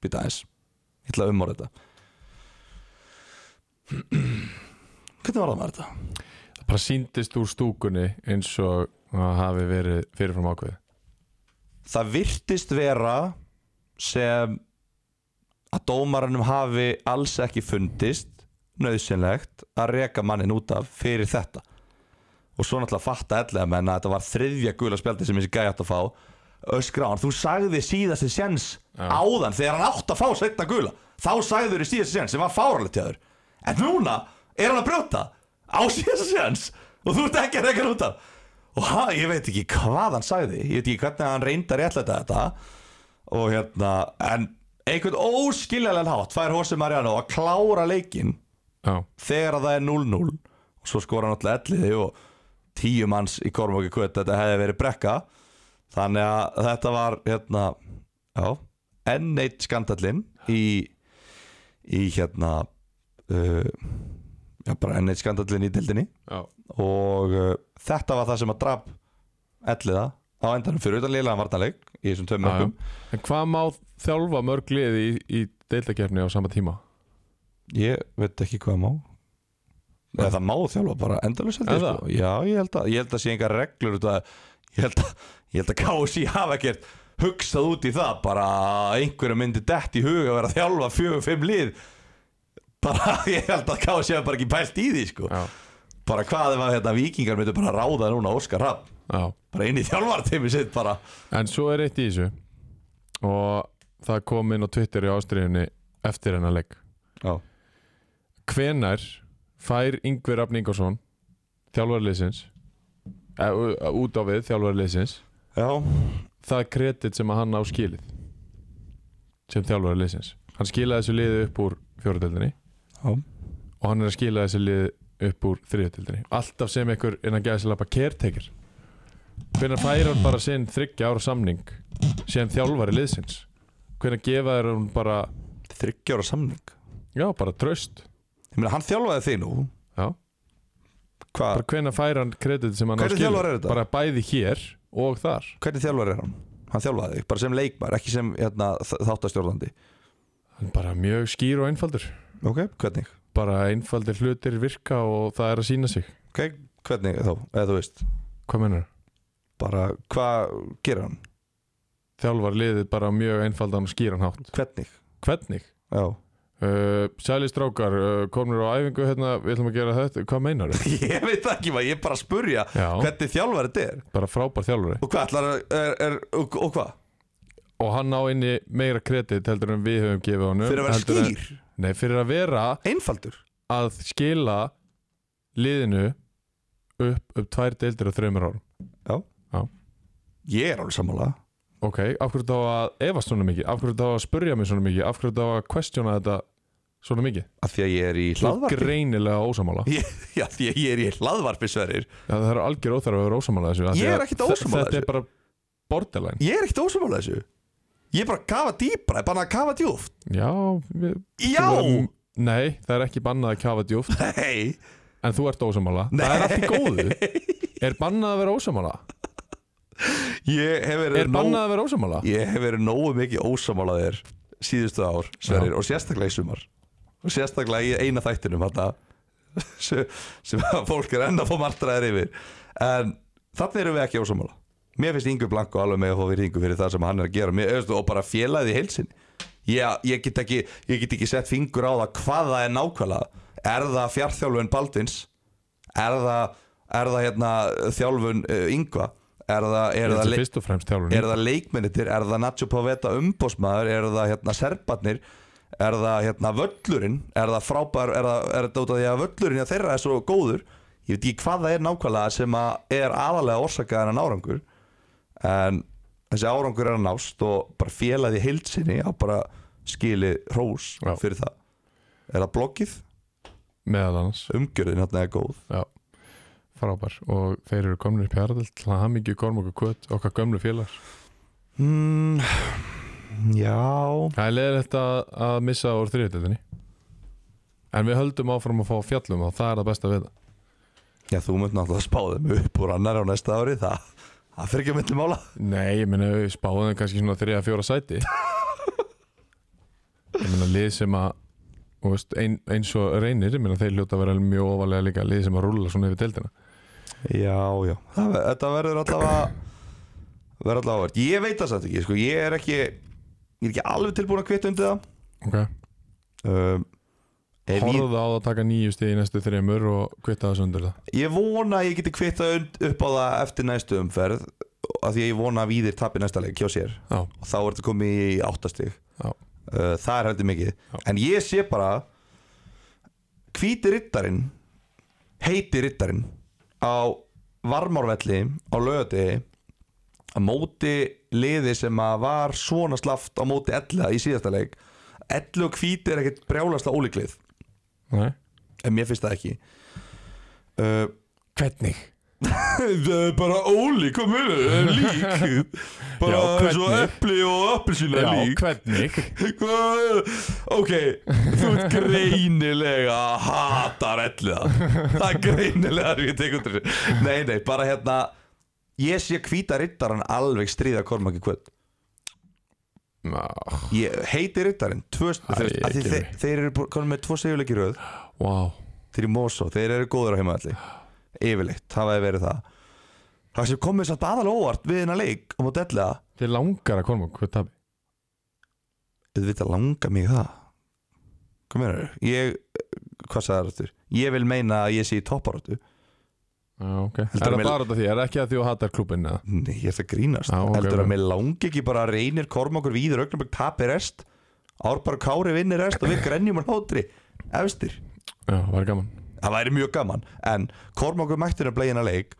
B: býta aðeins, ég ætla að umorða þetta hvernig var það maður þetta?
A: Það bara síndist úr stúkunni eins og það hafi verið fyrirfram ákveð
B: það virtist vera sem að dómaranum hafi alls ekki fundist nöðsynlegt að reka mannin út af fyrir þetta og svo náttúrulega fatta ellega menn að þetta var þriðja gula spjaldi sem þessi gæði átt að fá öskra á hann, þú sagði síðasti séns áðan þegar hann átt að fá setna gula þá sagði þau síðasti séns sem var fáralegt til þau en núna er hann að brjóta á síðasta séns og þú ert ekki að reka hann út af og ha, ég veit ekki hvað hann sagði ég veit ekki hvernig hann reyndar réttlega þetta og hérna en einhvern óskiljanlegan hátt fær Hossi Mariano að klára leikinn
A: Já,
B: þegar að það er 0-0 og svo skora náttúrulega elliði og tíu manns í Kormóki kvöt þetta hefði verið brekka þannig að þetta var hérna já, enn eitt skandallinn í, í hérna uh, já, bara enn eitt skandallinn í dildinni
A: já,
B: og uh, þetta var það sem að draf elliða á endanum fyrir utan liðlega vartanleik í þessum tveim
A: já.
B: mörgum
A: En hvað má þjálfa mörg liði í, í deildakefni á sama tíma?
B: Ég veit ekki hvað má Eða það má þjálfa bara endalus held ég
A: Er það?
B: sko Já, ég held að, ég held að sé engar reglur út að, ég held að, ég held að KSI hafa ekkert hugsað út í það bara að einhverju myndi dett í hug að vera að þjálfa fjögur, fimm lið bara, ég held að KSI hafa bara ekki pælt í því sko
A: Já,
B: bara hvað ef að hérna, vikingar myndu bara ráða núna Óskar Rapp,
A: já
B: bara inn í þjálfartimi sitt bara
A: En svo er eitt í þessu og það kom inn á Twitter í ástriðinni eftir hennar leik
B: Já,
A: Hvenær fær Yngvi Rafn Ingersson þjálfarliðsins eh, ú- út á við þjálfarliðsins
B: já,
A: það kredit sem að hann á skilið sem þjálfarliðsins Hann skilaði þessu liði upp úr fjóruðeldinni
B: já.
A: og hann er að skila þessu liði upp úr þriðutöldinni alltaf sem einhver innan gæðislappa kertekir hvenær fær hann bara sinn þryggja ára samning sem þjálfari liðsins hvenær gefa þér hann bara
B: þryggjóra samning
A: já, bara tröst
B: Ég meina, hann þjálfaði þig nú
A: já.
B: Hvað,
A: bara hvenær fær hann kredit sem hann á
B: Hvernig
A: skilið?
B: þjálfari er þetta?
A: bara bæði hér og þar
B: hvernig þjálfar er hann? Hann þjálfaði þig, bara sem leikmar, ekki sem hérna, þ- þáttastjórnandi
A: hann bara mjög skýr og einfaldur
B: Ok, hvernig?
A: bara einfaldir hlutir virka og það er að sína sig
B: Ok, hvernig þá, eða þú veist
A: hvað mennur?
B: Bara, hvað gerir hann?
A: þjálfari liðið bara á mjög einfaldan og skýran hátt
B: Hvernig?
A: hvernig?
B: Já
A: Uh, Sæli strákar, uh, komnir á æfingu hérna, við ætlum að gera þetta, hvað meinar þau?
B: Ég veit það ekki maður, ég er bara að spurja
A: Já,
B: hvernig þjálfar þetta er
A: bara frábær þjálfari
B: Og hvað ætlar að, er, er, og, og hvað?
A: Og hann á inni meira kredit heldur en við höfum gefið honum
B: Fyrir að vera
A: heldur en-
B: skýr,
A: Nei, fyrir að vera
B: einfaldur
A: að skila liðinu upp, upp tvær deildir á þreymur árum
B: Ég er alveg sammála
A: Ok, af hverju þá að efast svona mikið? Af hverju þá að spurja mig svona mikið? Af hverju þá að questiona þetta svona mikið?
B: Af því að ég er í
A: Þú ert
B: hlaðvarpi
A: greinilega ósamála
B: Ég- Já, af því að ég er í hlaðvarpi sverir
A: Það er algjör óþarf að vera ósamála þessu af því
B: Ég er
A: að
B: ekkert
A: þe-
B: ósammála
A: Þetta
B: þessu.
A: er bara borderline
B: Ég er ekkert ósammála þessu Ég er bara að kafa dýpra, ég er bara að kafa djúft
A: Já, við,
B: Já,
A: Þú- Nei, það er ekki bannað að kafa djúft
B: nei
A: En þú ert ósamála Það er allt í góðu Er bannað að vera ósamála?
B: Ég hef verið
A: Er bannað að vera ósamála?
B: Ég hef verið nógu mikið ósamála þér síðustu ár, Sverrir, og sérstaklega í sumar og sérstaklega í eina þættinum þetta sem, sem að fólk er enn að fá martraðir yfir en þannig erum við ekki ósamála Mér finnst Ingu Blanko alveg með að fá virðingu fyrir það sem hann er að gera mér, veistu, og bara félagið í heilsin ég, ég, get ekki, ég get ekki sett fingur á það hvað það er nákvæmlega er það fjartþjálfun Baldins er það, er það hérna, þjálfun uh, Ingva er það, er
A: Þetta
B: það
A: er fyrst og fremst þjálfun
B: er það leikmennir, er það Nacho Pavetta umbósmaður, er það hérna serbarnir er það hérna völlurinn er það frábær, er það, er það út af því að völlurinn hjá þeirra er svo góður ég veit ekki hvað það er nákvæmlega sem að er aðalega orsakaðan en árangur en þessi árangur er að nást og bara félagið í heild sinni á bara skilið hrós
A: Já.
B: fyrir það er það bloggið,
A: meðal annars
B: umgjörðin hérna er góð
A: Já, frábær og þeir eru komnir upp í Harald til að hamingju Kormok og Kvöt, okkar gömlu félags
B: mm, já
A: Það er leiðilegt að, að missa úr þriðutöldinni En við höldum áfram að fá fjallum og það er það besta við það
B: já þú mynd náttúrulega að spáða mig upp úr annar á næsta ári það, það fyrir ekki að myndi mála
A: Nei, ég meina við spáðum þeim kannski svona þriða fjóra sæti Ég meina lið sem að þú veist, ein, eins og reynir, ég meina þeir hljóta að vera mjög ofalega líka lið sem að rúla svona yfir deildina
B: Já, já það, ver- Þetta verður allavega verður allavega áverð Ég veit það samt ekki, sko, ég er ekki ég er ekki alveg tilbúin að kvita undir
A: okay.
B: það um, ef ég,
A: Horfðu á það að taka nýju stíð í næstu þreymur og kvitta þessu undir það
B: ég vona að ég geti kvita upp á það eftir næstu umferð af því að ég vona að Víðir tapir næsta leik hjá sér
A: Já,
B: og þá er þetta komið í áttastig
A: já,
B: uh, það er heldur mikið en ég sé bara hvíti rittarinn heiti rittarinn á varmárvelli á lögati á móti liði sem að var svona slaft á móti ella í síðasta leik ellu og hvíti er ekkert brjálasla ólíklið
A: nei
B: en mér finnst það ekki uh,
A: Hvernig?
B: það er bara ólík hvað munur, það er lík bara
A: Já,
B: eins og
A: hvernig?
B: epli og
A: Já,
B: appelsína er lík
A: hvernig?
B: Hvað? Ok, þú ert greinilega að hata relliða Það er greinilega að ég tek undir þessu Nei, nei, bara hérna Ég sé hvíta riddaran alveg stríða Kormaki kvöld
A: Ná,
B: Ég heiti riddarin tvö,
A: Æ,
B: þeir, að því
A: ekki
B: þeir,
A: mig.
B: þeir eru bú- konum með tvo segjuleiki í röð
A: Vá,
B: Þeir eru í Mosó, þeir eru góður á heimaðalli Yfirleitt, það hefði verið það Það sem komið satt aðalega óvart við hennar leik og mót ellega
A: þið langar að Kormok Hvað tabi?
B: auðvitað langar mig í það hvað meina þau? Ég, hvað sagði það áttur? Ég vil meina að ég sé í topparóttu
A: Já, ok Er
B: að
A: það
B: mér-
A: bara út af því? Er ekki að því að hatar klubin eða?
B: Nei, ég er það grínast
A: Já, ok,
B: Heldur
A: ok.
B: að mér langi ekki bara að reynir Kormákur Víður Ögnabögg tapir rest Árbara Kári vinnir rest og við grenjum hann hóttri Efstir
A: Já, það var gaman
B: Það væri mjög gaman En Kormákur mættur að blegina leik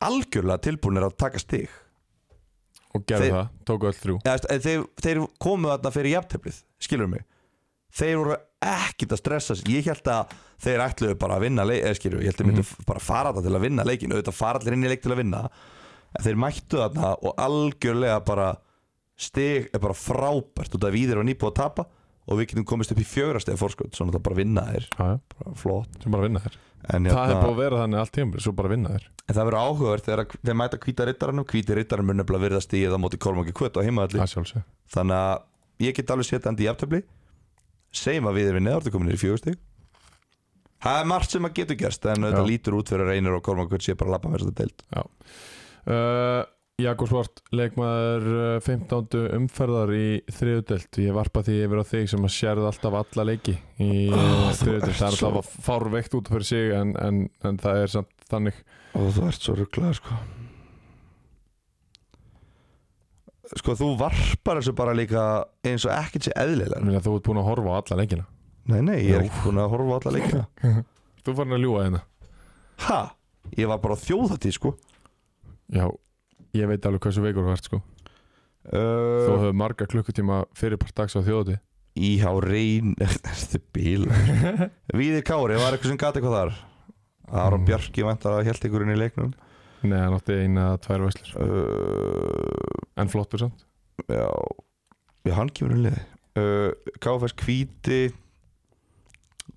B: Algjörlega tilbúinir að taka stig
A: Og gerðu
B: Þeir-
A: það, tóku öll þrjú
B: Eða, veist, þeir, þeir komu þarna fyrir jafnteflið Skilur mig Þeir voru ekkit að stressa sig Ég held að þeir ætluðu bara að vinna leik eða skilur, við, Ég held að þeir myndu bara fara þetta til að vinna leikin Auðvitað fara allir inn í leik til að vinna En þeir mættu þarna og algjörlega bara Stig er bara frábært Út af við erum nýbúið að tapa Og við getum komist upp í fjögra steg fórskot Svona það bara vinna þeir
A: Já, já,
B: bara Flott
A: sem bara vinna þér
B: En hérna,
A: Það hefur búið að vera þannig allt tíma Svo bara vinna þér
B: en það verður áhugavert þegar að- þeir mæta hvíta rittaranum Hvíti rittaranum mun nefnilega virða stigið á móti Kormangi Kvöt á heimaðalli
A: Það sjálfsög
B: þannig að ég get alveg setja hann í jafntöfli segjum að við erum neðar það komin í fjögustig það er margt sem að getur gerst en þetta
A: Já.
B: lítur út fyrir að reynir og Kormakur sé bara að lappa með þetta deild
A: uh, Jakob Svart, leikmaður uh, 15. umferðar í þriðudelt Ég varpa því yfir á þig sem að sérð alltaf alla leiki í oh, þriðudelt Það er
B: svo-
A: alltaf fárveikt út fyrir sig en, en, en það er samt þannig
B: og þú ert svo rugglað sko sko þú varpar þessu bara líka eins og ekkert sé eðlilega
A: Minna, Þú ert búin að horfa á alla leikina
B: nei nei, ég er
A: Jú.
B: ekki búin að horfa á alla leikina
A: Þú farin að ljúga hérna
B: ha, ég var bara á þjóðatíð sko
A: Já, ég veit alveg hversu veikur þú ert sko Þú
B: uh,
A: hefur marga klukkutíma fyrirpart dags á þjóðuti
B: íhá reyn ertu bíl Víðir Kári, var eitthvað sem gati eitthvað þar Aron
A: Mm.
B: Bjarki vantar að held ykkur inn í leiknum
A: Nei, hann átti eina eða tvær vöslur
B: uh,
A: En flottur samt
B: Já Já, hann kemur um liði uh, KFS Kvíti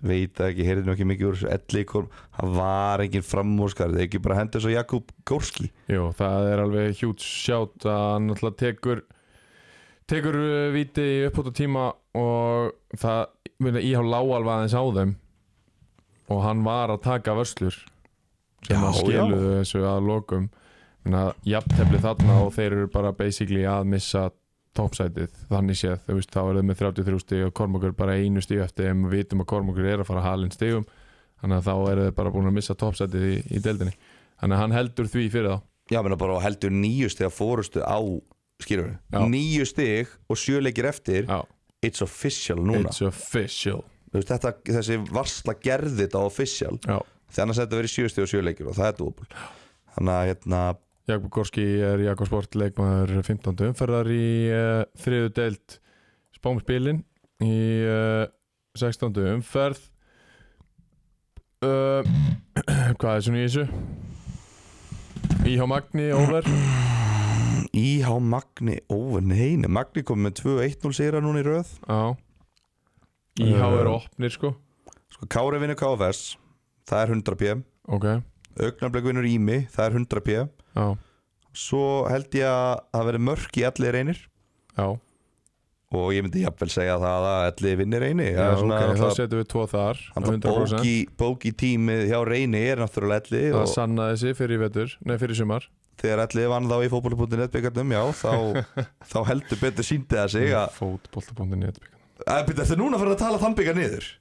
B: Veit það ekki, heyrði nú ekki mikið úr þessu ellikorm Það var engin framúrskar Það er ekki bara hendur svo Jakub Górski
A: Jú, það er alveg hjút sjátt að hann náttúrulega tekur tekur uh, víti í uppbúta tíma og það minna, íhá lág alveg aðeins á þeim og hann var að taka vöslur sem
B: Já,
A: að skilu þessu að lokum minna, jafntefli þarna og þeir eru bara basically að missa topsætið þannig séð, þú veist, þá eru þau með 33 stíg og Kormokur bara einu stíg eftir en við vitum að Kormokur er að fara halinn stígum þannig að þá eru þau bara búin að missa topsætið í, í deildinni, þannig að hann heldur því fyrir þá
B: Já, menna bara og heldur níu stig að fórustu á Skýrur
A: Já.
B: við Níu stig og sjöleikir eftir
A: Já,
B: It's official núna
A: it's official
B: Þú veist, þetta, Þessi varsla gerði þetta official
A: Já,
B: Þannig að þetta verið sjöu stig og sjöleikir og það er dúbul Þannig að hérna
A: Jakub Gorski er Jakobs Sport leikmaður 15. umferðar í uh, þriðu deild spámspilin í uh, 16. umferð uh, Hvað er svona í þessu? Íhá Magni, over
B: Íhá Magni, ó nei, nei, Magni kom með 2-1-0 sigra núna í röð
A: Já Íhá er opnir sko
B: Sko Kári vinnur KFS, það er 100 p
A: Ok,
B: Augnablik vinnur Ími, það er 100 p
A: já,
B: Svo held ég að það verði mörk í allir einir
A: já
B: og ég myndi jafnvel segja það að allir vinnir eini
A: Já, ok, þá
B: alltaf,
A: setjum við tvo þar
B: bóki, bóki tímið hjá reyni er náttúrulega allir
A: Það
B: og
A: sannaði sig fyrir í vetur, nei fyrir í sumar
B: þegar allir vann þá í fótbolli.net byggarnum já, þá, þá heldur betur síndi það sig að,
A: Fótbolta.net
B: að byrja, þetta er núna að fara að tala þann byggar niður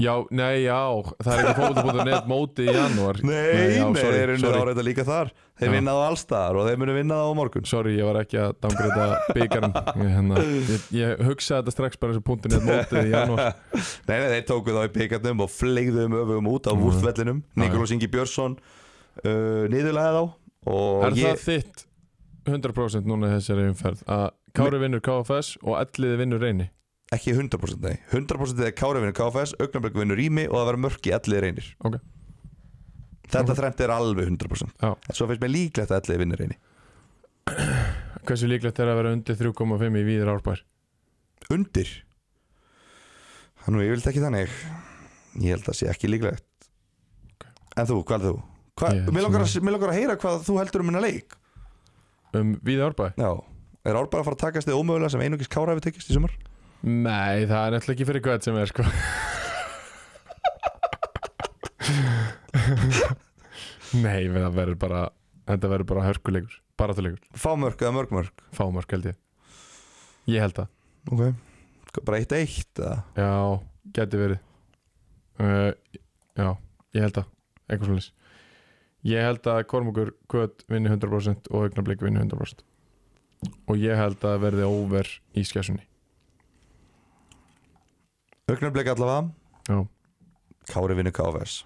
A: Já, nei, já, það er ekki fótbolta.net móti í janúar
B: nei,
A: já,
B: nei, þeir
A: sorry,
B: eru unnið
A: sorry,
B: áreita líka þar þeir
A: Já.
B: vinnaðu allstaðar og þeir munu vinna það á morgun
A: sorry, ég var ekki að dangreita byggarn ég, hérna, ég, ég hugsaði þetta strax bara eins og punktinett mótið í janúar
B: nei, nei, þeir tóku þá í byggarnum og fleigðu um öfugum út á vúrtvellinum Nikolás Ingi Björnsson uh, niðurlega þá
A: Er
B: og
A: það
B: ég,
A: þitt 100% núna í þessari umferð að Kári vinnur KFS og Elliði vinnur reyni
B: ekki 100% nei, 100% þegar Kári vinnur KFS Augnablik vinnur Ími og það verður mörk í allir reynir
A: Ok,
B: Þetta þremt er alveg 100%
A: já
B: En Svo finnst mér líklegt að allir vinnir eini
A: Hversu líklegt er að vera undir 3,5 í víður árbær?
B: Undir Þannig ég vilt ekki þannig Ég held að sé ekki líklegt En þú, hvað heldur þú? Hva,
A: Ég held
B: mér, langar að,
A: svona-
B: mér langar að heyra hvað þú heldur um minna leik
A: Um víður árbær?
B: Já Er Árbæra að fara að takast þið ómögulega sem einungis Kára hefur tekist í sumar?
A: Nei, það er náttúrulega ekki fyrir hvað sem er sko Nei, menn það verður bara þetta verður bara hörkuleikur, baratuleikur
B: Fá mörg eða mörg mörg
A: fámörk held ég Ég held það,
B: Ok Bara eitt eitt eða?
A: já, geti verið uh, Já, ég held það eitthvað svolítið Ég held að Kormungur kvöt vinni 100% og augnablik vinni 100% og ég held að verði over í skessunni
B: Augnablik allavega
A: Já,
B: Kári vinnur KFS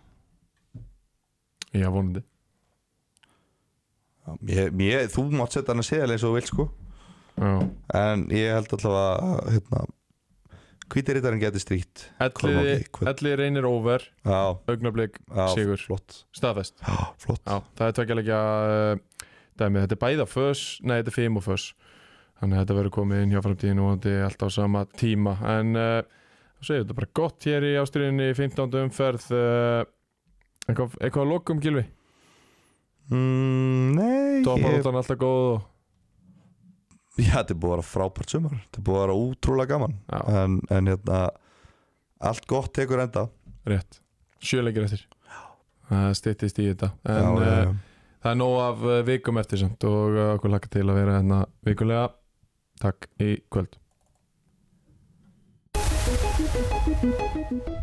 A: ég haf vonandi
B: Já, mér, mér, Þú mátt setja hann að segja eins og þú vilt sko
A: Já,
B: En ég held allavega að, hérna, Hvítirittarinn geti strítt
A: elliði,
B: Kormáki, hvað-
A: elliði reynir over
B: Já,
A: augnablik
B: já
A: Sigur.
B: Flott,
A: staðfest
B: já, flott.
A: Já, það er tveggjarleikja uh, dæmi, þetta er bæða föss, nei þetta er fimm og föss þannig að þetta verður komið inn hjá framtíðinu og þetta er allt á sama tíma en uh, þá segir þetta bara gott hér í ástriðinni 15. umferð uh, eitthvað, eitthvað að lokum gilvi
B: Mm, nei ég,
A: toparútan alltaf góð og
B: Já, þetta er búið að vera frábært sumar Þetta er búið að vera útrúlega gaman
A: já,
B: en, en hérna Allt gott tekur enda
A: rétt, sjöleikir eftir það styttist í þetta
B: já,
A: en uh,
B: já, já.
A: það er nóg af uh, vikum eftir samt og uh, okkur lakka til að vera hérna vikulega takk í kvöld
D: Thank you.